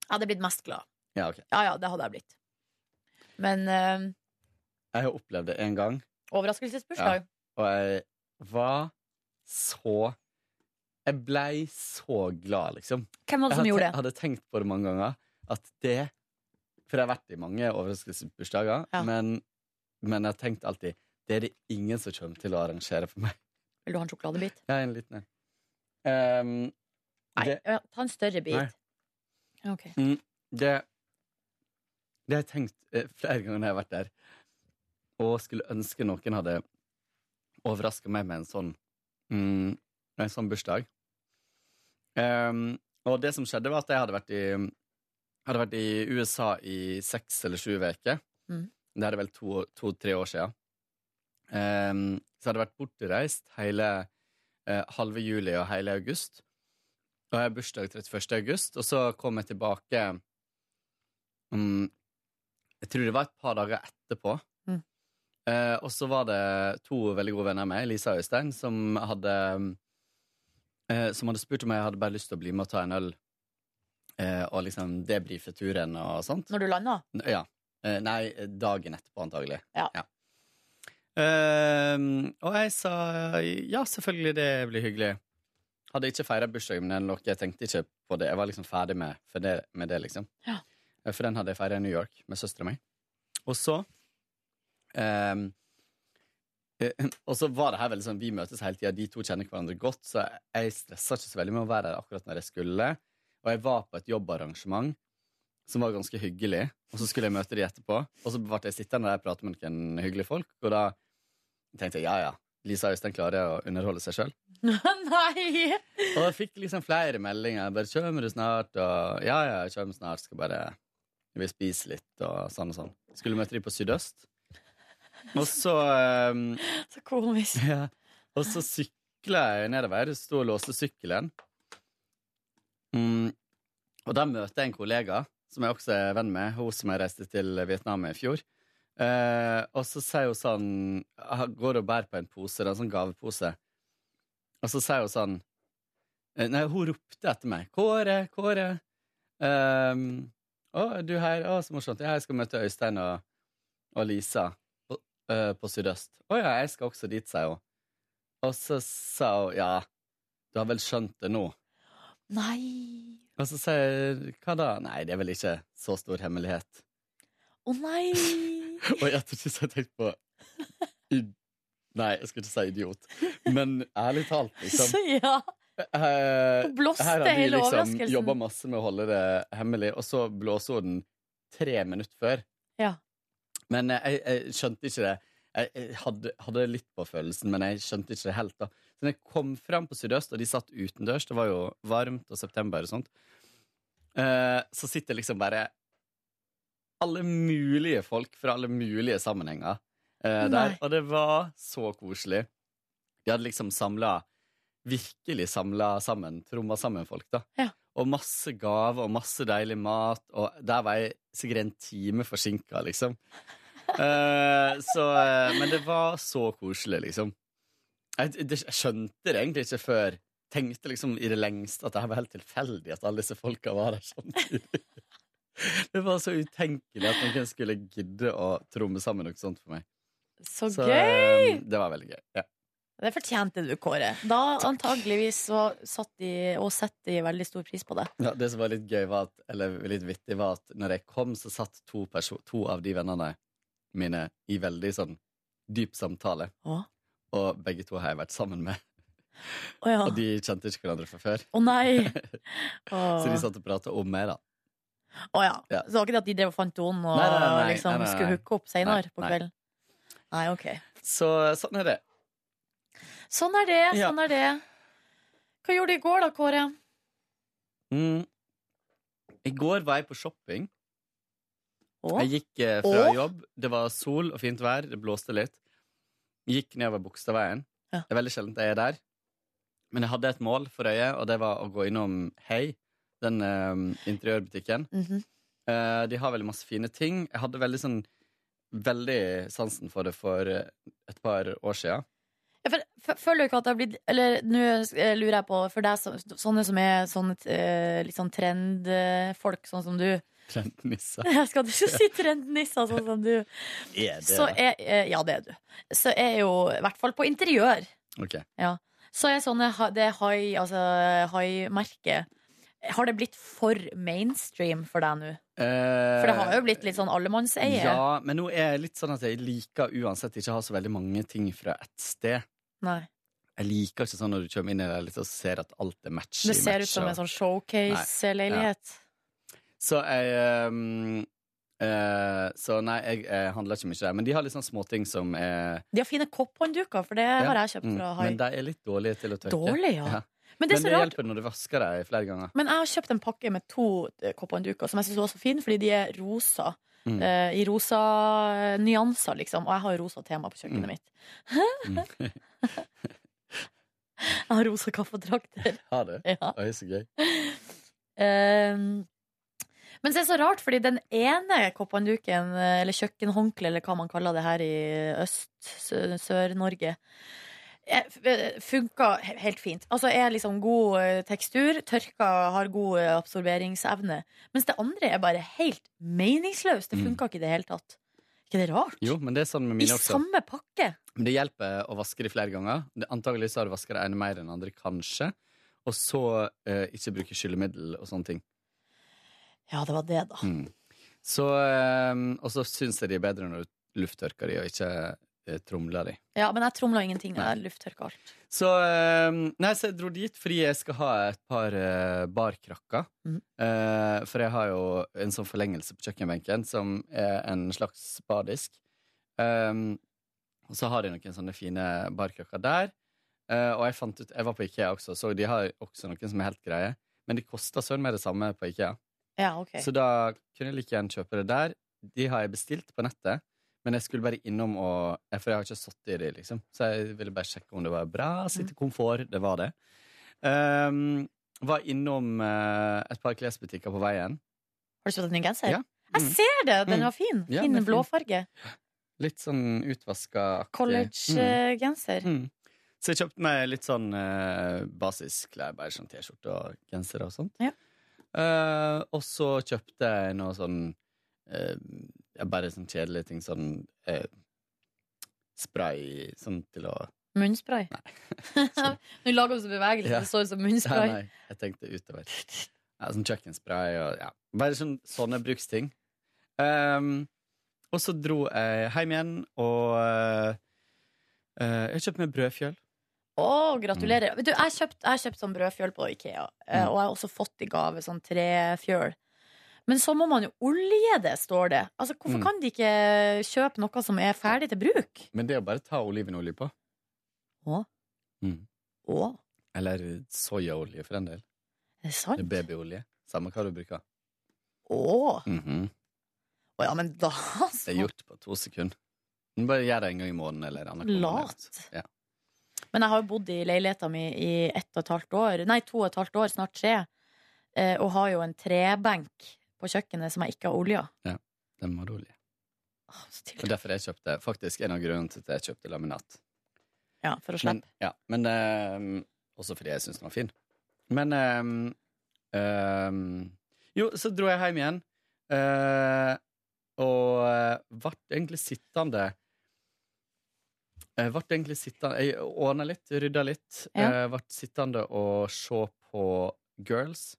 Speaker 2: Jeg hadde blitt mest glad.
Speaker 3: Ja, ok.
Speaker 2: Ja ja, det hadde jeg blitt. Men eh,
Speaker 3: Jeg har opplevd det én gang.
Speaker 2: overraskelsesbursdag?
Speaker 3: Og jeg var så Jeg blei så glad, liksom.
Speaker 2: Hvem var
Speaker 3: Jeg
Speaker 2: det som
Speaker 3: hadde,
Speaker 2: gjorde det?
Speaker 3: hadde tenkt på det mange ganger. At det For jeg har vært i mange overraskelsesbursdager,
Speaker 2: Ja.
Speaker 3: men, men jeg har tenkt alltid det er det ingen som kommer til å arrangere for meg.
Speaker 2: Vil du ha en sjokoladebit?
Speaker 3: Jeg er en liten en. Ehm,
Speaker 2: Nei,
Speaker 3: det,
Speaker 2: ja, ta en større bit. Ok.
Speaker 3: det Det har jeg tenkt eh, flere ganger når jeg har vært der, og skulle ønske noen hadde overraska meg med en sånn mm, En sånn bursdag. Ehm, og det som skjedde, var at jeg hadde vært i Hadde vært i USA i seks eller sju uker.
Speaker 2: Mhm.
Speaker 3: Det er vel to-tre to, tre år siden. Ehm, så hadde jeg vært bortreist hele eh, halve juli og hele august. Og jeg har bursdag 31. august, og så kom jeg tilbake mm, Jeg tror det var et par dager etterpå.
Speaker 2: Mm.
Speaker 3: Eh, og så var det to veldig gode venner av meg, Lisa og Øystein, som hadde eh, Som hadde spurt om jeg hadde bare lyst til å bli med og ta en øl. eh, og liksom debrife turen og sånt.
Speaker 2: Når du landa?
Speaker 3: N- Ja. Eh, nei, dagen etterpå, antagelig.
Speaker 2: Ja.
Speaker 3: Ehm, og jeg sa ja, selvfølgelig, det blir hyggelig. Hadde ikke feira bursdagen min eller noe, jeg tenkte ikke på det. Jeg var liksom ferdig med, for det, med det, liksom.
Speaker 2: Ja.
Speaker 3: Eh, For den hadde jeg feira i New York med søstera mi. Og så ehm, eh, og så var det her veldig sånn, Vi møtes hele tida, de to kjenner hverandre godt, så jeg stressa ikke så veldig med å være der akkurat når jeg skulle. Og jeg var på et jobbarrangement som var ganske hyggelig. Og så skulle jeg møte de etterpå. Og så ble jeg sittende der og prate med noen hyggelige folk. Og da tenkte jeg ja, ja. Lisa og Øystein klarer å underholde seg sjøl.
Speaker 2: Nei!
Speaker 3: Og jeg fikk liksom flere meldinger. Bare 'Kommer du snart?' og 'Ja, ja, jeg kommer snart. Skal bare jeg vil spise litt', og sånn og sånn. Skulle møte de på Sydøst. Og så ehm,
Speaker 2: Så komisk.
Speaker 3: ja. Og så sykla jeg nedover, sto og låste sykkelen. Mm. Og da møter jeg en kollega som jeg også er venn med, hun som jeg reiste til Vietnam med i fjor. Eh, og så sier hun sånn ah, Går og bærer på en pose, det er en sånn gavepose. Og så sier hun sånn eh, Nei, hun ropte etter meg. 'Kåre, Kåre.' Ehm, Å, er du her? Å, så morsomt. Ja, jeg skal møte Øystein og, og Lisa på, øh, på Sydøst. Å ja, jeg skal også dit, sier hun. Og så sa hun ja, du har vel skjønt det nå?
Speaker 2: Nei.
Speaker 3: Og så sier jeg hva da? Nei, det er vel ikke så stor hemmelighet.
Speaker 2: Å nei.
Speaker 3: Og i ettertid så har jeg tenkt på i, Nei, jeg skal ikke si idiot, men ærlig talt, liksom.
Speaker 2: Så ja.
Speaker 3: Eh,
Speaker 2: Hun blåste
Speaker 3: Her har de
Speaker 2: hele
Speaker 3: liksom
Speaker 2: overraskelsen.
Speaker 3: jobba masse med å holde det hemmelig, og så blåser hun den tre minutter før.
Speaker 2: Ja.
Speaker 3: Men eh, jeg, jeg skjønte ikke det. Jeg, jeg hadde, hadde litt på følelsen, men jeg skjønte ikke det helt. da. Så når jeg kom fram på Sydøst, og de satt utendørs, det var jo varmt og september og sånt, eh, så sitter liksom bare alle mulige folk fra alle mulige sammenhenger eh, der.
Speaker 2: Nei.
Speaker 3: Og det var så koselig. De hadde liksom samla Virkelig samla sammen, tromma sammen folk, da.
Speaker 2: Ja.
Speaker 3: Og masse gaver og masse deilig mat, og der var jeg sikkert en time forsinka, liksom. Eh, så eh, Men det var så koselig, liksom. Jeg, det, jeg skjønte det egentlig ikke før. Tenkte liksom i det lengste at det her var helt tilfeldig at alle disse folka var der samtidig. Det var så utenkelig at noen skulle gidde å tromme sammen noe sånt for meg.
Speaker 2: Så
Speaker 3: Så,
Speaker 2: gøy!
Speaker 3: eh, Det var veldig gøy. Ja.
Speaker 2: Det fortjente du, Kåre. Da antageligvis så satt de og setter de veldig stor pris på det.
Speaker 3: Ja, det som var litt gøy, var at, eller litt vittig, var at når jeg kom, så satt to, perso- to av de vennene mine i veldig sånn dyp samtale.
Speaker 2: Å.
Speaker 3: Og begge to har jeg vært sammen med,
Speaker 2: Å ja.
Speaker 3: og de kjente ikke hverandre fra før.
Speaker 2: Å nei! Å
Speaker 3: Så de satt og prata om meg, da.
Speaker 2: Å ja.
Speaker 3: Ja.
Speaker 2: Så det var ikke det at de drev og fant tonen og
Speaker 3: Nei, nei, nei, nei,
Speaker 2: liksom
Speaker 3: nei, nei.
Speaker 2: skulle hooke opp senere
Speaker 3: Nei,
Speaker 2: på
Speaker 3: nei.
Speaker 2: kvelden? Nei, OK.
Speaker 3: Så sånn er det.
Speaker 2: Sånn er det,
Speaker 3: Ja.
Speaker 2: sånn er det. Hva gjorde du i går da, Kåre?
Speaker 3: Mm. I går var jeg på shopping.
Speaker 2: Å?
Speaker 3: Jeg gikk eh, fra
Speaker 2: Å?
Speaker 3: jobb. Det var sol og fint vær. Det blåste litt. Gikk nedover Bogstadveien.
Speaker 2: Ja.
Speaker 3: Det er veldig sjelden jeg er der. Men jeg hadde et mål for øyet, og det var å gå innom Hei, den eh, interiørbutikken.
Speaker 2: Mhm.
Speaker 3: Eh, de har veldig masse fine ting. Jeg hadde veldig sånn Veldig sansen for det for eh, et par år siden.
Speaker 2: Ja, for, f- føler du ikke at det har blitt Eller nå eh, lurer jeg på, for deg så, sånne som er sånne eh, litt sånn trendfolk, sånn som du
Speaker 3: Trendnisse.
Speaker 2: Jeg skal ikke si trendnisser, sånn som du.
Speaker 3: Er
Speaker 2: Så
Speaker 3: det?
Speaker 2: er, eh, ja, det er du. Så er jo, i hvert fall på interiør,
Speaker 3: Ok.
Speaker 2: så er sånne ha- det hai, altså hai-merket Har det blitt for mainstream for deg nå?
Speaker 3: Eh,
Speaker 2: For det har jo blitt litt sånn allemannseie.
Speaker 3: Ja, men nå er jeg litt sånn at jeg liker uansett ikke å ha så veldig mange ting fra ett sted.
Speaker 2: Nei.
Speaker 3: Jeg liker ikke sånn når du kommer inn i det litt og ser at alt er match i
Speaker 2: Det ser ut
Speaker 3: match,
Speaker 2: som en
Speaker 3: og-
Speaker 2: sånn showcase-leilighet.
Speaker 3: Så jeg ehm, eh, Så nei, jeg, jeg handler ikke mye der. Men de har litt sånn småting som er
Speaker 2: De har fine kopphåndduker, for det har jeg kjøpt
Speaker 3: mm,
Speaker 2: fra Hai.
Speaker 3: Men de er litt dårlige til å tørke.
Speaker 2: Dårlig, ja.
Speaker 3: Ja.
Speaker 2: Men
Speaker 3: Men
Speaker 2: det er så
Speaker 3: det
Speaker 2: rart.
Speaker 3: hjelper når du vasker dem flere ganger.
Speaker 2: Men jeg har kjøpt en pakke med to eh, kopphåndduker som jeg syns var så fin, fordi de er rosa.
Speaker 3: Mm.
Speaker 2: eh, I rosa eh, nyanser, liksom. Og jeg har jo rosa tema på kjøkkenet
Speaker 3: Mm.
Speaker 2: mitt.
Speaker 3: Mm.
Speaker 2: Jeg har rosa kaffedrakter.
Speaker 3: Har du?
Speaker 2: Ja.
Speaker 3: Oi, så gøy.
Speaker 2: Ehm, men så er det så rart, fordi den ene kopphandduken, eh, eller kjøkkenhåndkle, eller hva man kaller det her i Øst, Sø- Sør-Norge, eh, f- eh, funka he- helt fint. Altså er liksom god eh, tekstur, tørka, har god eh, absorberingsevne. Mens det andre er bare helt meningsløst. Det
Speaker 3: Mm.
Speaker 2: funka ikke i det hele tatt. ikke det rart?
Speaker 3: Jo, men det er sånn med
Speaker 2: I
Speaker 3: mine også.
Speaker 2: samme pakke!
Speaker 3: Men det hjelper å vaske de flere ganger. Det- Antageligvis har du vasket det ene mer enn andre, kanskje. Og så eh, ikke bruke skyllemiddel og sånne ting.
Speaker 2: Ja, det var det, da.
Speaker 3: Mm. Så, ehm, og så syns jeg de er bedre når du lufttørker de og ikke eh, tromler de.
Speaker 2: Ja, Men jeg tromla ingenting.
Speaker 3: Nei.
Speaker 2: Jeg lufttørka alt.
Speaker 3: Så, ehm, nei, så jeg dro dit fordi jeg skal ha et par eh, barkrakker.
Speaker 2: Mhm.
Speaker 3: Eh, for jeg har jo en sånn forlengelse på kjøkkenbenken som er en slags bardisk. Ehm, og så har de noen sånne fine barkrakker der. Eh, og jeg fant ut, jeg var på Ikea også, så de har også noen som er helt greie. Men de koster søren meg det samme på Ikea.
Speaker 2: Ja, ok.
Speaker 3: Så da kunne jeg like gjerne kjøpe det der. De har jeg bestilt på nettet, men jeg skulle bare innom og eh, For jeg har ikke sittet i de, liksom. Så jeg ville bare sjekke om det var bra. Sitte i komfort. Det var det. Ehm, var innom eh, et par klesbutikker på veien.
Speaker 2: Har du kjøpt en ny genser?
Speaker 3: Ja.
Speaker 2: Jeg ser det! Den
Speaker 3: Mm.
Speaker 2: var fin.
Speaker 3: Ja, den
Speaker 2: fin
Speaker 3: er fin.
Speaker 2: blåfarge.
Speaker 3: Litt sånn utvaska
Speaker 2: College-genser.
Speaker 3: Mm. Så jeg kjøpte meg litt sånn eh, basisklær, bare sånn T-skjorte og genser og sånt.
Speaker 2: Ja.
Speaker 3: Eh, og så kjøpte jeg noe sånn eh, ja, Bare sånn kjedelige ting. Sånn eh, spray sånn til å
Speaker 2: Munnspray. Hun Mm. lager jo så bevegelse,
Speaker 3: Ja.
Speaker 2: det står som
Speaker 3: Nei,
Speaker 2: munnspray.
Speaker 3: nei, jeg tenkte utover. Ja, sånn kjøkkenspray og ja. Bare sånn, sånne bruksting. Ehm, og så dro jeg hjem igjen, og eh, jeg kjøpte meg brødfjøl.
Speaker 2: Å, gratulerer. Vet du, jeg kjøpte jeg kjøpt sånn brødfjøl på Ikea,
Speaker 3: Mm.
Speaker 2: eh, og jeg har også fått i gave sånn trefjøl. Men så må man jo olje det, står det. Altså, Hvorfor
Speaker 3: Mm.
Speaker 2: kan de ikke kjøpe noe som er ferdig til bruk?
Speaker 3: Men det er jo bare å ta olivenolje på.
Speaker 2: Å,
Speaker 3: Eller soyaolje, for en del.
Speaker 2: er det
Speaker 3: Det
Speaker 2: sant?
Speaker 3: er babyolje. Samme hva du bruker.
Speaker 2: Å,
Speaker 3: Mhm.
Speaker 2: Å ja, men da
Speaker 3: Det er
Speaker 2: altså.
Speaker 3: gjort på to sekunder. Men Bare gjør det en gang i måneden eller annenhver
Speaker 2: Lat.
Speaker 3: Ja.
Speaker 2: Men jeg har jo bodd i leiligheta mi i ett og et halvt år, nei, to og et halvt år, snart tre, eh, og har jo en trebenk på kjøkkenet som jeg ikke har olja.
Speaker 3: Den må du olje.
Speaker 2: Å, så
Speaker 3: Og
Speaker 2: tidlig.
Speaker 3: derfor jeg kjøpte faktisk en av grunnene til at jeg kjøpte laminat.
Speaker 2: Ja, for å
Speaker 3: Men,
Speaker 2: slippe.
Speaker 3: ja, men ehm, Også fordi jeg syns den var fin. Men ehm, ehm, Jo, så dro jeg hjem igjen. eh, og eh, vart egentlig sittende Jeg vart egentlig sittende Jeg ordna litt, rydda litt.
Speaker 2: Ja.
Speaker 3: eh, vart sittende og se på Girls.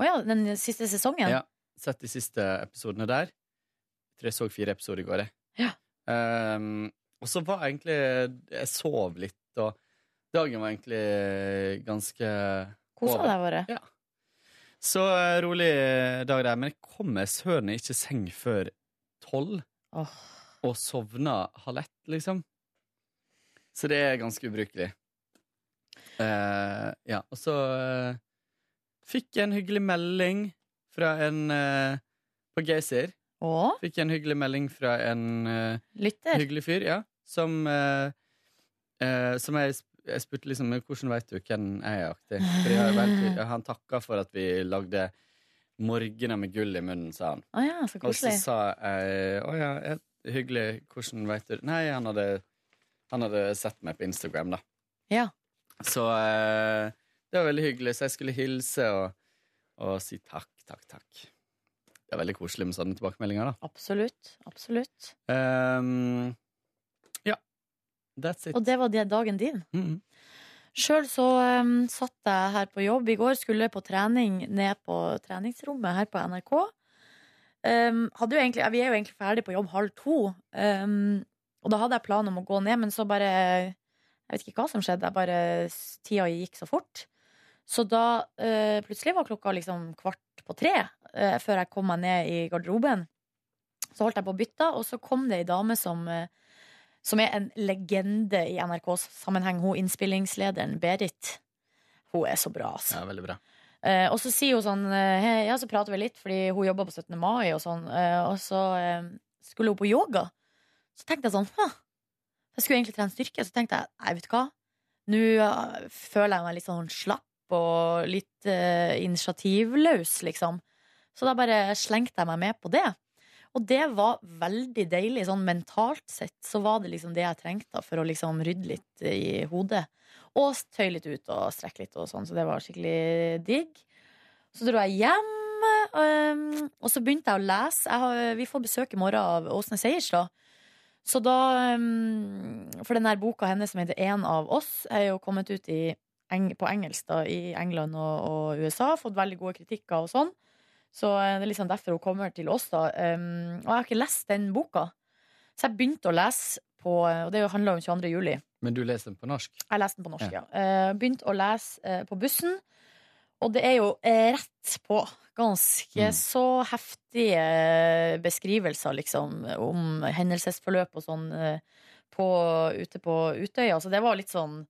Speaker 2: Å ja, den siste sesongen?
Speaker 3: Ja. Sett de siste episodene der. Jeg tror jeg så fire episoder i går, jeg.
Speaker 2: Ja.
Speaker 3: Ehm, og så var egentlig Jeg sov litt, og dagen var egentlig ganske
Speaker 2: Kosa
Speaker 3: over.
Speaker 2: deg bare.
Speaker 3: Så eh, rolig dag der. Men jeg kom meg søren ikke i seng før tolv,
Speaker 2: Åh.
Speaker 3: og sovna halv ett, liksom. Så det er ganske ubrukelig. Eh, ja, og så eh, fikk jeg en hyggelig melding fra en eh, På Geysir.
Speaker 2: Å,
Speaker 3: Fikk jeg en hyggelig melding fra en eh,
Speaker 2: lytter.
Speaker 3: hyggelig fyr, ja. Som, eh, eh, som jeg, sp- jeg spurte liksom "Men Hvordan vet du hvem jeg er aktig? Fordi jeg, var helt- han takka for at vi lagde 'Morgener med gull i munnen', sa han.
Speaker 2: Å ja, så
Speaker 3: Og så
Speaker 2: koselig.
Speaker 3: sa jeg 'Å ja, jeg, hyggelig. Hvordan vet du Nei, han hadde, han hadde sett meg på Instagram, da.
Speaker 2: Ja.
Speaker 3: Så eh, det var veldig hyggelig. Så jeg skulle hilse og, og si takk, takk, takk. Det er veldig koselig med sånne tilbakemeldinger, da.
Speaker 2: Absolutt. Absolutt.
Speaker 3: Ehm, ja. That's it.
Speaker 2: Og det var det dagen din.
Speaker 3: Mhm.
Speaker 2: Sjøl så um, satt jeg her på jobb i går, skulle på trening ned på treningsrommet her på NRK. Um, hadde jo egentlig, ja, vi er jo egentlig ferdig på jobb halv to, um, og da hadde jeg plan om å gå ned, men så bare Jeg vet ikke hva som skjedde, jeg bare s- tida gikk så fort. Så da eh, plutselig var klokka liksom kvart på tre eh, før jeg kom meg ned i garderoben. Så holdt jeg på å bytte, og så kom det ei dame som eh, som er en legende i NRKs sammenheng. Hun innspillingslederen, Berit. Hun er så bra, altså.
Speaker 3: Ja, veldig bra.
Speaker 2: Eh, og så sier hun sånn eh, hei, Ja, så prater vi litt, fordi hun jobber på 17. mai og sånn. Eh, og så eh, skulle hun på yoga. Så tenkte jeg sånn Hå. Jeg skulle egentlig trene styrke. Så tenkte jeg nei, vet du hva. Nå eh, føler jeg meg litt sånn slapp og litt eh, initiativløs, liksom. Så da bare slengte jeg meg med på det. Og det var veldig deilig. Sånn mentalt sett så var det liksom det jeg trengte for å liksom rydde litt i hodet. Og tøy litt ut og strekke litt og sånn, så det var skikkelig digg. Så dro jeg hjem, øhm, og så begynte jeg å lese. Jeg har, vi får besøk i morgen av Åsne Seierstad. Så da øhm, For den der boka hennes som heter En av oss, er jo kommet ut i, eng- på engelsk da, i England og, og USA. Fått veldig gode kritikker og sånn. Så eh, det er liksom derfor hun kommer til oss, da. Øhm, og jeg har ikke lest den boka. Så jeg begynte å lese på øh, Og det handler om 22. juli.
Speaker 3: Men du leser den på norsk?
Speaker 2: Jeg leste den på norsk, ja. Eh, Begynt å lese eh, på bussen. Og det er jo eh, rett på ganske
Speaker 3: Mm.
Speaker 2: så heftige eh, beskrivelser, liksom, om hendelsesforløp og sånn eh, på, ute på Utøya. Så det var litt sånn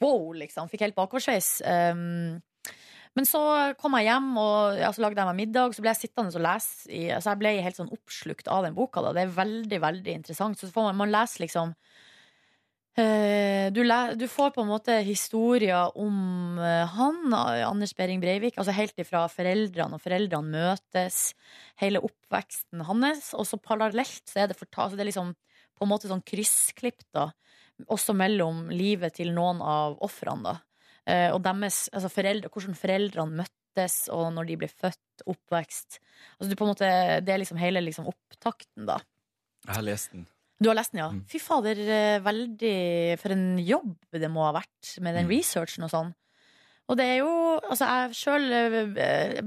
Speaker 2: wow, liksom. Fikk helt bakoversveis. Um, men så kom jeg hjem, og ja, så lagde jeg meg middag. Så ble jeg sittende og lese. I, altså jeg ble helt sånn oppslukt av den boka. Da. Det er veldig, veldig interessant. Så får man, man leser liksom eh, du, le, du får på en måte historier om eh, han, Anders Behring Breivik, altså helt ifra foreldrene, og foreldrene møtes, hele oppveksten hans, og så parallelt så er det fortalt altså Det er liksom på en måte sånn kryssklipp, da også mellom livet til noen av ofrene, da. Eh, og deres altså foreldre, hvordan foreldrene møttes, møtes, og når de ble født, oppvekst. Altså, du på en måte, det er liksom hele liksom, opptakten, da.
Speaker 3: Jeg har lest den.
Speaker 2: Du har lest den, ja?
Speaker 3: Mm.
Speaker 2: Fy fader, eh, veldig For en jobb det må ha vært med
Speaker 3: Mm.
Speaker 2: den researchen og sånn. Og det er jo Altså, jeg sjøl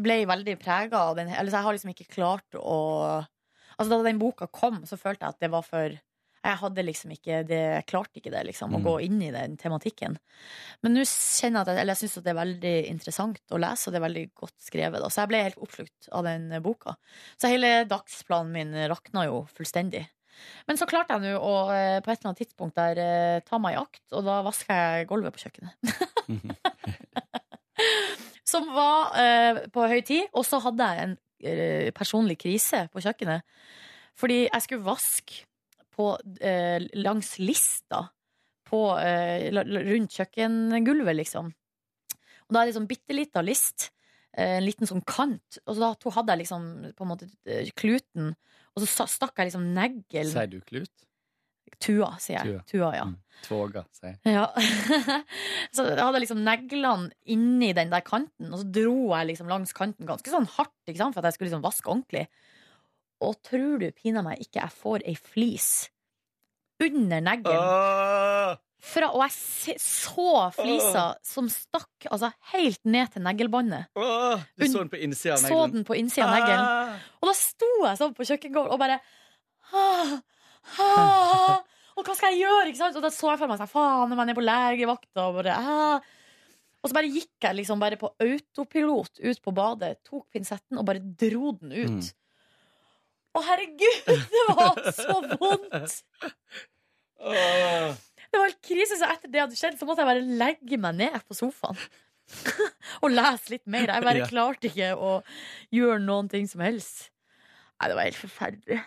Speaker 2: ble veldig prega av den. Eller så jeg har liksom ikke klart å Altså, da den boka kom, så følte jeg at det var for jeg hadde liksom ikke det, jeg klarte ikke det, liksom, å
Speaker 3: Mm.
Speaker 2: gå inn i den tematikken. Men nå kjenner jeg at jeg, eller jeg synes at det er veldig interessant å lese, og det er veldig godt skrevet. Da. Så jeg ble helt oppslukt av den eh, boka. Så hele dagsplanen min rakna jo fullstendig. Men så klarte jeg nå å eh, på et eller annet tidspunkt der eh, ta meg i akt, og da vaska jeg gulvet på kjøkkenet. Som var eh, på høy tid. Og så hadde jeg en eh, personlig krise på kjøkkenet. Fordi jeg skulle vaske på, eh, langs lista på, eh, la- la- rundt kjøkkengulvet, liksom. Og da er det sånn bitte lita list. eh, En liten sånn kant. Og så da to- hadde jeg liksom på en måte eh, kluten, og så sa- stakk jeg liksom neglen
Speaker 3: Sier du klut?
Speaker 2: Tua, sier jeg. Tua, ja.
Speaker 3: Mm. Tvoga, sier jeg.
Speaker 2: ja. så jeg hadde liksom neglene inni den der kanten, og så dro jeg liksom langs kanten ganske sånn hardt ikke sant? for at jeg skulle liksom vaske ordentlig. Og tror du pinadø meg ikke jeg får ei flis under neglen?
Speaker 3: Ah.
Speaker 2: Fra, og jeg se- så flisa som stakk altså helt ned til neglebåndet.
Speaker 3: Åh, du så den på innsida av
Speaker 2: Så
Speaker 3: neglen.
Speaker 2: den på innsida av neglen.
Speaker 3: Ah!
Speaker 2: Og da sto jeg sånn på kjøkkengulvet og bare ah, ah, Og hva skal jeg gjøre? Ikke sant? Og da så jeg for meg sånn, faen, om jeg er nede på legevakta og bare ah. Og så bare gikk jeg liksom bare på autopilot ut på badet, tok pinsetten og bare dro den ut.
Speaker 3: Mm.
Speaker 2: Å, herregud, det var så vondt!
Speaker 3: Åh.
Speaker 2: Det var helt krise, så etter det hadde skjedd, så måtte jeg bare legge meg ned på sofaen. og lese litt mer. Jeg bare
Speaker 3: Ja.
Speaker 2: klarte ikke å gjøre noen ting som helst. Nei, det var helt forferdelig.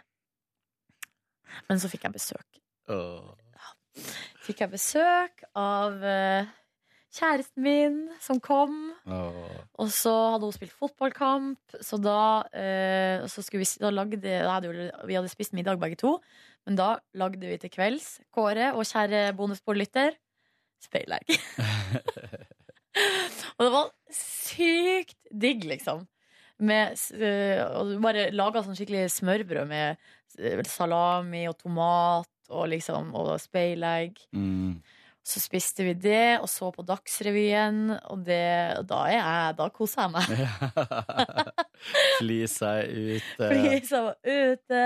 Speaker 2: Men så fikk jeg besøk.
Speaker 3: Åh.
Speaker 2: Fikk jeg besøk av eh, kjæresten min, som kom.
Speaker 3: Åh.
Speaker 2: Og så hadde hun spilt fotballkamp, så da, eh, så skulle vi, s- da lagde da hadde jo, Vi hadde spist middag begge to, men da lagde vi til kvelds, Kåre og kjære bonusbordlytter, speilegg. og det var sykt digg, liksom. Med, s- eh, og du bare laga sånn skikkelig smørbrød med eh, salami og tomat og liksom og speilegg.
Speaker 3: Mm.
Speaker 2: Så spiste vi det, og så på Dagsrevyen, og det, og da, er jeg, da koser jeg meg.
Speaker 3: Fli seg ut. eh.
Speaker 2: Fordi jeg var ute.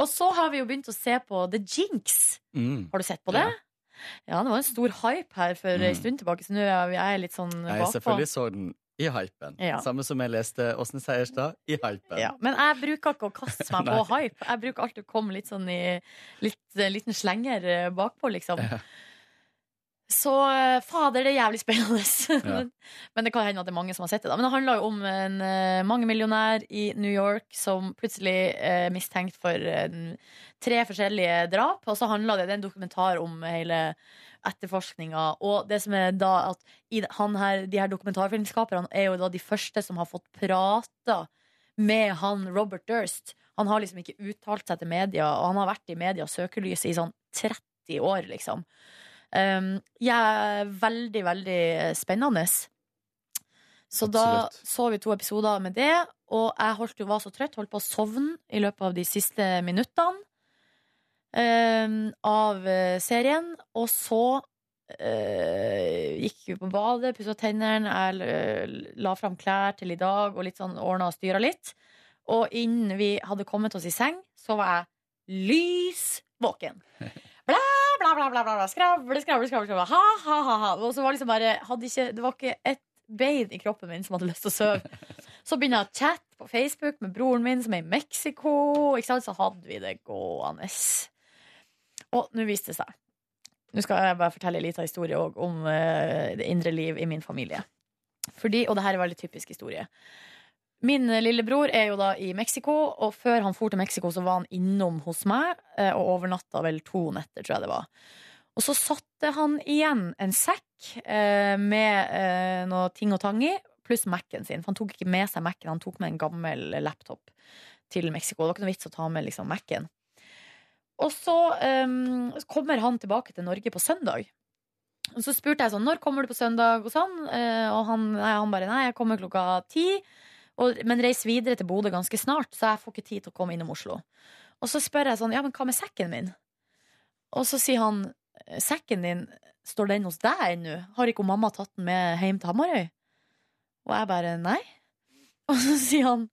Speaker 2: Og så har vi jo begynt å se på The Jinx.
Speaker 3: Mm.
Speaker 2: Har du sett på det? Ja, det var en stor hype her for en
Speaker 3: Mm.
Speaker 2: stund tilbake, så nå er vi- jeg er litt sånn
Speaker 3: Jeg
Speaker 2: bakpå.
Speaker 3: selvfølgelig så den i hypen.
Speaker 2: Ja.
Speaker 3: Samme som jeg leste Åsne Seierstad i hypen.
Speaker 2: Ja, men jeg bruker ikke å kaste meg på
Speaker 3: Nei.
Speaker 2: hype. Jeg bruker alltid å komme litt sånn i litt, eh, liten slenger eh, bakpå, liksom.
Speaker 3: Ja.
Speaker 2: Så eh, fader, det er jævlig spennende.
Speaker 3: Ja.
Speaker 2: Men det kan hende at det er mange som har sett det. da Men det handler jo om en eh, mangemillionær i New York som plutselig er mistenkt for eh, en- tre forskjellige drap. Og så handler det, det er en dokumentar om hele etterforskninga. Og det som er da at i det- han her, de her dokumentarfilmskaperne er jo da de første som har fått prata med han Robert Durst. Han har liksom ikke uttalt seg til media, og han har vært i medias søkelys i sånn 30 år, liksom. Um, ja, veldig, veldig spennende. Så da
Speaker 3: Absolutt.
Speaker 2: så vi to episoder med det, og jeg holdt jo var så trøtt, holdt på å sovne i løpet av de siste minuttene um, av eh, serien. Og så eh, gikk vi på badet, pussa tennene, jeg eh, la fram klær til i dag og litt sånn ordna og styra litt. Og innen vi hadde kommet oss i seng, så var jeg lys våken. Bla, bla, bla, bla, bla, bla. Skravle, skravle, skravle. skravle. Ha, ha, ha, ha. Og så var det liksom bare hadde ikke, Det var ikke et bein i kroppen min som hadde lyst til å sove. Så begynner jeg å chatte på Facebook med broren min som er i Mexico. Ikke sant? Så hadde vi det gående. Og nå viste det seg. Nå skal jeg bare fortelle en liten historie også om eh, det indre liv i min familie. Fordi, og det her er en veldig typisk historie. Min eh, lillebror er jo da i Mexico, og før han for til Mexico, så var han innom hos meg eh, og overnatta vel to netter, tror jeg det var. Og så satte han igjen en sekk eh, med eh, noe ting og tang i, pluss Mac-en sin. For han tok ikke med seg Mac-en, han tok med en gammel laptop til Mexico. Det var ikke noe vits å ta med liksom, Mac-en. Og så eh, kommer han tilbake til Norge på søndag. Og Så spurte jeg sånn, når kommer du på søndag og sånn? Eh, Og han, nei, han bare, nei, jeg kommer klokka ti. Og, men reiser videre til Bodø ganske snart, så jeg får ikke tid til å komme innom Oslo. Og så spør jeg sånn, ja, men hva med sekken min? Og så sier han, sekken din, står den hos deg ennå? Har ikke mamma tatt den med hjem til Hamarøy? Og jeg bare, nei. Og så sier han,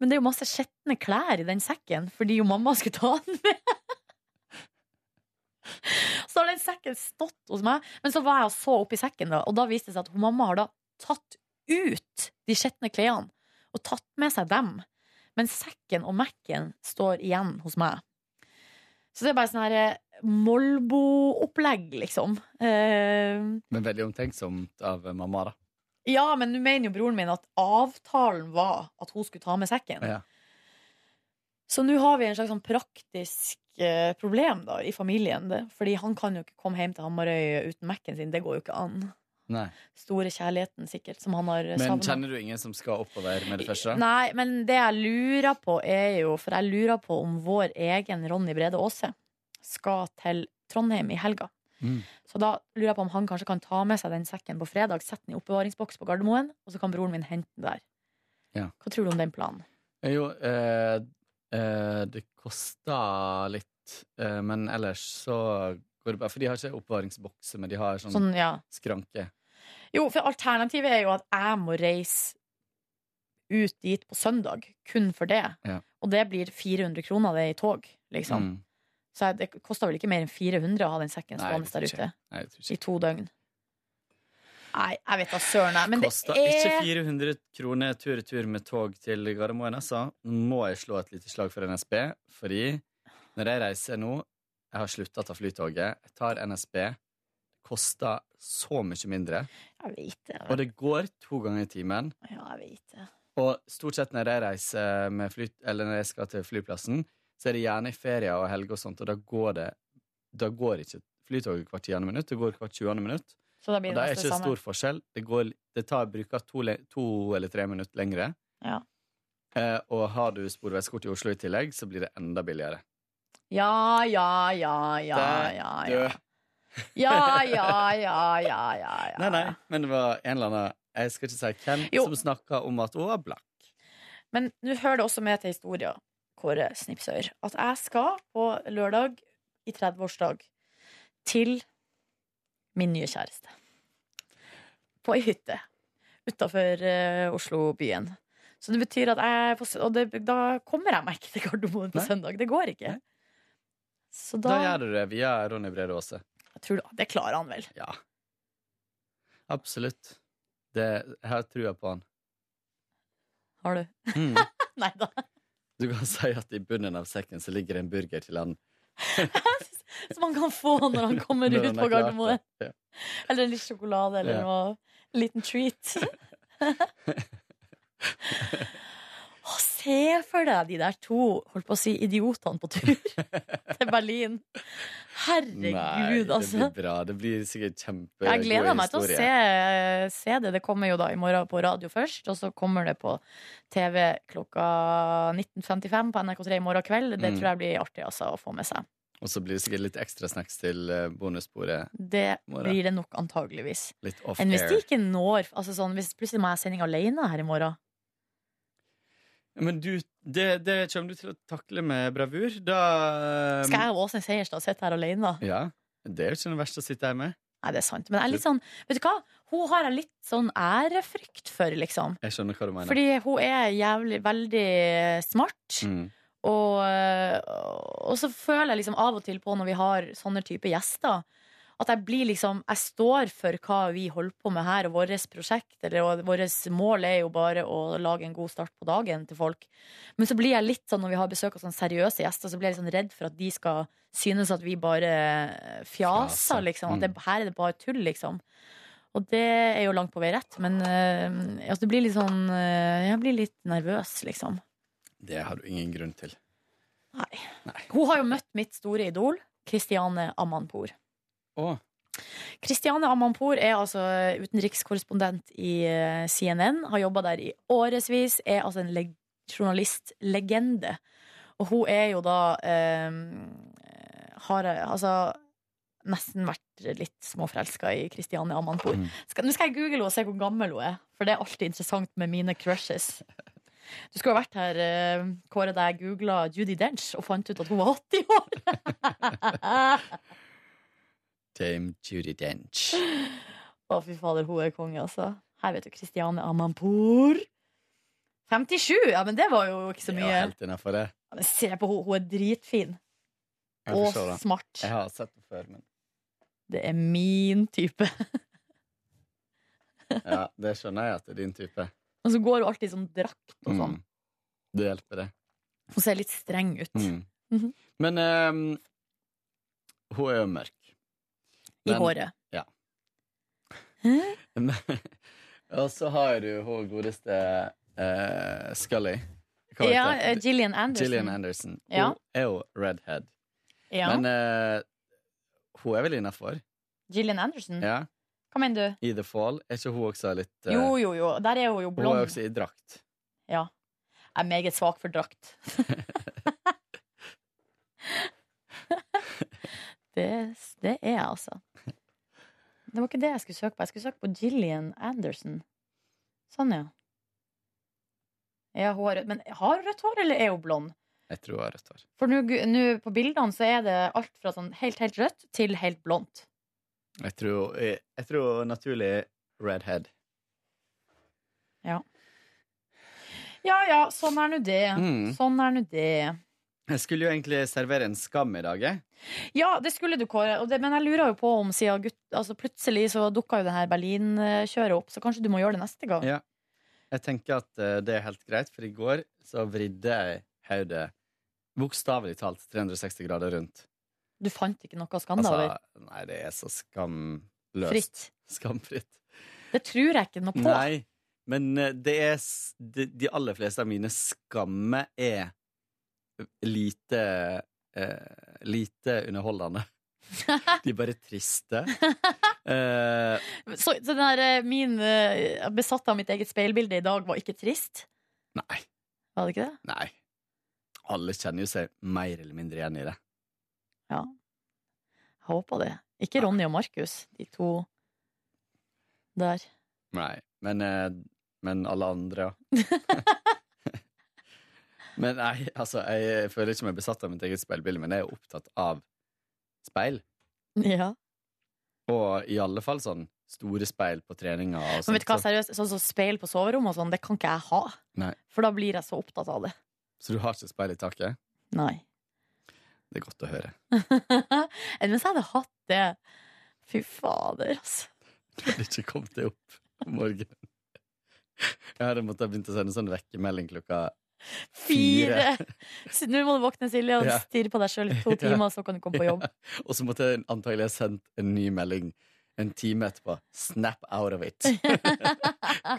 Speaker 2: men det er jo masse skjetne klær i den sekken, fordi jo mamma skulle ta den med. Så har den sekken stått hos meg. Men så var jeg og så oppi sekken, da, og da viste det seg at hun mamma har da tatt ut de skjetne klærne og tatt med seg dem. Men sekken og Mac-en står igjen hos meg. Så det er bare sånn her eh, Molbo-opplegg, liksom. Eh,
Speaker 3: Men veldig omtenksomt av mamma, da.
Speaker 2: ja, men nå mener jo broren min at avtalen var at hun skulle ta med sekken.
Speaker 3: Ja.
Speaker 2: Så nå har vi en slags sånn praktisk eh, problem da, i familien. Det. Fordi han kan jo ikke komme hjem til Hamarøy uten Mac-en sin. Det går jo ikke an.
Speaker 3: Nei.
Speaker 2: Store kjærligheten, sikkert, som han har
Speaker 3: Men
Speaker 2: savna.
Speaker 3: kjenner du ingen som skal oppover med det første?
Speaker 2: Nei, men det jeg lurer på, er jo For jeg lurer på om vår egen Ronny Brede Aase skal til Trondheim i helga.
Speaker 3: Mm.
Speaker 2: Så da lurer jeg på om han kanskje kan ta med seg den sekken på fredag, sette den i oppbevaringsboks på Gardermoen, og så kan broren min hente den der.
Speaker 3: Ja.
Speaker 2: Hva tror du om den planen?
Speaker 3: Eh, Jo, eh, eh, det koster litt, eh, men ellers så går det bra. For de har ikke oppbevaringsbokser, men de har sånn,
Speaker 2: Sånn, ja.
Speaker 3: skranke.
Speaker 2: Jo, for alternativet er jo at jeg må reise ut dit på søndag, kun for det.
Speaker 3: Ja.
Speaker 2: Og det blir 400 kroner det i tog, liksom.
Speaker 3: Mm.
Speaker 2: Så jeg- det koster vel ikke mer enn 400 å ha den sekken
Speaker 3: Nei,
Speaker 2: stående
Speaker 3: jeg tror
Speaker 2: der
Speaker 3: ikke.
Speaker 2: ute
Speaker 3: Nei, jeg tror
Speaker 2: i
Speaker 3: ikke.
Speaker 2: to døgn. Nei, jeg vet da søren, jeg. Men det
Speaker 3: Kosta ikke
Speaker 2: er
Speaker 3: 400 kroner tur-retur med tog til Gardermoen, altså. Må jeg slå et lite slag for NSB, fordi når jeg reiser nå Jeg har slutta å ta flytoget. Jeg tar NSB. Det koster så mye mindre.
Speaker 2: Jeg vet
Speaker 3: Og
Speaker 2: det.
Speaker 3: det går to ganger i timen.
Speaker 2: Ja, jeg vet det.
Speaker 3: Og stort sett når jeg reiser med fly, eller når jeg skal til flyplassen, så er det gjerne i ferier og helger og sånt, og da går det da går ikke flytoget hvert tiende minutt, det går hvert tjuende minutt.
Speaker 2: Så da
Speaker 3: Og
Speaker 2: blir
Speaker 3: det
Speaker 2: det
Speaker 3: er
Speaker 2: nesten
Speaker 3: ikke
Speaker 2: det samme.
Speaker 3: stor forskjell. Det, går, det tar, bruker to, le- to eller tre minutter lengre.
Speaker 2: Ja.
Speaker 3: Eh, og har du sporveiskort i Oslo i tillegg, så blir det enda billigere.
Speaker 2: Ja, ja, ja, ja,
Speaker 3: Det-
Speaker 2: ja.
Speaker 3: Du,
Speaker 2: Ja, ja, ja, ja, ja, ja.
Speaker 3: Nei, nei, men det var en eller annen Jeg skal ikke si hvem
Speaker 2: Jo.
Speaker 3: som snakka om at hun var blakk.
Speaker 2: Men nå hører det også med til historia, Kåre Snipsøyr, at jeg skal på lørdag i 30-årsdag til min nye kjæreste. På ei hytte utafor Oslo-byen. Så det betyr at jeg på, sø- Og det, da kommer jeg meg ikke til Gardermoen på
Speaker 3: Nei.
Speaker 2: søndag. Det går ikke.
Speaker 3: Nei.
Speaker 2: Så
Speaker 3: Da gjør
Speaker 2: da,
Speaker 3: du det via Ronny Brede Aase.
Speaker 2: jeg tror da Det klarer han vel.
Speaker 3: Ja. Absolutt. Det, jeg har trua på han.
Speaker 2: Har du?
Speaker 3: Mm.
Speaker 2: Nei da.
Speaker 3: Du kan si at i bunnen av sekken så ligger det en burger til han.
Speaker 2: Som han kan få når han kommer
Speaker 3: Når
Speaker 2: ut
Speaker 3: han
Speaker 2: på
Speaker 3: har klart
Speaker 2: Gardermoen.
Speaker 3: det. Ja.
Speaker 2: Eller en litt sjokolade eller
Speaker 3: Ja.
Speaker 2: noe. En liten treat. Å, se for deg de der to holdt på å si idiotene på tur til Berlin. Herregud,
Speaker 3: Nei, det
Speaker 2: altså.
Speaker 3: blir bra. Det blir sikkert kjempegod
Speaker 2: Jeg
Speaker 3: historie.
Speaker 2: gleder meg til å se, se det. Det kommer jo da i morgen på radio først, og så kommer det på TV klokka 19.55 på NRK3 i morgen kveld. Det
Speaker 3: Mm.
Speaker 2: tror jeg blir artig altså, å få med seg.
Speaker 3: Og så blir det sikkert litt ekstra snacks til eh, bonussporet.
Speaker 2: Det
Speaker 3: Morgen.
Speaker 2: blir det nok antageligvis.
Speaker 3: Litt off
Speaker 2: Enn hvis de
Speaker 3: air.
Speaker 2: ikke når altså sånn, Hvis plutselig må jeg ha sending alene her i morgen.
Speaker 3: Men du, det, det kommer du til å takle med bravur. Da eh,
Speaker 2: Skal jeg og Åsne Seierstad sitte her alene, da?
Speaker 3: Ja. Det er jo ikke noe verst å sitte her med.
Speaker 2: Nei, det er sant. Men jeg er litt sånn Vet du hva? Hun har jeg litt sånn ærefrykt for, liksom.
Speaker 3: Jeg skjønner hva du mener.
Speaker 2: Fordi hun er jævlig veldig smart.
Speaker 3: Mm.
Speaker 2: Og, og så føler jeg liksom av og til på når vi har sånne type gjester, at jeg blir liksom Jeg står for hva vi holder på med her, og vårt prosjekt, eller og vårt mål er jo bare å lage en god start på dagen til folk. Men så blir jeg litt sånn når vi har besøk av sånne seriøse gjester, så blir jeg litt sånn redd for at de skal synes at vi bare
Speaker 3: Fjaser.
Speaker 2: fjaser, liksom. At det, her er det bare tull, liksom. Og det er jo langt på vei rett, men øh, altså, det blir litt sånn øh, Jeg blir litt nervøs, liksom.
Speaker 3: Det har du ingen grunn til.
Speaker 2: Hun har jo møtt mitt store idol, Christiane Amanpour.
Speaker 3: Å,
Speaker 2: Christiane Amanpour er altså utenrikskorrespondent i eh, CNN, har jobba der i årevis, er altså en leg journalistlegende. Og hun er jo da eh, har altså eh, nesten vært litt småforelska i Christiane Amanpour.
Speaker 3: Mm.
Speaker 2: Skal, nå skal jeg google henne og se hvor gammel hun er, for det er alltid interessant med mine crushes. Du skulle ha vært her, eh, Kåre, da jeg googla Judy Dench og fant ut at hun var 80 år.
Speaker 3: Dame Judy Dench.
Speaker 2: Å, fy fader, hun er konge, altså. Her vet du Christiane Amanpour. 57! Ja, men det var jo ikke så
Speaker 3: Jeg
Speaker 2: mye.
Speaker 3: var helt innenfor det.
Speaker 2: Ja, men se på henne, hun er dritfin.
Speaker 3: Jeg
Speaker 2: Og
Speaker 3: forstår det.
Speaker 2: smart.
Speaker 3: Jeg har sett det før, men
Speaker 2: Det er min type.
Speaker 3: ja, det skjønner jeg at det er din type.
Speaker 2: Og så går hun alltid i sånn drakt og sånn.
Speaker 3: Mm. Det hjelper, det.
Speaker 2: Hun ser litt streng ut.
Speaker 3: Mm.
Speaker 2: Mhm.
Speaker 3: Men ehm, hun er jo mørk.
Speaker 2: I
Speaker 3: Men-
Speaker 2: håret.
Speaker 3: Og så har du hun godeste eh, Scully. Hva heter
Speaker 2: Ja,
Speaker 3: hun?
Speaker 2: eh, Gillian Anderson.
Speaker 3: Gillian Anderson. Hun
Speaker 2: Ja.
Speaker 3: er jo redhead.
Speaker 2: Ja.
Speaker 3: Men eh, hun er vel innafor?
Speaker 2: Gillian Anderson?
Speaker 3: Ja.
Speaker 2: Hva mener du?
Speaker 3: I The Fall. Er ikke hun også litt eh,
Speaker 2: Mm. Jo, jo, jo. Der er hun jo
Speaker 3: Hun er
Speaker 2: blond.
Speaker 3: også i drakt.
Speaker 2: Ja. Jeg er meget svak for drakt. det, det er jeg, altså. Det var ikke det jeg skulle søke på. Jeg skulle søke på Gillian Anderson. Sånn, ja. ja hun har rødt. Men har hun rødt hår, eller er hun blond?
Speaker 3: Jeg tror hun har rødt hår.
Speaker 2: For nå gu- nå på bildene så er det alt fra sånn helt, helt rødt til helt blondt.
Speaker 3: Jeg tror, jeg, jeg tror hun er naturlig redhead.
Speaker 2: Ja ja, sånn er nå det.
Speaker 3: Mm.
Speaker 2: Sånn er nå det.
Speaker 3: Jeg skulle jo egentlig servere en skam i dag, jeg.
Speaker 2: Ja, det skulle du, Kåre. Og det, men jeg lurer jo på om siden gutt, altså plutselig så dukka jo det her Berlin-kjøret opp, så kanskje du må gjøre det neste gang.
Speaker 3: Ja. Jeg tenker at eh, det er helt greit, for i går så vridde jeg hodet bokstavelig talt 360 grader rundt.
Speaker 2: Du fant ikke noe skandaler?
Speaker 3: Altså, nei, det er så skamløst.
Speaker 2: Fritt.
Speaker 3: Skamfritt.
Speaker 2: Det tror jeg ikke noe på.
Speaker 3: Nei, men eh, det er s- de, de aller fleste av mine skammer er lite eh, lite underholdende. De er bare triste. Eh,
Speaker 2: Så, så den her, eh, min eh, besatt av mitt eget speilbilde i dag var ikke trist?
Speaker 3: nei,
Speaker 2: Var det ikke det?
Speaker 3: nei. Alle kjenner jo seg mer eller mindre igjen i det.
Speaker 2: Jeg håpa det. Ikke Ronny og Markus, de to der.
Speaker 3: Nei, men, eh, men alle andre, ja. men nei, altså, jeg føler ikke meg besatt av mitt eget speilbilde, men jeg er opptatt av speil.
Speaker 2: Ja.
Speaker 3: Og i alle fall sånn store speil på treninga. Og
Speaker 2: Men vet du hva,
Speaker 3: sånt.
Speaker 2: seriøst, sånn som speil på soverommet og sånn, det kan ikke jeg ha.
Speaker 3: Nei.
Speaker 2: For da blir jeg så opptatt av det.
Speaker 3: så, så du har ikke speil i taket?
Speaker 2: Nei.
Speaker 3: Det er godt å høre.
Speaker 2: Enn hvis jeg hadde hatt det Fy fader, altså.
Speaker 3: Du hadde ikke kommet deg opp om morgenen. Jeg hadde måttet ha begynt å sende sånn vekkemelding klokka
Speaker 2: Fire!
Speaker 3: Fire.
Speaker 2: Så Nå må du våkne, Silje, og
Speaker 3: Ja.
Speaker 2: stirre på deg sjøl i to
Speaker 3: Ja.
Speaker 2: timer, så kan du komme på jobb.
Speaker 3: Og så måtte jeg antagelig ha sendt en ny melding en time etterpå. Snap out of it!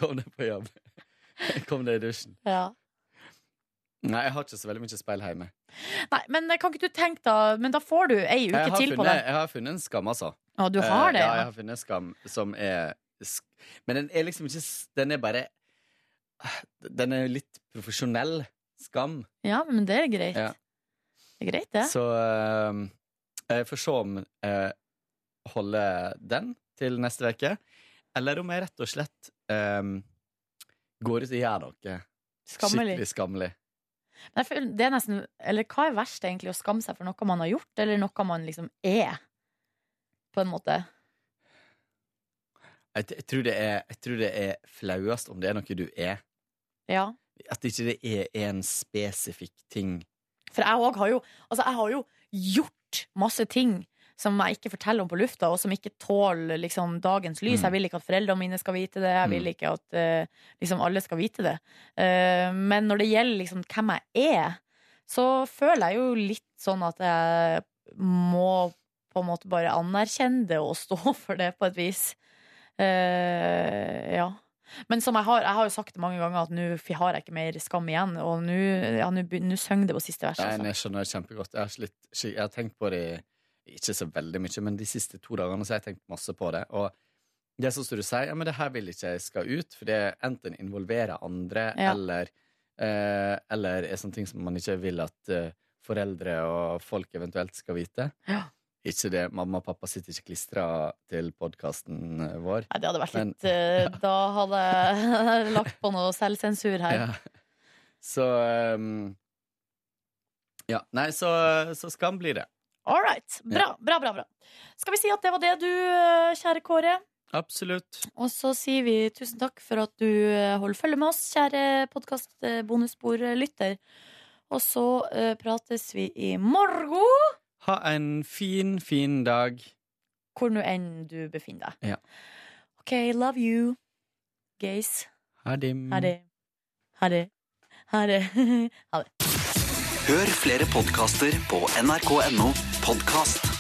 Speaker 3: Kom deg på jobb. Kom deg i dusjen.
Speaker 2: Ja.
Speaker 3: Nei, jeg har ikke så veldig mye speil hjemme.
Speaker 2: Nei, men eh, kan ikke du tenke, da? Men da får du ei
Speaker 3: Jeg
Speaker 2: uke
Speaker 3: har,
Speaker 2: til på
Speaker 3: funnet,
Speaker 2: deg.
Speaker 3: jeg har funnet en skam, altså.
Speaker 2: Å, du
Speaker 3: Eh,
Speaker 2: har det?
Speaker 3: Ja, jeg
Speaker 2: Ja,
Speaker 3: har funnet en skam som er sk Men den er liksom ikke s- Den er bare Den er litt profesjonell skam.
Speaker 2: ja men det er greit.
Speaker 3: Ja.
Speaker 2: Det er greit, det.
Speaker 3: Så eh, jeg får se om jeg holder den til neste uke, eller om jeg rett og slett eh, går ut og gjør noe
Speaker 2: Skammelig.
Speaker 3: skikkelig skammelig.
Speaker 2: Men jeg føler- Det er nesten, eller hva er verst, egentlig? Å skamme seg for noe man har gjort, eller noe man liksom er? På en måte.
Speaker 3: Jeg, t- jeg, tror det er, jeg tror det er flauest om det er noe du er.
Speaker 2: Ja.
Speaker 3: At ikke det er en spesifikk ting.
Speaker 2: For jeg òg har jo Altså, jeg har jo gjort masse ting som jeg ikke forteller om på lufta, og som ikke tåler liksom, dagens lys.
Speaker 3: Mm.
Speaker 2: Jeg vil ikke at foreldrene mine skal vite det. Jeg vil
Speaker 3: Mm.
Speaker 2: ikke at eh, liksom, alle skal vite det. Eh, men når det gjelder liksom, hvem jeg er, så føler jeg jo litt sånn at jeg må på en måte bare anerkjenne det og stå for det på et vis. Eh, ja. Men som jeg har, jeg har jo sagt det mange ganger at nå f- har jeg ikke mer skam igjen, og nå ja, nå begyn- nå sang det på siste vers.
Speaker 3: Nei, men
Speaker 2: Altså.
Speaker 3: jeg skjønner det kjempegodt. Jeg har, slitt, skik- jeg har tenkt på det i- ikke så veldig mye, men de siste to dagene så har jeg tenkt masse på det. Og det er sånn som du sier, ja, men det her vil ikke jeg skal ut, for det enten involverer andre,
Speaker 2: Ja.
Speaker 3: eller, eh, eller er sånne ting som man ikke vil at eh, foreldre og folk eventuelt skal vite.
Speaker 2: Ja.
Speaker 3: Ikke det, Mamma og pappa sitter ikke klistra til podkasten vår.
Speaker 2: Nei, det hadde vært
Speaker 3: Men-
Speaker 2: litt eh, Da hadde jeg lagt på noe selvsensur her.
Speaker 3: Ja. Så um, Ja. Nei, så, så skam blir det.
Speaker 2: All right. Bra, bra, bra. bra. Skal vi si at det var det, du, eh, kjære Kåre?
Speaker 3: Absolutt.
Speaker 2: Og så sier vi tusen takk for at du eh, holder følge med oss, kjære podkast-bonusbordlytter. Og så eh, prates vi i morgen,
Speaker 3: Ha en fin, fin dag.
Speaker 2: hvor nå enn du befinner deg.
Speaker 3: Ja.
Speaker 2: OK, love you, gays.
Speaker 3: Ha dim.
Speaker 2: Ha det. Ha det. Ha det. Ha det.
Speaker 1: Hør flere podkaster på nrk.no podkast.